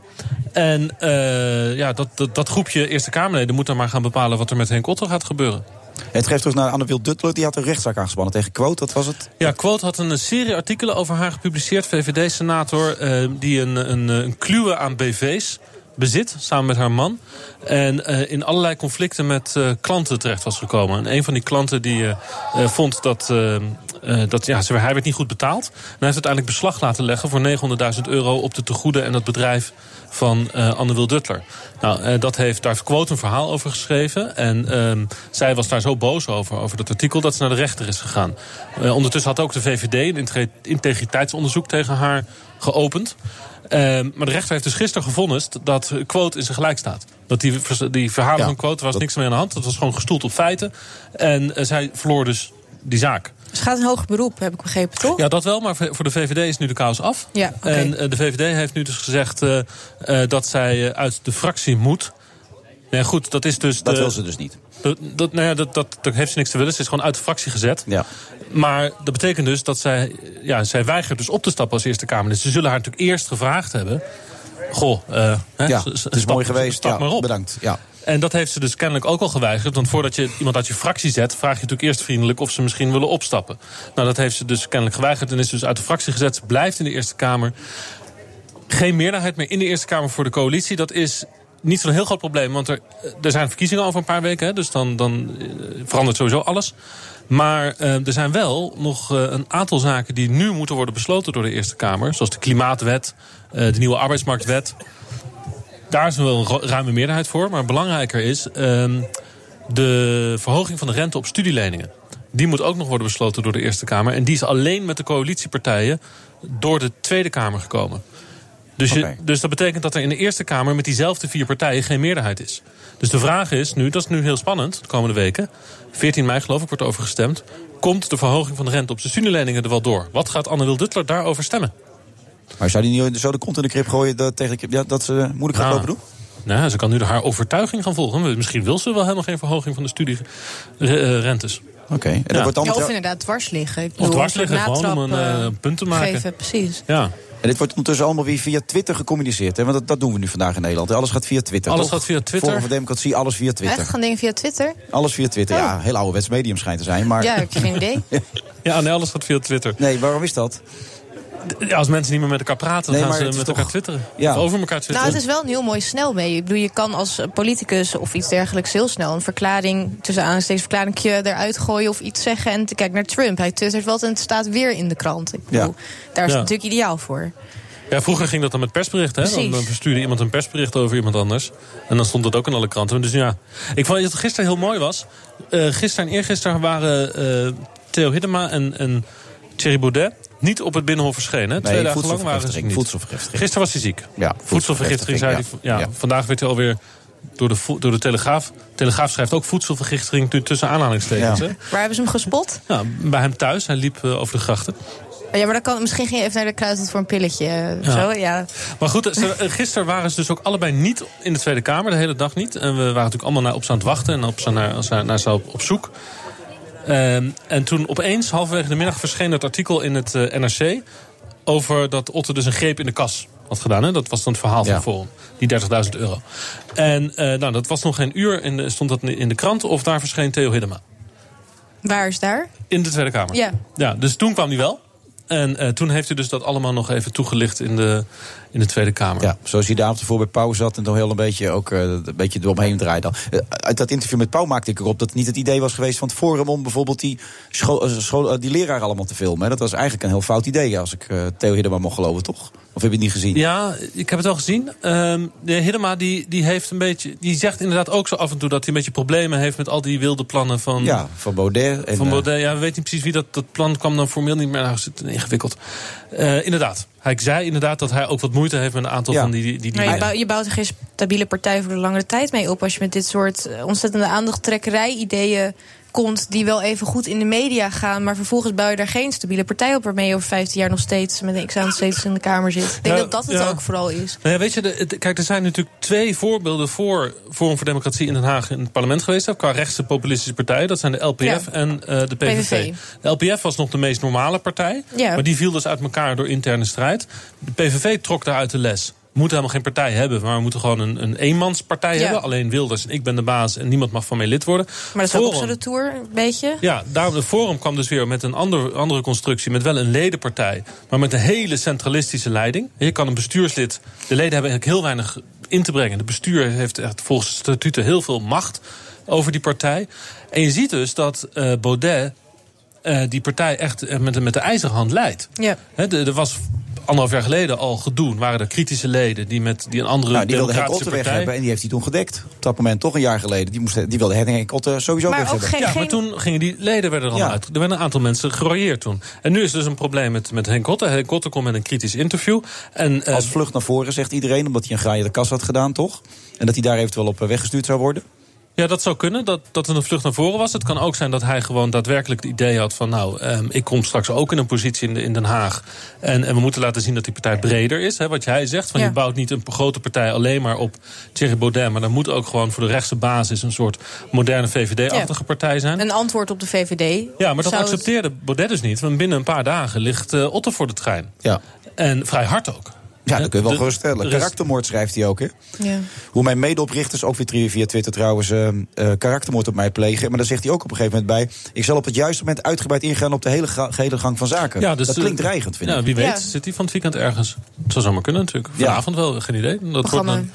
En eh, ja, dat, dat, dat groepje Eerste Kamerleden moet dan maar gaan bepalen wat er met Henk Otter gaat gebeuren.
Het geeft terug naar Anne Wil Duttler. Die had een rechtszaak aangespannen tegen Quote. Dat was het.
Ja, Quote had een serie artikelen over haar gepubliceerd. VVD-senator eh, die een, een, een kluwe aan BV's bezit, samen met haar man. En eh, in allerlei conflicten met eh, klanten terecht was gekomen. En een van die klanten die eh, eh, vond dat, eh, eh, dat ja, ze- hij werd niet goed betaald. En hij heeft uiteindelijk beslag laten leggen voor 900.000 euro... op de tegoeden en het bedrijf van eh, Anne Wil Duttler. Nou, eh, dat heeft, daar heeft Quote een verhaal over geschreven. En ehm, zij was daar zo boos over, over dat artikel, dat ze naar de rechter is gegaan. Eh, ondertussen had ook de VVD een intre- integriteitsonderzoek tegen haar geopend. Ehm, maar de rechter heeft dus gisteren gevonnist dat Quote in zijn gelijk staat. Dat die, vers- die verhalen van Quote, er was niks meer aan de hand. Dat was gewoon gestoeld op feiten. En eh, zij verloor dus die zaak.
Ze gaat Dus een hoger beroep, heb ik begrepen, toch?
Ja, dat wel, maar voor voor de VVD is nu de kous af.
Ja, oké.
En eh, de VVD heeft nu dus gezegd eh, eh, dat zij eh, uit de fractie moet. Nee, goed, dat is dus.
Dat
de-
wil ze dus niet.
Dat, dat, nou ja, dat, dat, dat heeft ze niks te willen. Ze is gewoon uit de fractie gezet.
Ja.
Maar dat betekent dus dat zij. Ja, zij weigert dus op te stappen als Eerste Kamerlid. Ze zullen haar natuurlijk eerst gevraagd hebben. Goh, eh, hè,
ja,
s- s-
het is
stap-
mooi geweest.
Stap
Ja,
maar op.
Bedankt. Ja.
En dat heeft ze dus kennelijk ook al geweigerd. Want voordat je iemand uit je fractie zet, vraag je natuurlijk eerst vriendelijk of ze misschien willen opstappen. Nou, dat heeft ze dus kennelijk geweigerd en is dus uit de fractie gezet. Ze blijft in de Eerste Kamer. Geen meerderheid meer in de Eerste Kamer voor de coalitie. Dat is niet zo'n heel groot probleem, want er, eh, er zijn verkiezingen over een paar weken. Hè, dus dan, dan eh, verandert sowieso alles. Maar eh, er zijn wel nog eh, een aantal zaken die nu moeten worden besloten door de Eerste Kamer. Zoals de Klimaatwet, eh, de nieuwe arbeidsmarktwet. Daar is wel een ro- ruime meerderheid voor. Maar belangrijker is ehm, de verhoging van de rente op studieleningen. Die moet ook nog worden besloten door de Eerste Kamer. En die is alleen met de coalitiepartijen door de Tweede Kamer gekomen. Dus, je, dus dat betekent dat er in de Eerste Kamer met diezelfde vier partijen geen meerderheid is. Dus de vraag is nu, dat is nu heel spannend de komende weken. 14 mei geloof ik wordt over gestemd. Komt de verhoging van de rente op de studieleningen er wel door? Wat gaat Anne Wil Duttler daarover stemmen?
Maar zou die niet zo de kont in de krip gooien dat, tegen de krip, ja, dat ze moeilijk gaat
Ah.
lopen doen?
Nou, ze kan nu haar overtuiging gaan volgen. Misschien wil ze wel helemaal geen verhoging van de eh, studierentes.
Oké. En dat wordt
Ja,
allemaal
of inderdaad dwars liggen. Ik bedoel,
Of dwars
een soort
liggen, gewoon om een,
natrap,
eh,
eh,
punt te maken.
Geven, precies.
Ja.
En dit wordt ondertussen allemaal weer via Twitter gecommuniceerd. Hè? Want dat, dat doen we nu vandaag in Nederland. Alles gaat via Twitter.
Alles
toch?
gaat via Twitter.
Forum voor Democratie, alles via Twitter.
Echt gaan dingen via Twitter?
Alles via Twitter.
Oh.
Ja, heel ouderwets medium schijnt te zijn. Maar...
Ja, ik heb geen idee.
Ja, nee, alles gaat via Twitter.
Nee, waarom is dat?
Ja, als mensen niet meer met elkaar praten,
Nee,
dan
maar
gaan ze
het
met
is
elkaar
toch-
twitteren.
Ja.
Of over elkaar twitteren.
Nou, het is wel een heel mooi snel mee. Ik bedoel, je kan als eh, politicus of iets dergelijks heel snel een verklaring, tussen aansteeksverklaringje eruit gooien of iets zeggen. En te- kijk naar Trump. Hij twittert wat en het staat weer in de krant. Ik bedoel, daar is
Ja.
het natuurlijk ideaal voor.
Ja, vroeger ging dat dan met persberichten. Hè? Dan,
Precies.
dan verstuurde iemand een persbericht over iemand anders. En dan stond dat ook in alle kranten. Dus ja, ik vond dat het gisteren heel mooi was. Eh, gisteren en eergisteren waren eh, Theo Hiddema en, en Thierry Baudet niet op het Binnenhof verschenen. hè. Twee dagen lang waren ze
voedselvergiftiging,
niet.
voedselvergiftiging.
Gisteren was hij ziek.
Ja,
voedselvergiftiging, zei hij.
ja.
Ja, Vandaag werd hij alweer door de, vo- door de Telegraaf. Telegraaf schrijft ook voedselvergiftiging tu- tussen aanhalingstekens.
Ja.
hè.
Waar hebben ze hem gespot?
Ja, bij hem thuis. Hij liep eh, over de grachten.
Oh, Ja, maar dan kan, misschien ging je even naar de kruidvat voor een pilletje. eh,
Ja.
Zo, ja.
Maar goed, ze- eh, gisteren waren ze dus ook allebei niet in de Tweede Kamer, de hele dag niet. En we waren natuurlijk allemaal naar, op ze aan het wachten en op ze naar, naar, naar ze op, op zoek. Ehm, en toen opeens, halverwege de middag, verscheen het artikel in het eh, NRC... over dat Otte dus een greep in de kas had gedaan. Hè? Dat was dan het verhaal van Forum, die 30.000 euro. En eh, nou, dat was nog geen uur, in de, stond dat in de krant... of daar verscheen Theo Hiddema
Waar is daar?
in de Tweede Kamer.
Ja.
Ja, dus toen kwam hij wel. En eh, toen heeft hij dus dat allemaal nog even toegelicht in de, in de Tweede Kamer.
Ja, zoals hij daar op de voor bij Pauw zat en dan heel een beetje ook eh, een beetje eromheen draaide. Eh, uit dat interview met Pauw maakte ik erop dat het niet het idee was geweest van het forum om bijvoorbeeld die, scho- eh, school- eh, die leraar allemaal te filmen. hè. Dat was eigenlijk een heel fout idee, als ik eh, Theo Hiddema mocht geloven, toch? Of heb je het niet gezien?
Ja, ik heb het al gezien. Ehm de heer Hiddema die, die heeft een beetje. Die zegt inderdaad ook zo af en toe dat hij een beetje problemen heeft met al die wilde plannen van.
Ja, van Baudet. En,
van
eh,
Baudet. Ja, we weten niet precies wie dat, dat plan kwam dan formeel niet meer. Nou, is het ingewikkeld. Eh, inderdaad. Hij zei inderdaad dat hij ook wat moeite heeft met een aantal van die. die, die
Maar je,
dingen.
bouw- je bouwt er geen stabiele partij voor de langere tijd mee op als je met dit soort eh, ontzettende aandachttrekkerij-ideeën
komt die wel even goed in de media gaan... maar vervolgens bouw je daar geen stabiele partij op... waarmee je over 15 jaar nog steeds met een examen steeds in de Kamer zit. Ik denk
Ja,
dat dat het
ja.
ook vooral is.
Nou ja, weet je, de- het- kijk, er zijn natuurlijk twee voorbeelden voor Forum voor Democratie in Den Haag in het parlement geweest. Qua rechtse populistische partijen. Dat zijn de LPF
Ja.
en eh, de PVV.
PVV.
De LPF was nog de meest normale partij.
Ja.
Maar die viel dus uit elkaar door interne strijd. De PVV trok daaruit de les. We moeten helemaal geen partij hebben, maar we moeten gewoon een, een eenmanspartij
Ja.
hebben. Alleen Wilders en ik ben de baas en niemand mag van mij lid worden.
Maar dat is ook op
Forum-
zo'n tour, een beetje.
ja, daarom de Forum kwam dus weer met een ander, andere constructie. Met wel een ledenpartij, maar met een hele centralistische leiding. Je kan een bestuurslid. De leden hebben eigenlijk heel weinig in te brengen. De bestuur heeft echt volgens de statuten heel veel macht over die partij. En je ziet dus dat eh, Baudet eh, die partij echt eh, met, de- met de ijzeren hand leidt.
Ja.
Hè, de- Er was anderhalf jaar geleden al gedoe. Waren er kritische leden die met die een andere
Nou, die wilde Henk Otte
democratische
weg
partij...
hebben en die heeft hij toen gedekt. Op dat moment, toch een jaar geleden. Die, moest, die wilde Henk Otte sowieso weg hebben.
ja, maar
[laughs]
toen gingen die leden werden er allemaal uit. Er werden een aantal mensen gerooieerd toen. En nu is dus een probleem met, met Henk Otte. Henk Otte komt met een kritisch interview. En, eh,
Als vlucht naar voren, zegt iedereen. Omdat hij een graai de kas had gedaan, toch? En dat hij daar eventueel op eh, weggestuurd zou worden.
Ja, dat zou kunnen, dat, dat het een vlucht naar voren was. Het kan ook zijn dat hij gewoon daadwerkelijk het idee had van... nou, ehm, ik kom straks ook in een positie in, de- in Den Haag. En, en we moeten laten zien dat die partij breder is. Hè, wat jij zegt, van
Ja.
je bouwt niet een grote partij alleen maar op Thierry Baudet... maar dan moet ook gewoon voor de rechtse basis een soort moderne VVD-achtige partij zijn.
Een antwoord op de VVD.
Ja, maar dat
zou het-
accepteerde Baudet dus niet. Want binnen een paar dagen ligt eh Otter voor de trein.
Ja.
En vrij hard ook.
Ja, dat kun je wel
De-
geruststellen.
er is-
Karaktermoord schrijft hij ook, hè?
Ja.
Hoe mijn medeoprichters, ook weer tri- via Twitter trouwens, eh, eh, karaktermoord op mij plegen. Maar daar zegt hij ook op een gegeven moment bij... ik zal op het juiste moment uitgebreid ingaan op de hele, ga- gehele gang van zaken.
Ja, dus
dat
de-
klinkt dreigend, vind
ja,
ik.
Wie weet, zit hij van het weekend ergens? Het zou zomaar kunnen natuurlijk. Vanavond wel, geen idee. Dat, wordt
Programma.
een,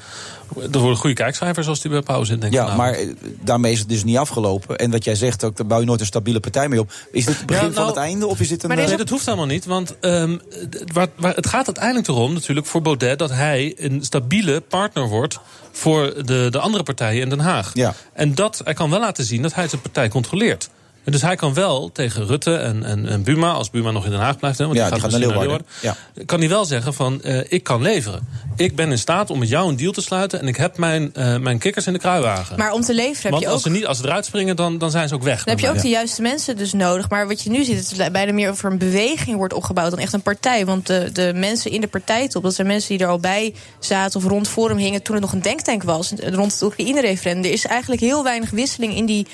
dat worden goede kijkcijfers als die bij pauze zit, denk ik.
Ja,
vanavond.
maar eh, daarmee is het dus niet afgelopen. En wat jij zegt, ook, daar bouw je nooit een stabiele partij mee op. Is dit het begin
Ja,
van
nou,
het einde of is dit een...
nee,
eh,
dat hoeft helemaal niet. Want ehm, d- waar, waar, het gaat uiteindelijk erom, natuurlijk, voor Baudet... dat hij een stabiele partner wordt voor de, de andere partijen in Den Haag.
Ja.
En dat, hij kan wel laten zien dat hij zijn partij controleert. En dus hij kan wel tegen Rutte en, en, en Buma, als Buma nog in Den Haag blijft... Hè, want
ja,
die gaat,
naar
misschien
Leeuwarden. Ja.
kan hij wel zeggen van eh, ik kan leveren. Ik ben in staat om met jou een deal te sluiten en ik heb mijn, eh, mijn kikkers in de kruiwagen.
Maar om te leveren heb
Want
je ook
als ze, niet, als ze eruit springen, dan, dan zijn ze ook weg.
Dan heb je
met
ook
mij.
de juiste mensen dus nodig. Maar wat je nu ziet, het is bijna meer over een beweging wordt opgebouwd dan echt een partij. Want de, de mensen in de partijtop, dat zijn mensen die er al bij zaten of rond Forum hingen toen het nog een denktank was. Rond het Oekraïne-referendum. Er is eigenlijk heel weinig wisseling in die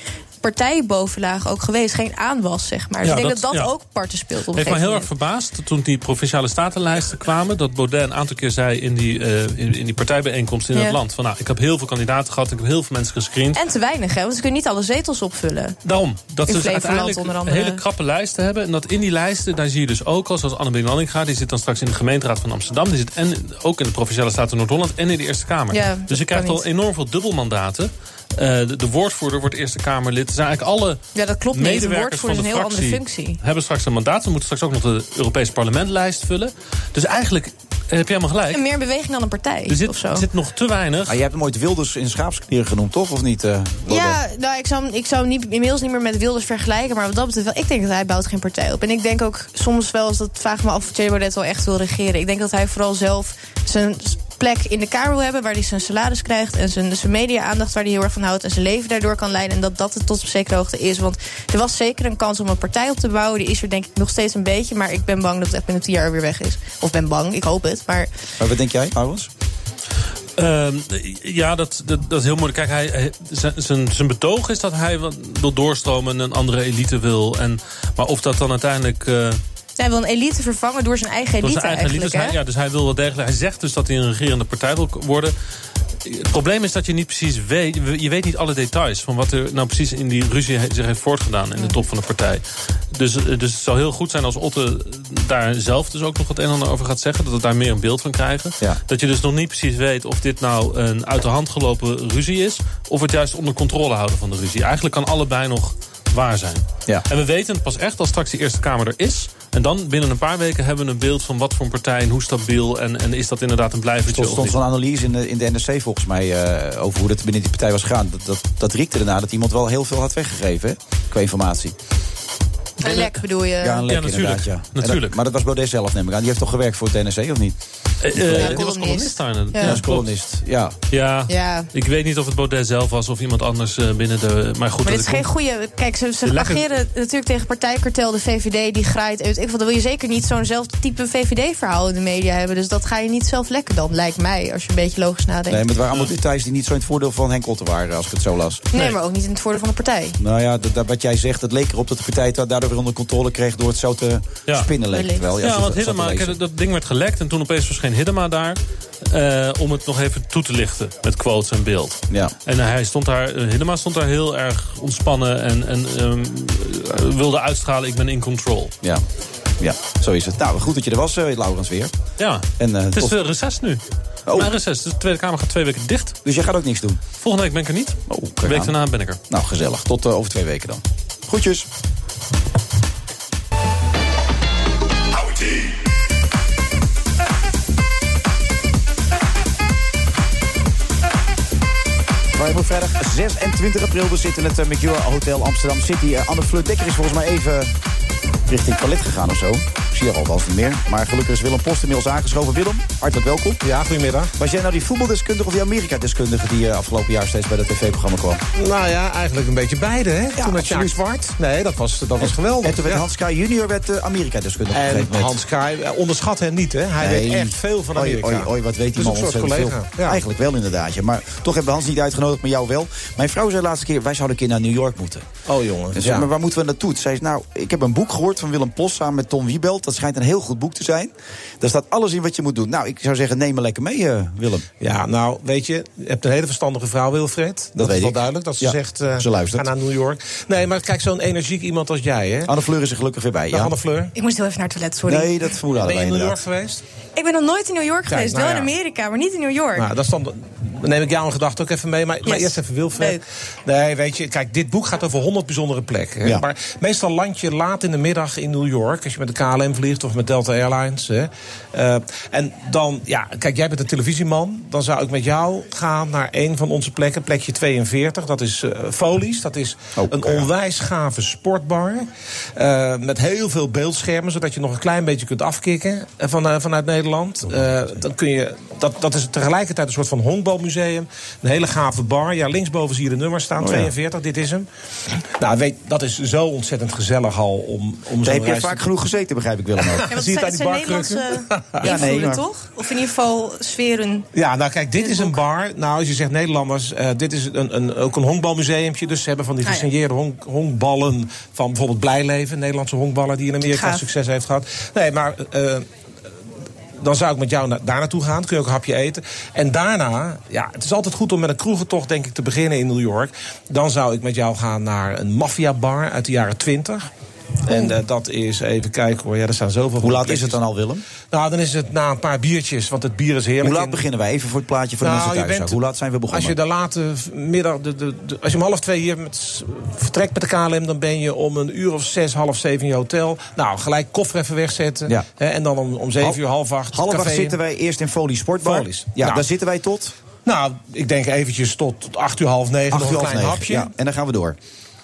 partijbovenlaag ook geweest. Geen aanwas, zeg maar. Dus
Ja,
ik denk
dat-
dat dat,
ja.
ook parten speelt. Op een
Het heeft me
gegeven
heel erg
moment.
verbaasd toen die provinciale statenlijsten kwamen. Dat Baudet een aantal keer zei in die, eh, in, in die partijbijeenkomst in
Ja.
het land. Van nou, ik heb heel veel kandidaten gehad, ik heb heel veel mensen gescreend.
En te weinig, hè? Want ze kunnen niet alle zetels opvullen.
Daarom, dat
In
ze dus
Flevoland
uiteindelijk
onder andere.
hele krappe lijsten hebben. En dat in die lijsten, daar zie je dus ook al, zoals Anne Lanninga... die zit dan straks in de gemeenteraad van Amsterdam... die zit en, ook in de Provinciale Staten Noord-Holland en in de Eerste Kamer.
Ja,
dus
dat
je krijgt
kan
al
niet.
enorm veel dubbelmandaten. Eh, de, de woordvoerder wordt Eerste Kamerlid. Er zijn eigenlijk alle
Ja, dat klopt niet. Een
medewerkers van de
woordvoerder is een heel
fractie
andere functie.
hebben straks een mandaat. Ze moeten straks ook nog de Europese parlementlijst vullen. Dus eigenlijk eh, heb je helemaal gelijk.
En meer beweging dan een partij.
Er zit, er zit nog te weinig.
Ah, jij hebt hem ooit Wilders in schaapskleren genoemd, toch? Of niet? eh, Baudet?
Ja, nou, ik zou hem, ik zou hem niet, inmiddels niet meer met Wilders vergelijken. Maar wat dat betreft wel, ik denk dat hij bouwt geen partij op. En ik denk ook soms wel eens, dat vraag ik me af of Thierry Baudet wel echt wil regeren. Ik denk dat hij vooral zelf zijn s- plek in de Kamer wil hebben... waar hij zijn salaris krijgt en zijn, zijn media-aandacht waar hij heel erg van houdt... en zijn leven daardoor kan leiden en dat dat het tot op zekere hoogte is. Want er was zeker een kans om een partij op te bouwen. Die is er denk ik nog steeds een beetje, maar ik ben bang dat het echt binnen tien jaar weer weg is. Of ben bang, ik hoop het, maar...
Maar wat denk jij, Arons?
Ehm, ja, dat, dat, dat is heel moeilijk. Kijk, hij, hij- zijn- zijn, zijn betoog is dat hij wat wil doorstromen en een andere elite wil. En, maar of dat dan uiteindelijk. eh,
Hij wil een elite vervangen door zijn eigen
door
elite
zijn eigen elite
eigenlijk,
is. Hij,
hè?
ja, dus hij wil wel degelijk. Hij zegt dus dat hij een regerende partij wil worden. Het probleem is dat je niet precies weet. Je weet niet alle details van wat er nou precies in die ruzie he- zich heeft voortgedaan in de top van de partij. Dus, eh, dus het zou heel goed zijn als Otte daar zelf dus ook nog het een en ander over gaat zeggen. Dat we daar meer een beeld van krijgen.
Ja.
Dat je dus nog niet precies weet of dit nou een uit de hand gelopen ruzie is. Of het juist onder controle houden van de ruzie. Eigenlijk kan allebei nog waar zijn.
Ja.
En we weten het pas echt als straks de Eerste Kamer er is. En dan binnen een paar weken hebben we een beeld van wat voor een partij en hoe stabiel. En, en is dat inderdaad een blijvertje
Er
of
stond
niet.
zo'n analyse in de, in de NRC volgens mij eh, over hoe dat binnen die partij was gegaan. Dat, dat, dat riekte erna dat iemand wel heel veel had weggegeven hè, qua informatie.
Een lek bedoel je?
Ja, een lek inderdaad, ja. En dat- maar dat was Baudet zelf, neem ik aan. Die heeft toch gewerkt voor het NRC, of niet?
Eh, eh,
Ja,
die was columnist daar. net.
Ja, als columnist. Ja.
Ja,
Ja.
ik weet niet of het Baudet zelf was of iemand anders eh, binnen de... Maar goed,
Maar
dat
dit is
ik-
geen goede. Kijk, ze, ze
De lekker-
ageren natuurlijk tegen partijkartel, de VVD, die graait. uit. Ik vond, dan wil je zeker niet zo'nzelfde type VVD-verhaal in de media hebben. Dus dat ga je niet zelf lekken dan, lijkt mij, als je een beetje logisch nadenkt.
Nee, maar het waren allemaal details die niet zo in het voordeel van Henk Otten waren, als ik het zo las.
Nee, maar ook niet in het voordeel van de partij.
Nou ja, dat, dat- wat jij zegt, dat leek erop dat de partij het daardoor weer onder controle kreeg door het zo te spinnen. Leek het wel.
Ja,
als je dat-
want
zo te
Hiddema,
lezen.
kijk, dat ding werd gelekt en toen opeens verscheen Hiddema daar... eh, om het nog even toe te lichten met quotes en beeld.
Ja.
En hij stond daar, eh, Hiddema stond daar heel erg ontspannen... en, en ehm, eh, wilde uitstralen, ik ben in control.
Ja. ja, zo is het. Nou, goed dat je er was, eh, Laurens weer.
Ja,
En, eh,
het is
tot-
weer reces nu.
Oh.
Maar reces, de Tweede Kamer gaat twee weken dicht.
Dus jij gaat ook niks doen? Oh,
Volgende week ben ik er niet. de week
aan.
daarna ben ik er.
Nou, gezellig. Tot eh, over twee weken dan. Groetjes. Waar je op vrijdag 26 april dus zit in het eh, Mercure Hotel Amsterdam City. Eh, Anne Fleur Dekker is volgens mij even richting toilet gegaan of zo. Ik zie haar alvast niet meer. Maar gelukkig is Willem Post inmiddels aangeschoven. Willem, hartelijk welkom.
Ja, goedemiddag.
Was jij nou die voetbaldeskundige of die Amerika-deskundige... die eh, afgelopen jaar steeds bij dat tv-programma kwam?
Nou ja, eigenlijk een beetje beide, hè? Toen had Jaak
absoluut.
Zwart. Nee, dat was, dat was geweldig.
En toen werd
ja.
Hans Kraaij junior werd eh, Amerika-deskundige. op een
En
gegeven moment.
Hans Kraaij, eh, onderschat hem niet, hè? Hij
Nee.
weet echt veel van
Oei,
Amerika.
Oei, oei, wat weet die
Dus
man
een soort
ontzettend
collega.
veel. Eigenlijk wel inderdaad. Ja. Maar toch hebben we Hans niet uitgenodigd, maar jou wel. Mijn vrouw zei de laatste keer, wij zouden een keer naar New York moeten.
Oh, jongen.
En zei,
ja.
maar waar moeten we naartoe? Toen zei ze, nou, ik heb een boek gehoord van Willem Post samen met Tom Wiebelt. Dat schijnt een heel goed boek te zijn. Daar staat alles in wat je moet doen. Nou, ik zou zeggen, neem me lekker mee, eh, Willem.
Ja, nou, weet je, je hebt een hele verstandige vrouw, Wilfred. Dat,
weet
is wel
ik.
duidelijk, dat ze
Ja,
zegt, eh,
ze luistert.
ga naar New York. Nee, maar kijk, zo'n energiek iemand als jij, hè?
Anne Fleur is er gelukkig weer bij,
Dag,
ja.
Anne Fleur.
Ik moest heel even naar het toilet, sorry.
Nee, dat vermoeden
Ben je
hadden
in
wij
New York
inderdaad.
geweest?
Ik ben nog nooit in New York
Kijk,
geweest.
nou
wel
ja.
in Amerika, maar niet in New York.
Nou, dat is dan, dan neem ik jou een gedachte ook even mee. Maar, maar
Yes.
eerst even Wilfred. Nee, weet je, kijk, dit boek gaat over 100 bijzondere plekken. hè.
Ja.
Maar meestal land je laat in de middag in New York. Als je met de KLM vliegt of met Delta Airlines. Hè. Eh, en dan, ja, kijk, jij bent een televisieman. Dan zou ik met jou gaan naar een van onze plekken. Plekje 42, dat is eh, Folies. Dat is een onwijs gave sportbar. eh, met heel veel beeldschermen, zodat je nog een klein beetje kunt afkicken eh, van, eh, vanuit Nederland. Eh, dan kun je, dat, dat is tegelijkertijd een soort van honkbalmuseum. Een hele gave bar. Ja, linksboven zie je de nummer staan,
Oh, ja.
42, dit is hem. Nou, weet, dat is zo ontzettend gezelg al om, om
Daar
zo'n
heb je
reis
vaak genoeg gezeten, begrijp ik, Willem ook.
Ja, want
zie je
het
het
zijn,
aan
het
die
zijn Nederlandse [laughs]
barkrukken? [laughs] Ja, nee,
invloeden,
maar-
toch? Of in ieder geval sferen.
Ja, nou kijk, dit is een bar. Nou, als je zegt Nederlanders, eh, dit is een, een, ook een honkbalmuseumpje. Dus ze hebben van die
Ah, ja.
gesigneerde honk- honkballen van bijvoorbeeld Blijleven. Nederlandse honkballer die in Amerika
Gaaf.
succes heeft gehad. Nee, maar eh, dan zou ik met jou na- daar naartoe gaan. Dan kun je ook een hapje eten. En daarna, ja, het is altijd goed om met een kroegentocht denk ik te beginnen in New York. Dan zou ik met jou gaan naar een maffiabar uit de jaren 20. En eh, dat is, even kijken hoor, ja, er staan zoveel
Hoe laat
plekjes.
is het dan al, Willem?
Nou, dan is het na een paar biertjes, want het bier is heerlijk.
Hoe laat
in-
beginnen wij? Even voor het plaatje voor de
Nou,
mensen
je
thuis.
bent-
ook. Hoe laat zijn we begonnen?
Als je de late v- middag, de, de, de- als je om half twee hier met, vertrekt met de KLM, dan ben je om een uur of zes, half zeven in je hotel. Nou, gelijk koffer even wegzetten.
Ja.
Hè, en dan om, om zeven
Half-
uur, half acht.
Half acht
café in.
zitten wij eerst in Folie Sportbar.
Folies.
Ja,
Nou.
daar zitten wij tot
Nou, ik denk eventjes tot, tot acht uur, half negen.
acht
nog
uur
een
half
klein
negen.
hapje.
Ja, en dan gaan we door.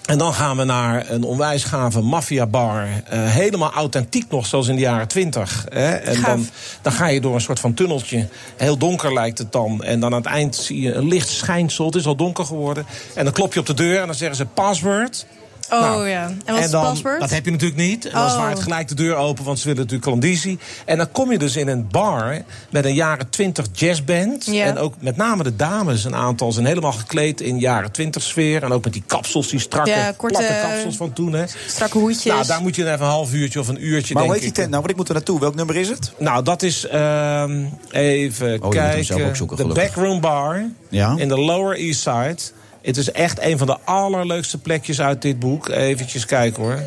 En dan gaan we naar een onwijs gave maffiabar. eh, helemaal authentiek nog, zoals in de jaren twintig. En dan, dan ga je door een soort van tunneltje. Heel donker lijkt het dan. En dan aan het eind zie je een licht schijnsel. Het is al donker geworden. En dan klop je op de deur en dan zeggen ze password.
Oh
Nou,
ja. En wat is
dan,
het paswoord?
Dat heb je natuurlijk niet. En dan
Oh.
zwaait gelijk de deur open, want ze willen natuurlijk klandizie. En dan kom je dus in een bar met een jaren 20 jazzband.
Ja.
En ook met name de dames, een aantal zijn helemaal gekleed in jaren 20 sfeer. En ook met die kapsels, die strakke,
Ja, korte-
platte kapsels van toen. Hè.
Strakke hoedjes.
Nou, daar moet je even een half uurtje of een uurtje,
Maar hoe heet
denk
die
ik. eh,
tent nou? Want ik moet er naartoe. Welk nummer is het? Oh,
Nou, dat is ehm, even
moet hem
kijken.
zelf ook zoeken,
de
gelukkig.
Backroom Bar
Ja.
in de Lower East Side. Het is echt een van de allerleukste plekjes uit dit boek. Even kijken hoor.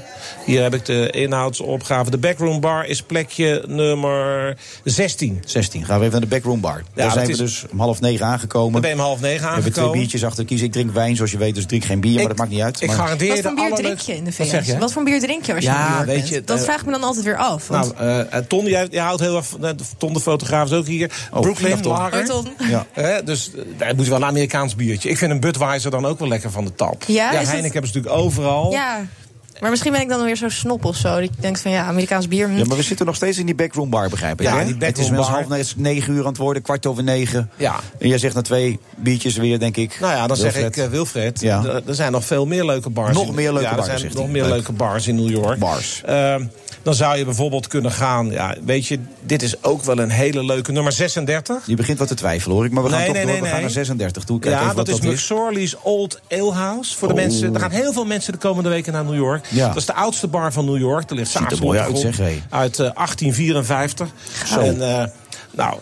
Hier heb ik de inhoudsopgave. De Backroom Bar is plekje nummer 16.
16. Gaan we even naar de backroom bar. daar
dat
zijn we
is-
dus om half negen aangekomen.
Dan ben je om half negen
We hebben twee
aangekomen.
biertjes achter de kiezen. Ik drink wijn, zoals je weet. Dus ik drink geen bier, maar dat maakt niet uit.
ik
Maar-
garandeer
Wat voor
de
bier drink
allerleukste-
je in de
Wat zeg
VS?
je?
Wat voor bier drink je als je
Ja,
in New York
weet
bent?
je,
dat
eh,
vraag ik me dan altijd weer af. want-
Nou, eh, eh, Ton, jij, jij houdt heel erg van... eh, Ton de fotograaf is ook hier.
Oh, dag,
Brooklyn,
Ton.
lager.
Hoi, Ton.
Ja.
Hè, dus eh, daar moet wel een Amerikaans biertje. Ik vind een Budweiser dan ook wel lekker van de tap.
Ja, is het-
Heineken hebben ze natuurlijk overal.
ja. Maar misschien ben ik dan weer zo snop of zo. Dat je denkt van ja, Amerikaans bier. hm.
Ja, maar we zitten nog steeds in die backroom bar, begrijp ik.
Ja,
hè?
die
het is
backroom
inmiddels
bar.
half negen, negen uur aan het worden, kwart over negen.
Ja.
En jij zegt na twee biertjes weer, denk ik.
Nou ja, dan zeg
Wilfred.
ik, eh, Wilfred,
Ja.
d- er zijn nog veel meer leuke bars.
Nog
in-
meer leuke
ja, er
bars,
zijn
zegt
nog
hij.
meer
Leuk.
leuke bars in New York.
Bars.
Ehm, dan zou je bijvoorbeeld kunnen gaan, ja, weet je, dit is ook wel een hele leuke nummer 36.
Je begint wat te twijfelen, hoor ik. Maar we gaan
Nee,
toch
nee,
door,
nee,
we gaan
nee.
naar 36 toe. Kijk
Ja,
even
dat,
wat
is dus- McSorley's Old Ale House. Voor de
Oh.
mensen, er gaan heel veel mensen de komende weken naar New York.
Ja.
Dat is de oudste bar van New York. Er ligt
Ziet er
zaagsel
mooi
op de
uit,
grond.
zeg, hé.
Uit eh, 1854.
Zo.
En, eh, nou,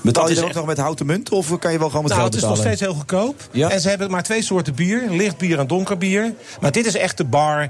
Betaal
dat
je
is
dan ook
echt-
nog met houten munt? Of kan je wel gewoon met
nou,
geld
het is nog
betalen?
steeds heel goedkoop.
Ja.
En ze hebben maar twee soorten bier. Licht bier en donker bier. Maar dit is echt de bar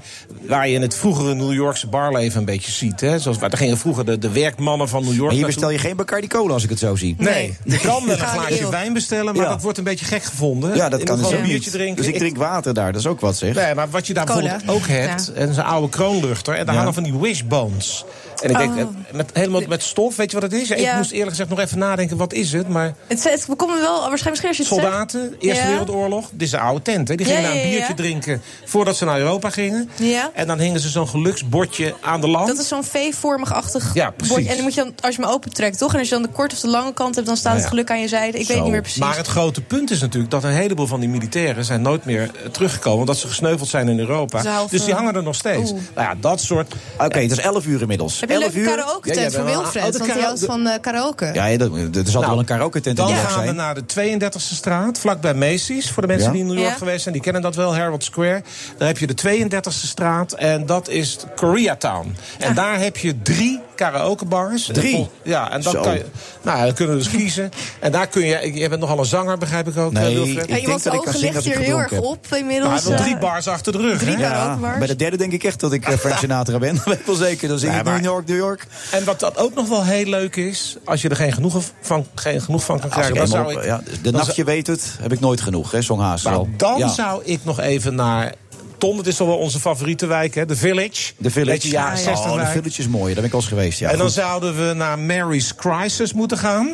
waar je in het vroegere New Yorkse barleven een beetje ziet. Hè? Zoals, waar daar gingen vroeger de, de werkmannen van New York
Maar hier
naartoe.
bestel je geen Bacardi Cola, als ik het zo zie.
Nee, je kan
[laughs]
wel een
Gouden
glaasje
eeuw.
wijn bestellen, maar
Ja.
dat wordt een beetje gek gevonden.
Ja, dat
Je
kan
moet
dus
gewoon
ook
een biertje
niet.
drinken.
Dus ik drink water daar, dat is ook wat, zeg.
Nee, maar wat je daar
Cola.
bijvoorbeeld ook hebt,
Ja.
en is een oude kroonluchter. En daar
Ja.
hangen van die wishbones. En ik denk, eh, met, helemaal met stof, weet je wat het is?
Oh. Ja.
Ik moest eerlijk gezegd nog even nadenken, wat is het? Maar
Het, het, we komen wel waarschijnlijk misschien als je het
soldaten,
zegt.
Eerste
Ja.
Wereldoorlog, dit is een oude tent. Hè? Die
Ja,
gingen daar
ja,
een
ja,
biertje
ja.
drinken voordat ze naar Europa gingen.
Ja.
En dan hingen ze zo'n geluksbordje aan de land.
Dat is zo'n V-vormig-achtig
Ja, precies.
bord. En dan moet je dan, als je hem opentrekt, toch? En als je dan de korte of de lange kant hebt, dan staat
Ja,
het
ja.
geluk aan je zijde. Ik weet
Zo.
niet meer precies.
Maar het grote punt is natuurlijk dat een heleboel van die militairen zijn nooit meer eh, teruggekomen. Omdat ze gesneuveld zijn in Europa.
Ze half,
dus die
eh,
hangen er nog steeds.
oeh.
Nou ja, dat soort.
Oké, het is 11 uur inmiddels.
Heb je een leuke karaoke
Ja, jij
tent
bent
voor
wel-
Wilfred?
oh, de
want die
kara-
houdt van eh, karaoke.
Ja, ja, dat, er zal wel een karaoke tent in
Nou, Dan
New York
gaan
zijn.
we naar de 32e straat, vlakbij Macy's. Voor de mensen
Ja.
die in New York
Ja.
geweest zijn, die kennen dat wel, Herald Square. Daar heb je de 32e straat en dat is Koreatown. En
Ah.
daar heb je drie karaokebars.
Drie?
En vol- Ja, en dan,
Zo.
kan je, nou, ja, dan kunnen we dus kiezen. En daar kun je, je bent nogal een zanger, begrijp ik ook,
Nee,
eh, Wilfred. Nou,
ik Ja, iemand denk dat ik kan
Ogen
zingen
ligt
als ik
hier heel erg
gedronken
op inmiddels.
hij wil
eh,
drie bars achter de rug.
drie
hè?
karaokebars.
Bij de derde denk ik echt dat ik eh, Frank Sinatra ben. [laughs] Dat weet ik wel zeker. Dan zing
Ja,
ik
maar-
New York, New York.
En wat dat ook nog wel heel leuk is, als je er geen genoeg van, geen genoeg van kan
Als ik
krijgen, dan
eenmaal
zou
op-
ik.
ja, de
dan
nachtje weet het, heb ik nooit genoeg, hè, Song Haas.
Nou,
wel.
dan
Ja.
zou ik nog even naar. Tom, dat is toch wel onze favoriete wijk, hè? De Village.
De Village.
Beetje jaren
Ah,
60
Oh, de
wijk.
Village is mooi, daar ben ik al eens geweest. Ja,
en dan
goed.
zouden we naar Mary's Crisis moeten gaan.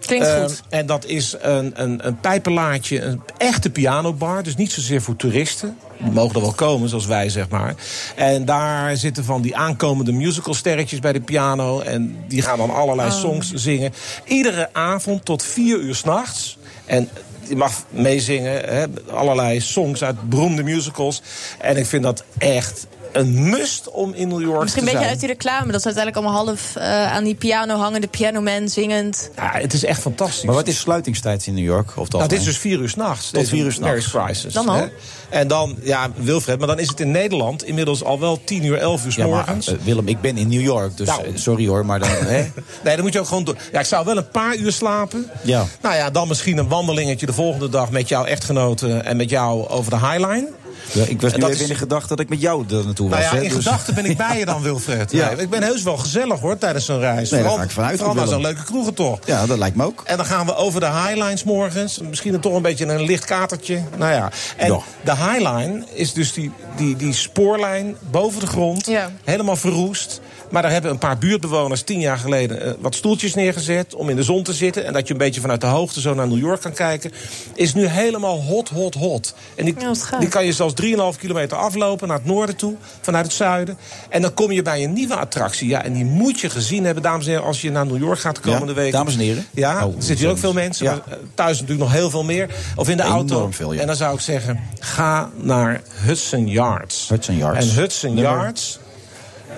Klinkt
Eh,
goed.
En dat is een, een, een pijpenlaadje, een echte pianobar. Dus niet zozeer voor toeristen. Die mogen er wel komen, zoals wij, zeg maar. En daar zitten van die aankomende musicalsterretjes bij de piano. En die gaan dan
Oh.
allerlei songs zingen. Iedere avond tot vier uur s'nachts. En je mag meezingen, hè, allerlei songs uit beroemde musicals. En ik vind dat echt een must om in New York
Misschien
te
een beetje
zijn.
uit die reclame. Dat ze uiteindelijk allemaal half eh, aan die piano hangen. De pianoman zingend.
Ja, het is echt fantastisch.
Maar wat is sluitingstijd in New York? Of
Nou, dit is dus vier uur s'nachts.
Tot vier uur 's nachts.
crisis.
Dan al.
hè. En dan, ja, Wilfred, maar dan is het in Nederland inmiddels al wel tien uur, elf uur 's
Ja, maar
morgens.
eh, Willem, ik ben in New York, dus
Nou.
eh, sorry hoor, maar dan... Hè?
[laughs] Nee, dan moet je ook gewoon door. Ja, ik zou wel een paar uur slapen.
Ja.
Nou ja, dan misschien een wandelingetje de volgende dag met jouw echtgenoten en met jou over de Highline.
Ja, ik was
En
nu even
dat is-
in de gedachte dat ik met jou er naartoe was.
Nou ja,
hè,
in
dus-
gedachten ben ik bij je dan, Wilfred.
[laughs] Ja.
Nee, ik ben heus wel gezellig hoor tijdens zo'n reis.
Nee, daar
Vooral-
ga ik vanuit,
Vooral naar
Willem.
zo'n leuke kroegentocht.
Ja, dat lijkt me ook.
En dan gaan we over de Highlines morgens. Misschien toch een beetje een licht katertje. Nou ja. En
Ja.
de Highline is dus die, die, die spoorlijn boven de grond.
Ja.
Helemaal verroest. Maar daar hebben een paar buurtbewoners tien jaar geleden eh, wat stoeltjes neergezet. om in de zon te zitten. En dat je een beetje vanuit de hoogte zo naar New York kan kijken. Is nu helemaal hot, hot, hot. En die,
Ja, wat gaaf.
die kan je zelfs 3,5 kilometer aflopen naar het noorden toe. vanuit het zuiden. En dan kom je bij een nieuwe attractie. Ja, en die moet je gezien hebben, dames en heren. als je naar New York gaat de komende
Ja,
week.
dames en heren.
Ja,
Oh,
er zitten hier ook veel mensen.
Ja.
maar, eh, thuis natuurlijk nog heel veel meer. Of in de
Enorm
auto.
veel, ja.
En dan zou ik zeggen, ga naar Hudson Yards.
Hudson Yards.
En Hudson
Nummer-
Yards...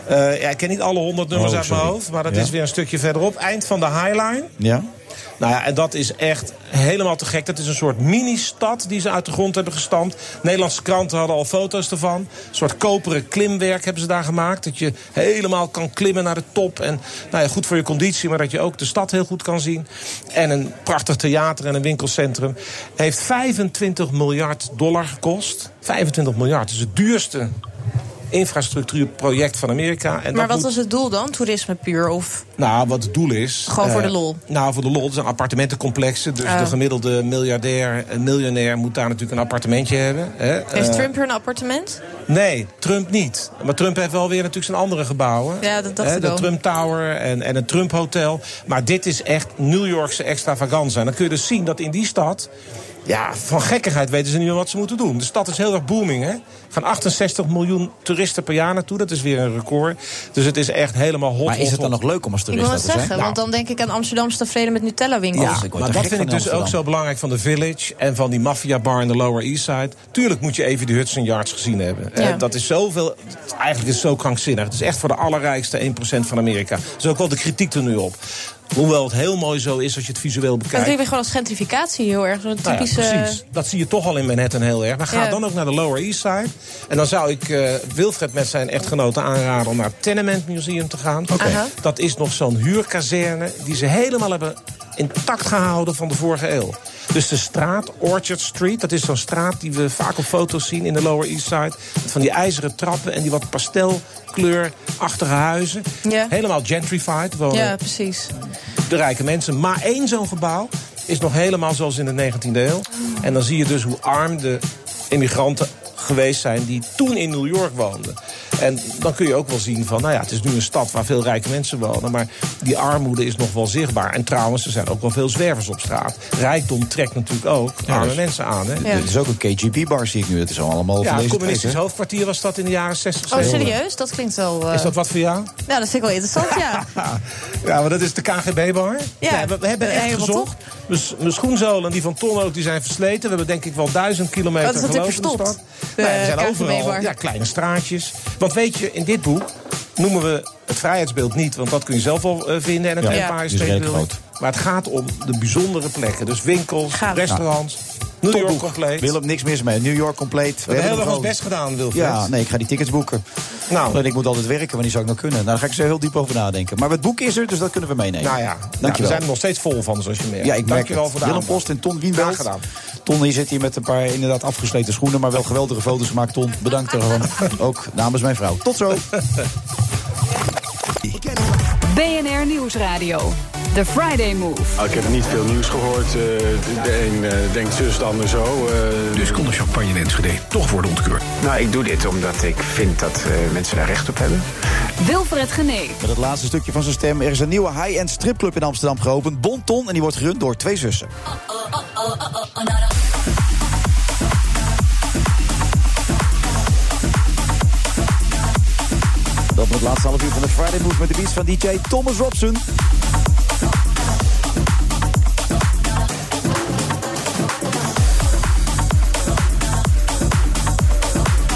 eh, ja, ik ken niet alle 100 nummers
Oh,
uit
sorry.
mijn hoofd, maar dat
Ja.
is weer een stukje verderop. Eind van de Highline.
Ja?
Nou ja, en dat is echt helemaal te gek. Dat is een soort mini-stad die ze uit de grond hebben gestampt. Nederlandse kranten hadden al foto's ervan. Een soort koperen klimwerk hebben ze daar gemaakt. Dat je helemaal kan klimmen naar de top. En nou ja, goed voor je conditie, maar dat je ook de stad heel goed kan zien. En een prachtig theater en een winkelcentrum. Heeft 25 miljard dollar gekost. 25 miljard, dus het duurste infrastructuurproject van Amerika. En
maar
dat
wat
moet-
was het doel dan? Toerisme puur? Of
nou, wat het doel is.
Gewoon voor
eh,
de lol.
Nou, voor de lol. Het zijn appartementencomplexen. Dus
Ah.
de gemiddelde miljardair en miljonair moet daar natuurlijk een appartementje hebben. Hè?
heeft
Eh,
Trump hier een appartement?
Nee, Trump niet. Maar Trump heeft wel weer natuurlijk zijn andere gebouwen.
Ja, dat dacht
Hè,
ik
de
al.
Trump Tower en, en het Trump Hotel. Maar dit is echt New Yorkse extravaganza. En dan kun je dus zien dat in die stad. Ja, van gekkigheid weten ze niet meer wat ze moeten doen. De stad is heel erg booming, hè. Er gaan 68 miljoen toeristen per jaar naartoe. Dat is weer een record. Dus het is echt helemaal hot,
Maar is
hot,
het dan
hot.
nog leuk om als
Ik wil
toerist
het
daar te zijn?
zeggen, want dan denk ik aan Amsterdamse tevreden met Nutella-winkels.
Nou. Ja, maar dat vind ik dus ook zo belangrijk van de Village en van die maffiabar in de Lower East Side. Tuurlijk moet je even die Hudson Yards gezien hebben.
Ja.
Eh, dat is zoveel, eigenlijk is het zo krankzinnig. Het is echt voor de allerrijkste 1% van Amerika. Dus ook wel de kritiek er nu op. Hoewel het heel mooi zo is als je het visueel
Dat
bekijkt.
klinkt gewoon als gentrificatie heel erg. Zo'n
Nou ja,
typische...
precies. Dat zie je toch al in Manhattan heel erg. Maar ga
Ja.
dan ook naar de Lower East Side. En dan zou ik eh, Wilfred met zijn echtgenoten aanraden om naar het Tenement Museum te gaan.
Aha.
Dat is nog zo'n huurkazerne die ze helemaal hebben intact gehouden van de vorige eeuw. Dus de straat, Orchard Street, dat is zo'n straat die we vaak op foto's zien in de Lower East Side. Met van die ijzeren trappen en die wat pastelkleurachtige huizen.
Ja.
Helemaal gentrified. Wonen
Ja, precies.
de rijke mensen. Maar één zo'n gebouw is nog helemaal zoals in de 19e eeuw. En dan zie je dus hoe arm de immigranten geweest zijn die toen in New York woonden. En dan kun je ook wel zien van, nou ja, het is nu een stad waar veel rijke mensen wonen, maar die armoede is nog wel zichtbaar. En trouwens, er zijn ook wel veel zwervers op straat. Rijkdom trekt natuurlijk ook arme
dus-
mensen aan. Hè?
Er is ook een KGB-bar, zie ik nu. Dat is allemaal
Ja,
van
het
deze tijd,
communistisch
hè?
hoofdkwartier was dat in de jaren 60.
Oh,
70.
serieus? Dat klinkt wel... eh,
Is dat wat voor jou?
Nou, dat vind ik wel interessant, ja.
[laughs] Ja, maar dat is de KGB-bar. Ja, we, we hebben echt
helemaal
gezocht. Mijn s- Mijn schoenzolen die van Ton ook, die zijn versleten. We hebben denk ik wel duizend kilometer
Oh, dat is
gelopen
natuurlijk
in de stad.
verstopt, de
Nou ja, we zijn overal
KGB-bar.
ja, kleine straatjes. Want weet je, in dit boek noemen we het vrijheidsbeeld niet... want dat kun je zelf wel eh, vinden en het
Ja,
Empire
die is
State
redelijk
Building. Maar het gaat om de bijzondere plekken. Dus winkels, restaurants, New York compleet.
Willem, niks mis mee. New York compleet. We,
hebben
er
nog
gewoon.
ons best gedaan, Wilfred.
Ja, nee, ik ga die tickets boeken.
Nou.
En ik moet altijd werken, wanneer zou ik nou kunnen? Nou, daar ga ik zo heel diep over nadenken. Maar het boek is er, dus dat kunnen we meenemen.
Nou ja,
dankjewel.
nou, we zijn er nog steeds vol van, zoals je merkt.
Ja, ik merk
Dankjewel
het.
voor de
Willem
aandacht.
Post en Ton
Graag
Wienbelt.
gedaan.
Ton die zit hier met een paar inderdaad afgesleten schoenen, maar wel geweldige foto's gemaakt. Ton, bedankt
[laughs]
daarvan. Ook namens mijn vrouw. Tot zo.
BNR Nieuwsradio. The Friday Move.
Ah, ik heb niet veel nieuws gehoord. Eh, de een eh, denkt zus, de ander zo. Dus kon de champagne in Enschede toch worden ontkeurd.
Nou, ik doe dit omdat ik vind dat eh, mensen daar recht op hebben.
Wilfred Genee.
Met het laatste stukje van zijn stem. Er is een nieuwe high-end stripclub in Amsterdam geopend. Bonton. En die wordt gerund door twee zussen. Dat wordt het laatste half uur van de Friday Move met de beats van DJ Thomas Robson.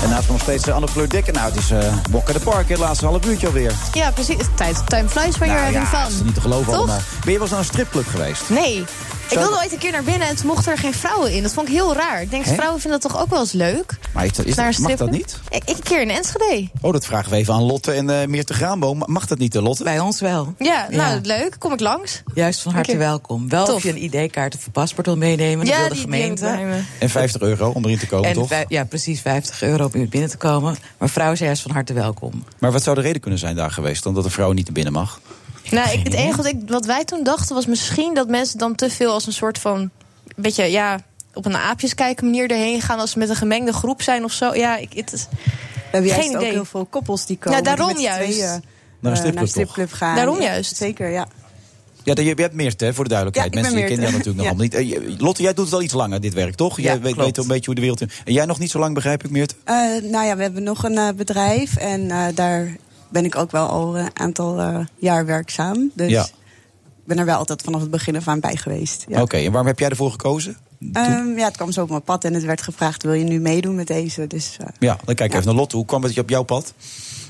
En naast me nog steeds eh, Anne Fleur Dekker. Nou, het is eh Bokken de Park, hè, het laatste half uurtje alweer. Nou
Ja, precies. Tijd, time flies waar
Nou
je
ja,
ja,
dat
van.
is niet te geloven
Toch?
allemaal. Ben je wel eens naar een stripclub geweest?
Nee. Ik
Zou-
wilde ooit een keer naar binnen en toen mochten er geen vrouwen in. Dat vond ik heel raar. Ik denk,
Hè?
vrouwen vinden dat toch ook wel eens leuk?
Maar is dat, is
naar
dat,
een
mag dat
stripclub?
niet?
Ik, ik een keer in Enschede.
Oh, dat vragen we even aan Lotte en eh Meerte Graanboom. Mag dat niet, eh, Lotte?
Bij ons wel.
Ja, nou,
Ja.
leuk. Kom ik langs?
Juist van harte
Oké.
welkom. Wel
Tof.
of je een ID-kaart of een paspoort wil meenemen.
Ja,
dat wil de
die- die
gemeente.
heb ik bij
En 50 euro om erin te komen,
en
toch?
vij- ja, precies 50 euro om hier binnen te komen. Maar vrouwen zijn juist van harte welkom.
Maar wat zou de reden kunnen zijn daar geweest? Dan dat een vrouw niet naar binnen mag?
Nou, ik, het enige wat, ik, wat wij toen dachten was misschien dat mensen dan te veel als een soort van. beetje ja, op een aapjes kijken manier erheen gaan. als ze met een gemengde groep zijn of zo. Ja, ik, het is.
hebben juist
geen
ook
idee.
heel veel koppels die
Ja,
komen.
daarom
die met z'n
juist.
tweeën,
Naar een
eh, naar
stripclub toch?
een stripclub gaan.
Daarom
Ja,
juist.
Zeker, ja.
Ja, je hebt Meerte, hè, voor de duidelijkheid.
Ja, ik
Mensen die
ben
kennen jou
Meerte.
natuurlijk nog allemaal niet. Eh, je- Lotte, jij doet het al iets langer, dit werk, toch?
Ja,
jij weet,
klopt.
weet een beetje hoe de wereld... in- En jij nog niet zo lang, begrijp ik, Meerte?
Eh, nou ja, we hebben nog een eh, bedrijf en eh, daar ben ik ook wel al een aantal eh, jaar werkzaam. Dus
Ja.
ik ben er wel altijd vanaf het begin af aan bij geweest. Ja.
Oké, en waarom heb jij ervoor gekozen?
Ehm, ja, het kwam zo op mijn pad en het werd gevraagd: wil je nu meedoen met deze? Dus eh,
Ja, dan kijk even naar Lotte. Hoe kwam het op jouw pad?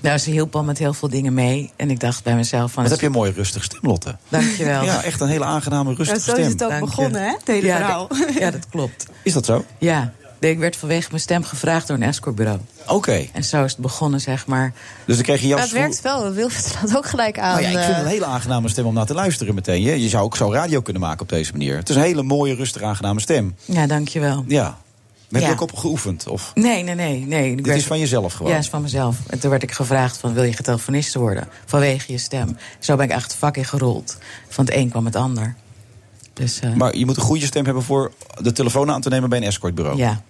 Nou, ze hielp al met heel veel dingen mee. En ik dacht bij mezelf van...
Wat heb je een mooie rustige stem, Lotte.
Dankjewel.
Ja, echt een hele aangename, rustige
zo is
stem.
het ook begonnen, hè? Het hele
ja,
verhaal.
dat- ja, dat klopt.
Is dat zo?
Ja, nee, ik werd vanwege mijn stem gevraagd door een escortbureau.
Oké.
En zo is het begonnen, zeg maar.
Dus dan kreeg je jouw
Maar het
schoen-
werkt wel. Wilfred staat ook gelijk aan.
Nou ja, ik vind het
eh,
een hele aangename stem om naar te luisteren meteen. Je, je zou ook zo radio kunnen maken op deze manier. Het is een hele mooie, rustig aangename stem.
Ja, dankjewel.
Ja. Heb je
Ja.
ook op geoefend? Of
Nee, nee, nee. nee. Ik
dit
werd-
is van jezelf gewoon?
Ja, is van mezelf. En toen werd ik gevraagd van, wil je getelefoniste worden? Vanwege je stem. Zo ben ik echt het vak in gerold. Van het een kwam het ander. Dus, eh,
Maar je moet een goede stem hebben voor de telefoon aan te nemen bij een escortbureau.
Ja.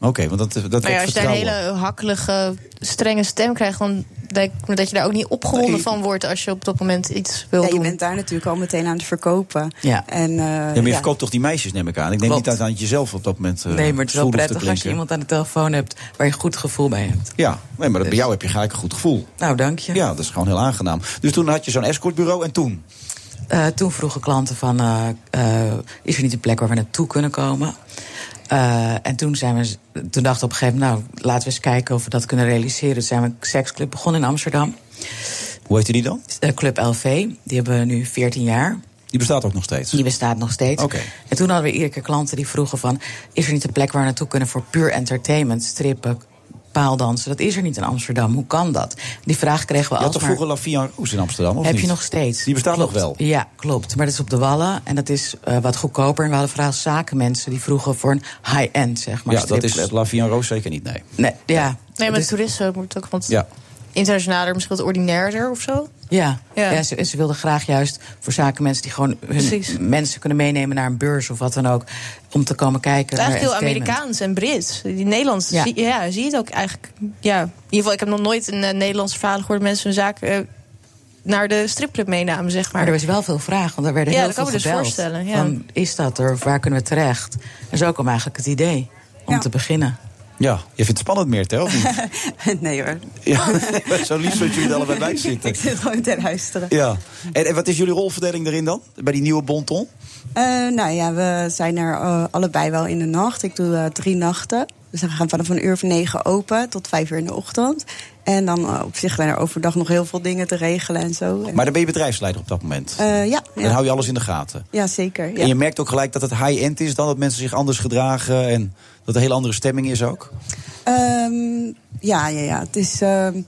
Oké, Oké, want dat, dat
Nou ja,
wordt
als je daar een
vertrouwen.
hele hakkelige, strenge stem krijgt, dan denk ik me dat je daar ook niet opgewonden
Nee.
van wordt als je op dat moment iets wil
Ja, je
doen.
bent daar natuurlijk al meteen aan het verkopen.
Ja.
En, eh,
Ja, maar je
ja.
verkoopt toch die meisjes, neem ik aan. Ik denk
Klopt.
niet dat aan het jezelf op dat moment. eh,
nee, maar het is wel
stoel hoeft te
prettig als je
drinken.
iemand aan de telefoon hebt waar je een goed gevoel bij hebt.
Ja, nee, maar bij jou heb je gelijk een goed gevoel.
Dus- Nou, dank je.
Ja, dat is gewoon heel aangenaam. Dus toen had je zo'n escortbureau en toen?
Eh, toen vroegen klanten van, eh, eh, is er niet een plek waar we naartoe kunnen komen? Eh, en toen, zijn we, toen dachten we op een gegeven moment, nou, laten we eens kijken of we dat kunnen realiseren. Toen zijn we een seksclub begonnen in Amsterdam. Eh,
Hoe heette die dan?
Club LV, die hebben we nu 14 jaar.
Die bestaat ook nog steeds?
Die bestaat nog steeds.
Oké.
En toen hadden we iedere keer klanten die vroegen van... is er niet een plek waar we naartoe kunnen voor puur entertainment? Strippen, paaldansen, dat is er niet in Amsterdam. Hoe kan dat? Die vraag kregen
Je
we
had
altijd.
toch vroeger La Via Roos in Amsterdam, of
Heb
niet?
je nog steeds.
Die bestaat nog wel.
Klopt. Ja, klopt. Maar dat is op de Wallen en dat is eh, wat goedkoper. En we hadden vooral zakenmensen die vroegen voor een high-end, zeg maar,
ja, dat is
stripclub.
La Via Roos zeker niet, nee.
Nee, ja. Dus-
Nee,
dus-
maar de toeristen moet ook wat
Ja.
internationaler, misschien wat ordinairder of zo.
Ja,
Ja.
ja. ze, ze wilden graag juist voor zakenmensen die gewoon hun
Precies.
mensen kunnen meenemen naar een beurs of wat dan ook. Om te komen kijken.
Het is
naar
eigenlijk heel
entertainment.
Amerikaans en Brits. Die Nederlands,
Ja.
Zie, ja, zie je het ook eigenlijk. Ja, in ieder geval, ik heb nog nooit een eh, Nederlands verhaal gehoord... dat mensen hun zaak eh, naar de stripclub meenamen, zeg maar.
Maar er was wel veel vraag, want er werden
Ja,
heel
dat
veel
kan ik me dus
gebeld.
voorstellen, ja.
Van, is dat er of waar kunnen we terecht? En zo kwam eigenlijk het idee om te beginnen.
Ja, je vindt het spannend meer, hè? of niet?
[laughs]
nee hoor,
ja, zo lief dat jullie er allebei bij
ik
zitten.
zit gewoon te luisteren.
Ja. En, en wat is jullie rolverdeling daarin dan? Bij die nieuwe Bonton?
Eh, nou ja, we zijn er eh, allebei wel in de nacht. Ik doe eh, drie nachten. Dus we gaan vanaf een uur of negen open tot vijf uur in de ochtend. En dan eh, op zich zijn er overdag nog heel veel dingen te regelen en zo. En,
Oh, Maar dan ben je bedrijfsleider op dat moment.
eh, ja,
Dan
ja.
hou je alles in de gaten.
ja, zeker. Ja.
En je merkt ook gelijk dat het high-end is dan, dat mensen zich anders gedragen en dat er een hele andere stemming is ook.
Ehm, ja, ja, ja. Het is ehm,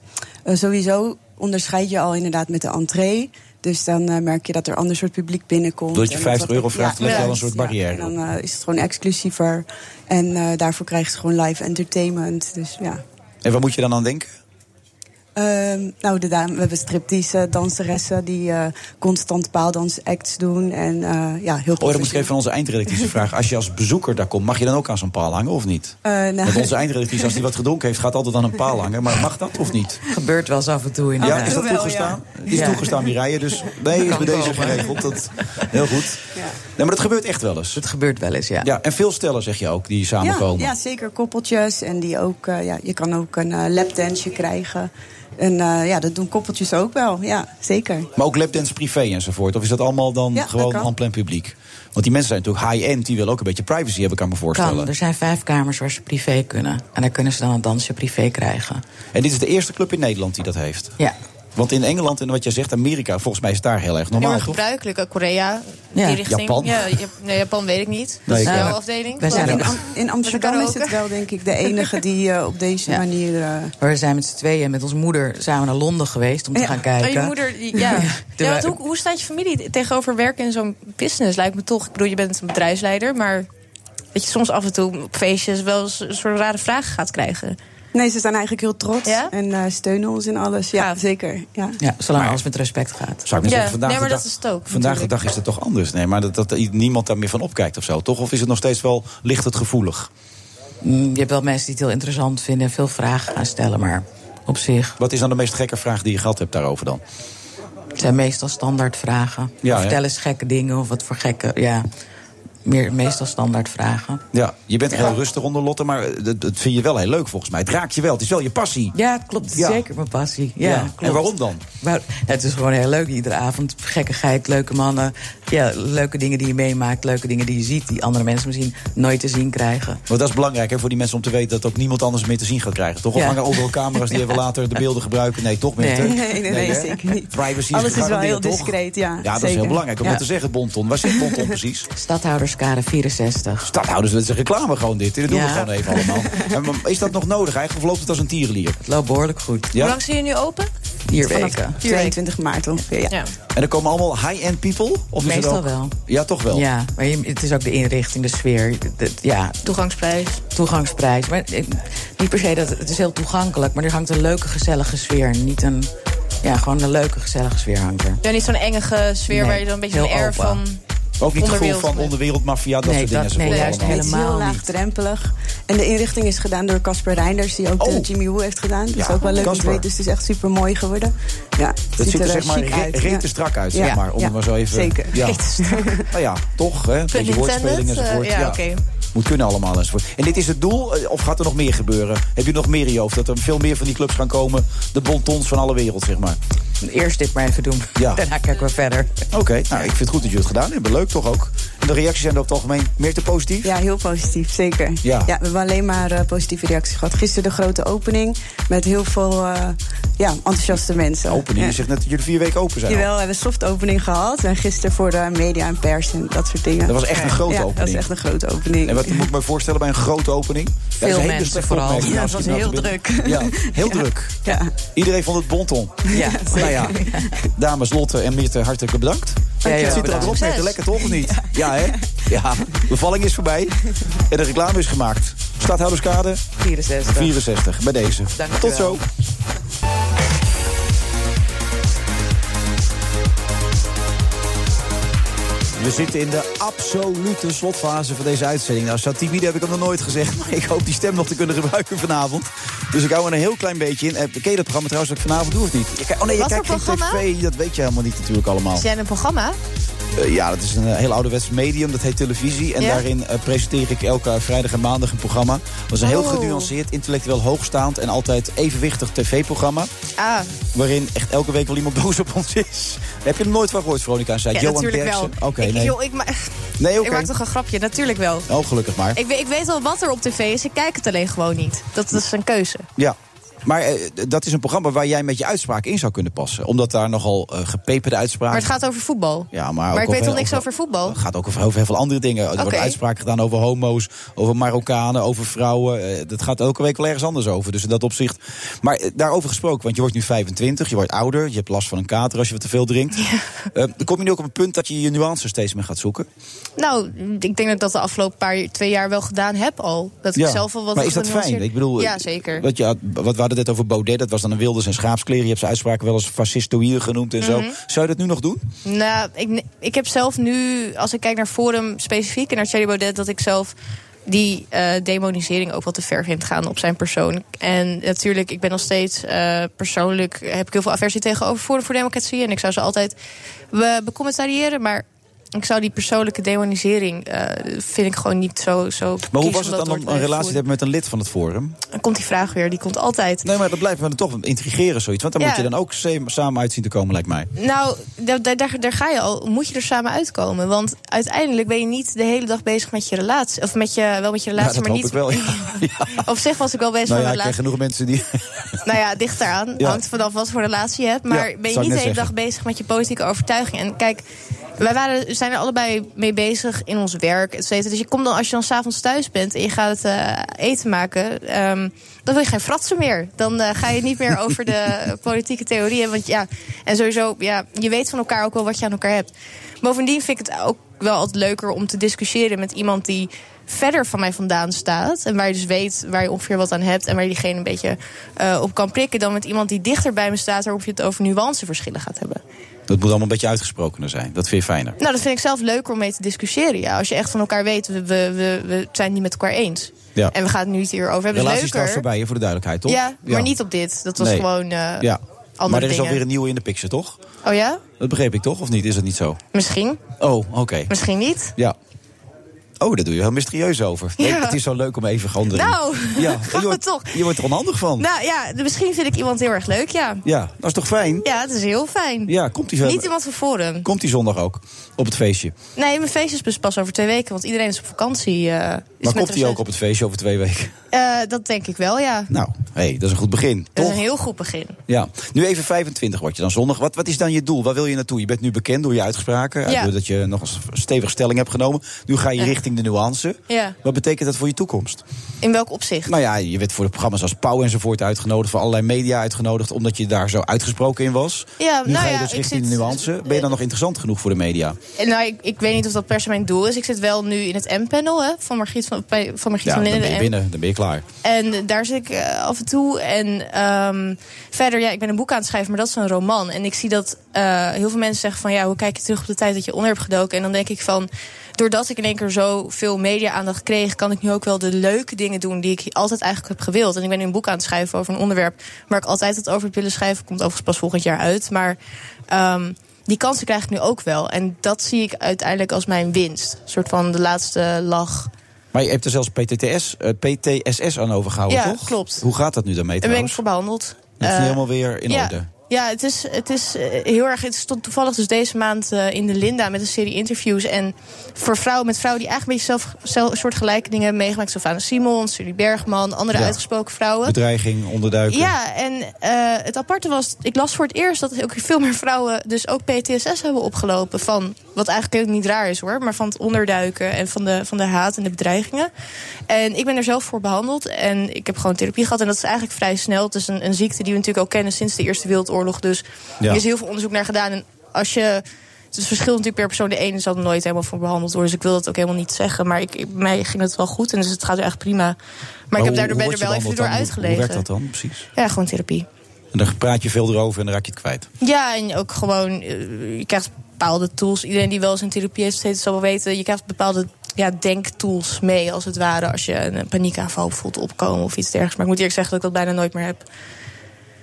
eh, sowieso onderscheid je al inderdaad met de entree. Dus dan eh, merk je dat er ander soort publiek binnenkomt.
Doordat je
En
50
dat-
euro vraagt, leg je al een soort barrière
En dan eh, is het gewoon exclusiever. En eh, daarvoor krijg je gewoon live entertainment. Dus ja.
En waar moet je dan aan denken?
Ehm, nou, de dame, we hebben striptease danseressen die eh, constant paaldansacts doen. En eh, ja, heel
Oh, dan moet ik
professioneel.
even aan onze eindredactrice vragen. Als je als bezoeker daar komt, mag je dan ook aan zo'n paal hangen of niet?
Eh, nou, [laughs]
Want onze eindredactrice, als die wat gedronken heeft, gaat altijd aan een paal hangen. Maar mag dat of niet?
Gebeurt wel eens af en toe in
Ja, is dat toegestaan? Die is
Ja.
toegestaan, die rijden. Dus nee, is
Kan
bij deze
komen.
geregeld. Dat, heel goed. Nee, maar dat gebeurt echt wel eens. Het
gebeurt wel eens, ja.
ja en veel stellen, zeg je ook, die samenkomen.
Ja, ja, zeker koppeltjes. En die ook, eh, ja, je kan ook een eh, lapdance krijgen. En eh, ja, dat doen koppeltjes ook wel. Ja, zeker.
Maar ook lapdance privé enzovoort. Of is dat allemaal dan
Ja, dat
gewoon
kan.
aan plein publiek? Want die mensen zijn natuurlijk high-end, die willen ook een beetje privacy, heb ik aan me voorstellen.
Kan. Er zijn vijf kamers waar ze privé kunnen. En daar kunnen ze dan een dansje privé krijgen.
En dit is de eerste club in Nederland die dat heeft.
Ja.
Want in Engeland en wat jij zegt, Amerika, volgens mij is het daar heel erg
Heel
normaal,
erg
toch?
gebruikelijk. eh, Korea,
Ja.
die richting.
Japan.
[laughs]
Ja, Jap- nee, Japan weet ik niet.
Nee,
Dat is
ik
jouw
ook.
afdeling.
Wij zijn
Ja.
er-
Am-
In Amsterdam is het wel, denk ik,
[laughs]
de enige die eh, op deze manier... eh,
Maar we zijn met z'n tweeën met onze moeder samen naar Londen geweest om te gaan
Maar
kijken.
Oh, je moeder, die-
[laughs]
ja. ja want hoe, hoe staat je familie tegenover werken in zo'n business? Lijkt me toch. Ik bedoel, je bent een bedrijfsleider, maar dat je soms af en toe op feestjes wel eens een soort rare vragen gaat krijgen.
Nee, ze zijn eigenlijk heel trots en eh, steunen ons in alles. Ja, zeker. Ja.
Ja, zolang alles met respect gaat.
Zou ik maar
Ja,
zeggen, vandaag
nee, maar
de
dat
dag-
is het ook,
Vandaag de
natuurlijk.
dag is het toch anders. Nee, maar dat, dat niemand daar meer van opkijkt of zo, toch? Of is het nog steeds wel, ligt het gevoelig?
Mm, Je hebt wel mensen die het heel interessant vinden en veel vragen gaan stellen. Maar op zich
Wat is dan de meest gekke vraag die je gehad hebt daarover dan?
het zijn meestal standaard vragen.
Ja,
Of
hè?
vertel eens gekke dingen of wat voor gekke. Ja, meer, meestal standaard vragen.
Ja, je bent heel rustig onder Lotte, maar eh, dat, dat vind je wel heel leuk volgens mij. Het raakt je wel, het is wel je passie.
Ja, klopt. Het is
Ja.
zeker mijn passie. Ja,
Ja,
klopt.
en waarom dan?
Maar het is gewoon heel leuk iedere avond. Gekkigheid, leuke mannen. Ja, leuke dingen die je meemaakt. Leuke dingen die je ziet. Die andere mensen misschien nooit te zien krijgen.
Want dat is belangrijk hè, voor die mensen om te weten dat ook niemand anders meer te zien gaat krijgen. Toch? Of
Ja.
hangen overal camera's die even later de beelden gebruiken? Nee, toch?
Nee.
Mitte?
Nee, nee, nee,
hè?
zeker niet.
Privacy
Alles is wel
gegarandeerd,
heel
toch?
discreet, ja,
Ja, dat is
zeker.
heel belangrijk om
Ja.
dat te zeggen, Bonton. Waar
[laughs]
zit Bonton precies?
Stadhouderskade 64.
Stadhouders, dat is een reclame gewoon dit. Dit doen we
Ja.
gewoon even
[laughs]
allemaal. En, maar is dat nog nodig eigenlijk? Of loopt het als een tierenlier? Het
loopt behoorlijk goed.
Hoe
Ja?
lang zijn jullie nu open?
Vier
Vanaf
weken.
22 maart ongeveer, ja.
En er komen allemaal high-end people? Of is het
Meestal
ook-
wel.
Ja, toch wel?
Ja, maar je- het is ook de inrichting, de sfeer. de- ja,
Toegangsprijs.
toegangsprijs. Maar eh, niet per se dat het is heel toegankelijk, maar er hangt een leuke, gezellige sfeer. Niet een, ja, gewoon een leuke, gezellige sfeer hangt er.
Ja, niet zo'n enge sfeer
Nee,
waar je dan een beetje een
heel
air
open.
van
Ook niet het gevoel
Onderwereld.
van onderwereld, maffia, dat
Nee,
soort
dat-
dingen. Ze
nee,
worden
juist
allemaal-
Het is heel laagdrempelig. En de inrichting is gedaan door Casper Reinders, die ook de Jimmy Woo heeft gedaan. Dat is
Oh. Ja,
ook wel leuk om te
Casper.
weten. Dus het is echt super mooi geworden. Ja, het
Dat ziet er zeg
eh,
maar
chic
re-
uit.
rete
Ja.
strak uit,
Ja,
zeg maar. Om
ja,
het maar zo even...
Zeker.
Ja.
Rete strak.
[laughs] Nou ja, toch, hè? Een beetje
Nintendo,
woordspeling
eh,
enzovoort.
ja, oké.
Moet kunnen allemaal enzovoort. En dit is het doel, eh, of gaat er nog meer gebeuren? Heb je nog meer in je hoofd? Dat er veel meer van die clubs gaan komen? De bontons van alle wereld, zeg maar.
Eerst dit maar even doen.
[laughs]
Ja.
Daarna kijken we verder.
Oké, nou, ik vind het goed dat jullie het gedaan hebben. Leuk toch ook? En de reacties zijn er over het algemeen meer te positief?
Ja, heel positief, zeker.
Ja.
we hebben alleen maar eh, positieve reacties gehad. Gisteren de grote opening met heel veel eh, ja, enthousiaste mensen.
Opening, je
Ja.
zegt net dat jullie vier weken open zijn. al.
Jawel, we hebben een soft opening gehad. En gisteren voor de media en pers en dat soort dingen.
Dat was echt een grote
Ja,
opening.
Dat was echt een grote opening.
En wat moet ik me voorstellen bij een grote opening?
Veel mensen vooral. Ja, het was heel druk.
Ja,
[laughs]
heel druk. Iedereen vond het bonton.
Ja,
nou ja. Dames Lotte en Mirte, hartelijk bedankt.
Ja,
het
ja,
ziet er
bedankt.
al op, Mirte.
Succes.
Lekker toch of niet? Ja, hè? Ja, bevalling is voorbij. En de reclame is gemaakt. Stadhouderskade
64.
64, bij deze.
Dank u
Tot
wel.
zo. We zitten in de absolute slotfase van deze uitzending. Nou, Satibide heb ik hem nog nooit gezegd, maar ik hoop die stem nog te kunnen gebruiken vanavond. Dus ik hou er een heel klein beetje in. Eh, Ken je dat programma trouwens dat ik vanavond doe of niet? Je kijkt- oh nee, je
Wat voor
kijkt geen
programma?
tv, dat weet je helemaal niet natuurlijk allemaal.
Is jij een programma?
Eh, ja, dat is een eh, heel ouderwets medium, dat heet televisie. En
Ja?
daarin eh, presenteer ik elke vrijdag en maandag een programma. Dat is een heel
Oh.
genuanceerd, intellectueel hoogstaand en altijd evenwichtig tv-programma.
Ah,
Waarin echt elke week wel iemand [laughs] boos op ons is. Heb je er nooit van gehoord, Veronica? en Zei
ja,
Johan
natuurlijk wel.
Derksen. Oké,
ik,
nee.
joh, ik, ma-
Nee, oké.
ik maak toch een grapje, natuurlijk wel.
Oh, gelukkig maar.
Ik, we- ik weet wel wat er op tv is, ik kijk het alleen gewoon niet. Dat, dat is een keuze.
Ja. Maar eh, d- dat is een programma waar jij met je uitspraak in zou kunnen passen. Omdat daar nogal eh, gepeperde uitspraken...
Maar het gaat over voetbal.
Ja, maar, ook
Maar ik
over
weet toch
heel-
niks over voetbal?
Het gaat ook over heel veel andere dingen. Er worden
Oké.
uitspraken gedaan over homo's, over Marokkanen, over vrouwen. Eh, dat gaat elke week wel ergens anders over. Dus in dat opzicht. Maar eh, daarover gesproken, want je wordt nu 25, je wordt ouder, je hebt last van een kater als je wat te veel drinkt. Eh, dan kom je nu ook op een punt dat je je nuances steeds meer gaat zoeken.
Nou, ik denk dat ik dat de afgelopen paar, twee jaar wel gedaan heb al. Dat ik
Ja,
zelf al wat
maar is dat fijn?
genuanceerd-
Ik bedoel,
ja, zeker.
Wat, je had- wat we hadden het net over Baudet, dat was dan een wilders en schaapskleren. Je hebt zijn uitspraken wel eens fascistoïde genoemd en
Mhm.
zo. Zou je dat nu nog doen?
Nou, ik, ik heb zelf nu, als ik kijk naar Forum specifiek en naar Thierry Baudet, dat ik zelf die eh, demonisering ook wat te ver vind gaan op zijn persoon. En natuurlijk, ik ben nog steeds eh, persoonlijk, heb ik heel veel aversie tegenover Forum voor Democratie. En ik zou ze altijd be- becommentariëren, maar ik zou die persoonlijke demonisering, eh, vind ik gewoon niet zo... zo
Maar hoe
kies
was het
om dat
dan
door
om
te
een relatie te
voeren.
hebben met een lid van het Forum?
Dan komt die vraag weer, die komt altijd.
Nee, maar dat blijft me dan toch intrigeren, zoiets. Want daar
Ja.
moet je dan ook se- samen uit zien te komen, lijkt mij.
Nou, daar, daar- daar, daar ga je al. Moet je er samen uitkomen? Want uiteindelijk ben je niet de hele dag bezig met je relatie. Of met je, wel met je
ja,
relatie,
dat
maar
hoop
niet.
ik wel. Ja.
[laughs] Op zich was ik wel bezig
nou
met
ja,
mijn
ik ken
relatie.
genoeg mensen die... [laughs]
Nou ja, dicht daaraan.
Ja.
Hangt vanaf wat voor relatie je hebt. Maar
Ja,
ben je
zou ik
niet de
net
hele dag
zeggen.
bezig met je politieke overtuiging. En kijk, wij waren, zijn er allebei mee bezig in ons werk, et cetera. Dus je komt dan, als je dan s'avonds thuis bent en je gaat het eh, eten maken... ehm, dan wil je geen fratsen meer. Dan eh, ga je
[laughs]
niet meer over de politieke theorieën. Want ja, en sowieso, ja, je weet van elkaar ook wel wat je aan elkaar hebt. Bovendien vind ik het ook wel altijd leuker om te discussiëren met iemand die verder van mij vandaan staat. En waar je dus weet waar je ongeveer wat aan hebt. En waar je diegene een beetje eh, op kan prikken. Dan met iemand die dichter bij me staat. Waarop je het over nuanceverschillen gaat hebben.
Dat moet allemaal een beetje uitgesprokener zijn. Dat vind je fijner.
Nou, dat vind ik zelf leuker om mee te discussiëren. Ja. Als je echt van elkaar weet, we, we, we, we zijn het niet met elkaar eens.
Ja.
En we gaan het nu niet hierover hebben.
Relatie
is
is trouwens
leuker.
voorbij, hè, voor de duidelijkheid, toch?
Ja, maar niet op dit. Dat was
Nee.
gewoon eh
ja.
andere
Maar er is
dingen.
alweer een nieuwe in de picture, toch?
Oh ja?
Dat begreep ik toch, of niet? Is dat niet zo?
Misschien.
Oh, oké.
Misschien niet.
Ja. Oh, daar doe je heel mysterieus over. Nee,
Ja.
het is zo leuk om even andere...
Nou,
ja.
[laughs] gaan
je,
we
wordt,
toch.
je wordt er onhandig van.
Nou ja, de- misschien vind ik iemand heel erg leuk, ja.
Ja, dat is toch fijn?
Ja, het is heel fijn.
Ja, komt die,
Niet iemand van Forum.
komt die zondag ook op het feestje?
Nee, mijn feest is dus pas over twee weken, want iedereen is op vakantie. eh, dus
Maar
met
komt die
reces-
ook op het feestje over twee weken? [laughs]
Eh, dat denk ik wel, ja.
Nou, hey, dat is een goed begin.
Dat is een heel goed begin.
Ja, nu even 25 word je dan zondag. Wat, wat is dan je doel? Waar wil je naartoe? Je bent nu bekend door je uitspraken.
Ja.
Ja. Doordat je nog eens stevig stelling hebt genomen. Nu ga je richting de nuance.
Ja.
Wat betekent dat voor je toekomst?
In welk opzicht?
Nou ja, je werd voor de programma's als Pauw enzovoort uitgenodigd. Voor allerlei media uitgenodigd. Omdat je daar zo uitgesproken in was.
Ja,
nu
nou
ga je
ja,
dus
ik
richting
zit-
de nuance. Ben je dan nog interessant genoeg voor de media?
En nou, ik, ik weet niet of dat per se mijn doel is. Ik zit wel nu in het M-panel hè, van Margriet van, bij- van,
Ja,
Margriet van
dan
Linden.
ben je
en-
binnen. Dan ben je
waar.
En daar zit ik eh, af en toe. En ehm, verder, ja, ik ben een boek aan het schrijven, maar dat is een roman. En ik zie dat eh, heel veel mensen zeggen van... ja, hoe kijk je terug op de tijd dat je onder hebt gedoken? En dan denk ik van, doordat ik in één keer zoveel media-aandacht kreeg... kan ik nu ook wel de leuke dingen doen die ik altijd eigenlijk heb gewild. En ik ben nu een boek aan het schrijven over een onderwerp... waar ik altijd het over heb willen schrijven. Komt overigens pas volgend jaar uit, maar... ehm, die kansen krijg ik nu ook wel. En dat zie ik uiteindelijk als mijn winst. Een soort van de laatste lach.
Maar je hebt er zelfs PTTS, eh, PTSS aan overgehouden,
Ja,
toch?
klopt.
Hoe gaat dat nu daarmee
Daar ben ik
trouwens?
voor behandeld.
Dat is nu
Eh,
helemaal weer in
ja,
orde.
Ja, het is, het is eh, heel erg. Het stond toevallig dus deze maand eh, in de Linda met een serie interviews. En voor vrouwen met vrouwen die eigenlijk een beetje zelf, zelf soort gelijke dingen hebben meegemaakt. Sylvana Simons, Julie Bergman, andere
Ja.
uitgesproken vrouwen.
Bedreiging, onderduiken.
Ja, en eh, het aparte was, ik las voor het eerst dat ook veel meer vrouwen dus ook PTSS hebben opgelopen. Van, wat eigenlijk ook niet raar is hoor, maar van het onderduiken en van de, van de haat en de bedreigingen. En ik ben er zelf voor behandeld en ik heb gewoon therapie gehad. En dat is eigenlijk vrij snel. Het is een, een ziekte die we natuurlijk ook kennen sinds de Eerste Wereldoorlog. Dus
Ja.
er is heel veel onderzoek naar gedaan. En als je. Het verschilt natuurlijk per persoon. De ene zal er nooit helemaal voor behandeld worden. Dus ik wil dat ook helemaal niet zeggen. Maar ik, ik- mij ging het wel goed en dus het gaat er echt prima. Maar, ik
Oh, hoe-
heb daardoor
hoe
ben
word
er
je
wel even
behandeld
door
dan? Hoe-
uitgelezen.
Hoe werkt dat dan precies?
Ja, gewoon therapie.
En dan praat je veel erover en dan raak je het kwijt.
Ja, en ook gewoon, eh, je krijgt bepaalde tools. Iedereen die wel eens in therapie heeft gezeten zal wel weten... je krijgt bepaalde ja, denktools mee, als het ware... als je een een paniekaanval voelt opkomen of iets dergelijks. Maar ik moet eerlijk zeggen dat ik dat bijna nooit meer heb.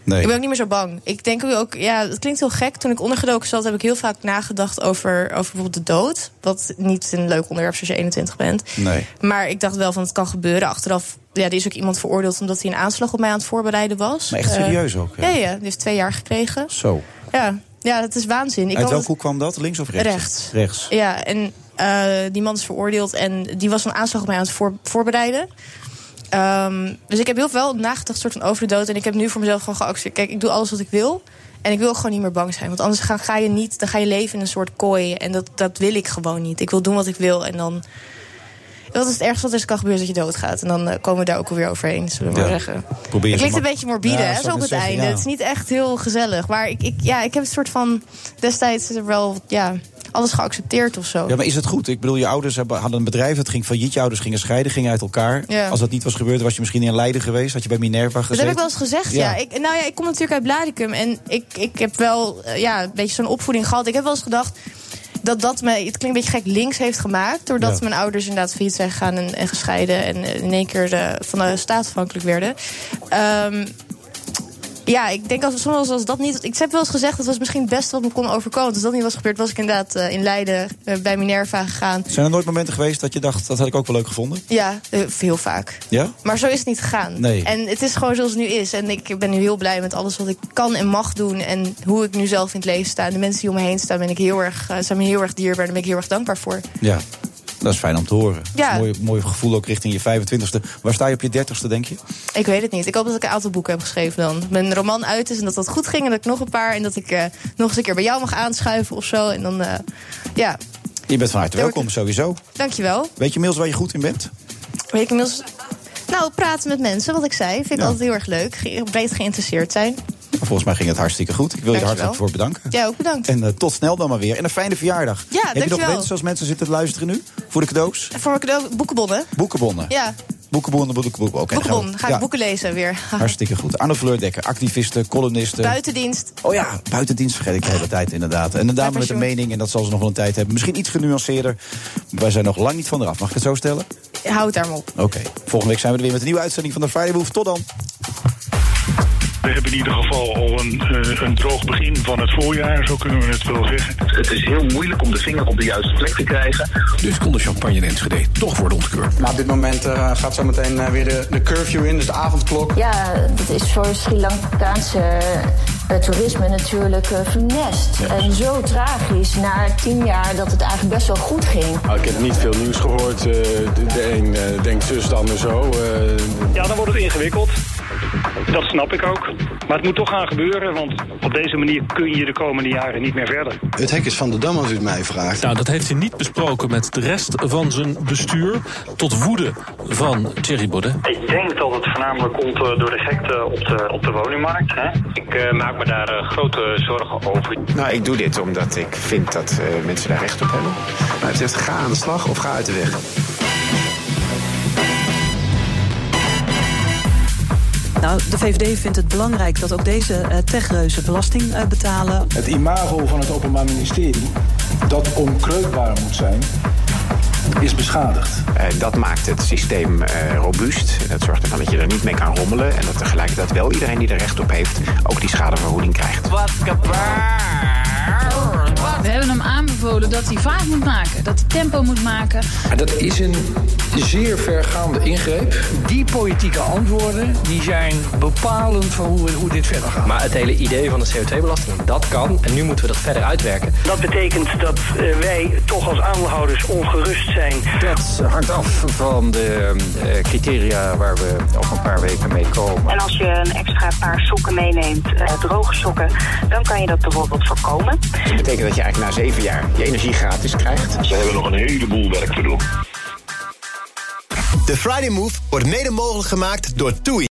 Ik ben ook niet meer zo bang. Ik denk ook, ja, het klinkt heel gek. Toen ik ondergedoken zat, heb ik heel vaak nagedacht over, over bijvoorbeeld de dood. Wat niet een leuk onderwerp is als je 21 bent.
Nee.
Maar ik dacht wel van, het kan gebeuren. Achteraf, ja, er is ook iemand veroordeeld omdat hij een aanslag op mij aan het voorbereiden was.
Maar echt
Eh,
serieus ook,
Ja,
ja?
ja, die heeft twee jaar gekregen.
Zo.
Ja, ja dat is waanzin. Ik
Uit
kan
welke hoek kwam dat? Links of rechts?
Rechts.
Rechts.
Ja, en eh, die man is veroordeeld en die was een aanslag op mij aan het voor- voorbereiden. Ehm, dus ik heb heel veel nagedacht soort van over de dood. En ik heb nu voor mezelf gewoon geaccepteerd. Kijk, ik doe alles wat ik wil. En ik wil ook gewoon niet meer bang zijn. Want anders ga, ga je niet, dan ga je leven in een soort kooi. En dat, dat wil ik gewoon niet. Ik wil doen wat ik wil. En dan. Wat is het ergste wat er kan gebeuren? is Dat je doodgaat. En dan eh, komen we daar ook alweer overheen, zullen we
Ja.
maar zeggen.
Probeer
het
zo
klinkt een
mak-
beetje morbide,
Ja,
hè,
zou
zo
ik
op
net
het
zeggen,
einde.
ja.
Het is niet echt heel gezellig. Maar ik, ik, ja, ik heb een soort van... Destijds is er wel ja, alles geaccepteerd of zo.
Ja, maar is het goed? Ik bedoel, je ouders hebben, hadden een bedrijf dat ging failliet. Je ouders gingen scheiden, gingen uit elkaar.
Ja.
Als dat niet was gebeurd, was je misschien in Leiden geweest. Had je bij Minerva gezeten.
Dat heb ik wel eens gezegd, ja. Ik, nou ja, ik kom natuurlijk uit Blaricum en ik, ik heb wel eh, ja, een beetje zo'n opvoeding gehad. Ik heb wel eens gedacht dat dat me, het klinkt een beetje gek, links heeft gemaakt. Doordat
Ja.
mijn ouders inderdaad failliet zijn gegaan en, en gescheiden. En eh, in één keer eh, van de staat afhankelijk werden. Ehm, ja, ik denk als, soms als dat niet... Ik heb wel eens gezegd, dat was misschien het beste wat me kon overkomen. Als dat niet was gebeurd, was ik inderdaad eh, in Leiden eh, bij Minerva gegaan.
Zijn er nooit momenten geweest dat je dacht, dat had ik ook wel leuk gevonden?
Ja, eh, heel vaak.
Ja?
Maar zo is het niet gegaan.
Nee.
En het is gewoon zoals het nu is. En ik ben nu heel blij met alles wat ik kan en mag doen. En hoe ik nu zelf in het leven sta. En de mensen die om me heen staan, ben ik heel erg, eh, zijn me heel erg dierbaar. Daar ben ik heel erg dankbaar voor.
Ja. Dat is fijn om te horen. Dat
Ja.
is een mooi, mooi gevoel ook richting je 25ste. Waar sta je op je 30ste, denk je?
Ik weet het niet. Ik hoop dat ik een aantal boeken heb geschreven dan. Mijn roman uit is en dat dat goed ging. En dat ik nog een paar. En dat ik eh, nog eens een keer bij jou mag aanschuiven of zo. En dan, eh, ja,
Je bent van harte welkom, sowieso.
dankjewel.
Weet je inmiddels waar je goed in bent?
Weet ik inmiddels... Nou, praten met mensen, wat ik zei. Vind ik
Ja.
altijd heel erg leuk. Ge- breed geïnteresseerd zijn.
Volgens mij ging het hartstikke goed. Ik wil je er hartelijk
Dankjewel.
voor bedanken.
Jij ook bedankt.
En eh, tot snel dan maar weer. En een fijne verjaardag.
Ja,
Heb je nog
dankjewel. Eh,
wensen als mensen zitten te luisteren nu? Voor de cadeaus?
Voor mijn cadeau, boekenbonnen.
Boekenbonnen.
Ja,
Boekenbonnen, boekenbonnen. Oké, dan gaan we-
boekenbon. Ga ik
ja,
boeken lezen weer.
Hartstikke goed. Arno Fleurdekker, activiste, columniste.
Buitendienst.
Oh ja, buitendienst vergeet ik de hele tijd inderdaad. En een dame met een mening, en dat zal ze nog wel een tijd hebben. Misschien iets genuanceerder. Maar wij zijn nog lang niet van eraf. Mag ik het zo stellen?
Houd daar maar op.
Oké, volgende week zijn we er weer met een nieuwe uitzending van de Friday Move. Tot dan.
We hebben in ieder geval al een, eh, een droog begin van het voorjaar, zo kunnen we het wel zeggen. Het is heel moeilijk om de vinger op de juiste plek te krijgen.
Dus kon de champagne in Enschede toch worden ontkeurd.
Maar op dit moment eh, gaat zometeen eh, weer de, de curfew in, dus de avondklok.
Ja, dat is voor Sri Lankaanse eh, toerisme natuurlijk eh, funest. En zo tragisch na tien jaar dat het eigenlijk best wel goed ging.
Nou, ik heb niet veel nieuws gehoord. eh, de, de een eh, denkt zus, de ander zo. eh.
Ja, dan wordt het ingewikkeld. Dat snap ik ook. Maar het moet toch gaan gebeuren, want op deze manier kun je de komende jaren niet meer verder.
Het hek is van de dam als u het mij vraagt.
Nou, dat heeft hij niet besproken met de rest van zijn bestuur. Tot woede van Thierry Baudet.
Ik denk dat het voornamelijk komt eh, door de gekte op de, op de woningmarkt. Hè? Ik eh, maak me daar grote zorgen over.
Nou, ik doe dit omdat ik vind dat eh, mensen daar recht op hebben. Maar het zegt, ga aan de slag of ga uit de weg.
Nou, de VVD vindt het belangrijk dat ook deze eh, techreuzen belasting eh, betalen.
Het imago van het Openbaar Ministerie, dat onkreukbaar moet zijn, is beschadigd.
Eh, dat maakt het systeem eh, robuust. Dat zorgt ervan dat je er niet mee kan rommelen. En dat tegelijkertijd wel iedereen die er recht op heeft, ook die schadevergoeding krijgt.
Wat We hebben hem aanbevolen dat hij vaart moet maken, dat hij tempo moet maken.
Maar dat is een zeer vergaande ingreep.
Die politieke antwoorden die zijn bepalend voor hoe, hoe dit verder gaat.
Maar het hele idee van de CO2-belasting, dat kan. En nu moeten we dat verder uitwerken.
Dat betekent dat eh, wij toch als aandeelhouders ongerust zijn.
Dat hangt af van de eh, criteria waar we over een paar weken mee komen.
En als je een extra paar sokken meeneemt, eh, droge sokken, dan kan je dat bijvoorbeeld voorkomen.
Dat betekent dat je eigenlijk na zeven jaar je energie gratis krijgt.
Ze hebben nog een heleboel werk te doen.
De Friday Move wordt mede mogelijk gemaakt door TUI.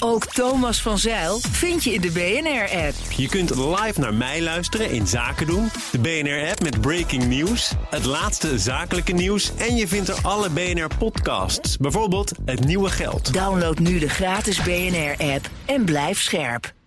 Ook Thomas van Zeil vind je in de BNR-app.
Je kunt live naar mij luisteren in Zaken doen. De BNR-app met breaking news, het laatste zakelijke nieuws en je vindt er alle BNR-podcasts. Bijvoorbeeld Het Nieuwe Geld.
Download nu de gratis BNR-app en blijf scherp.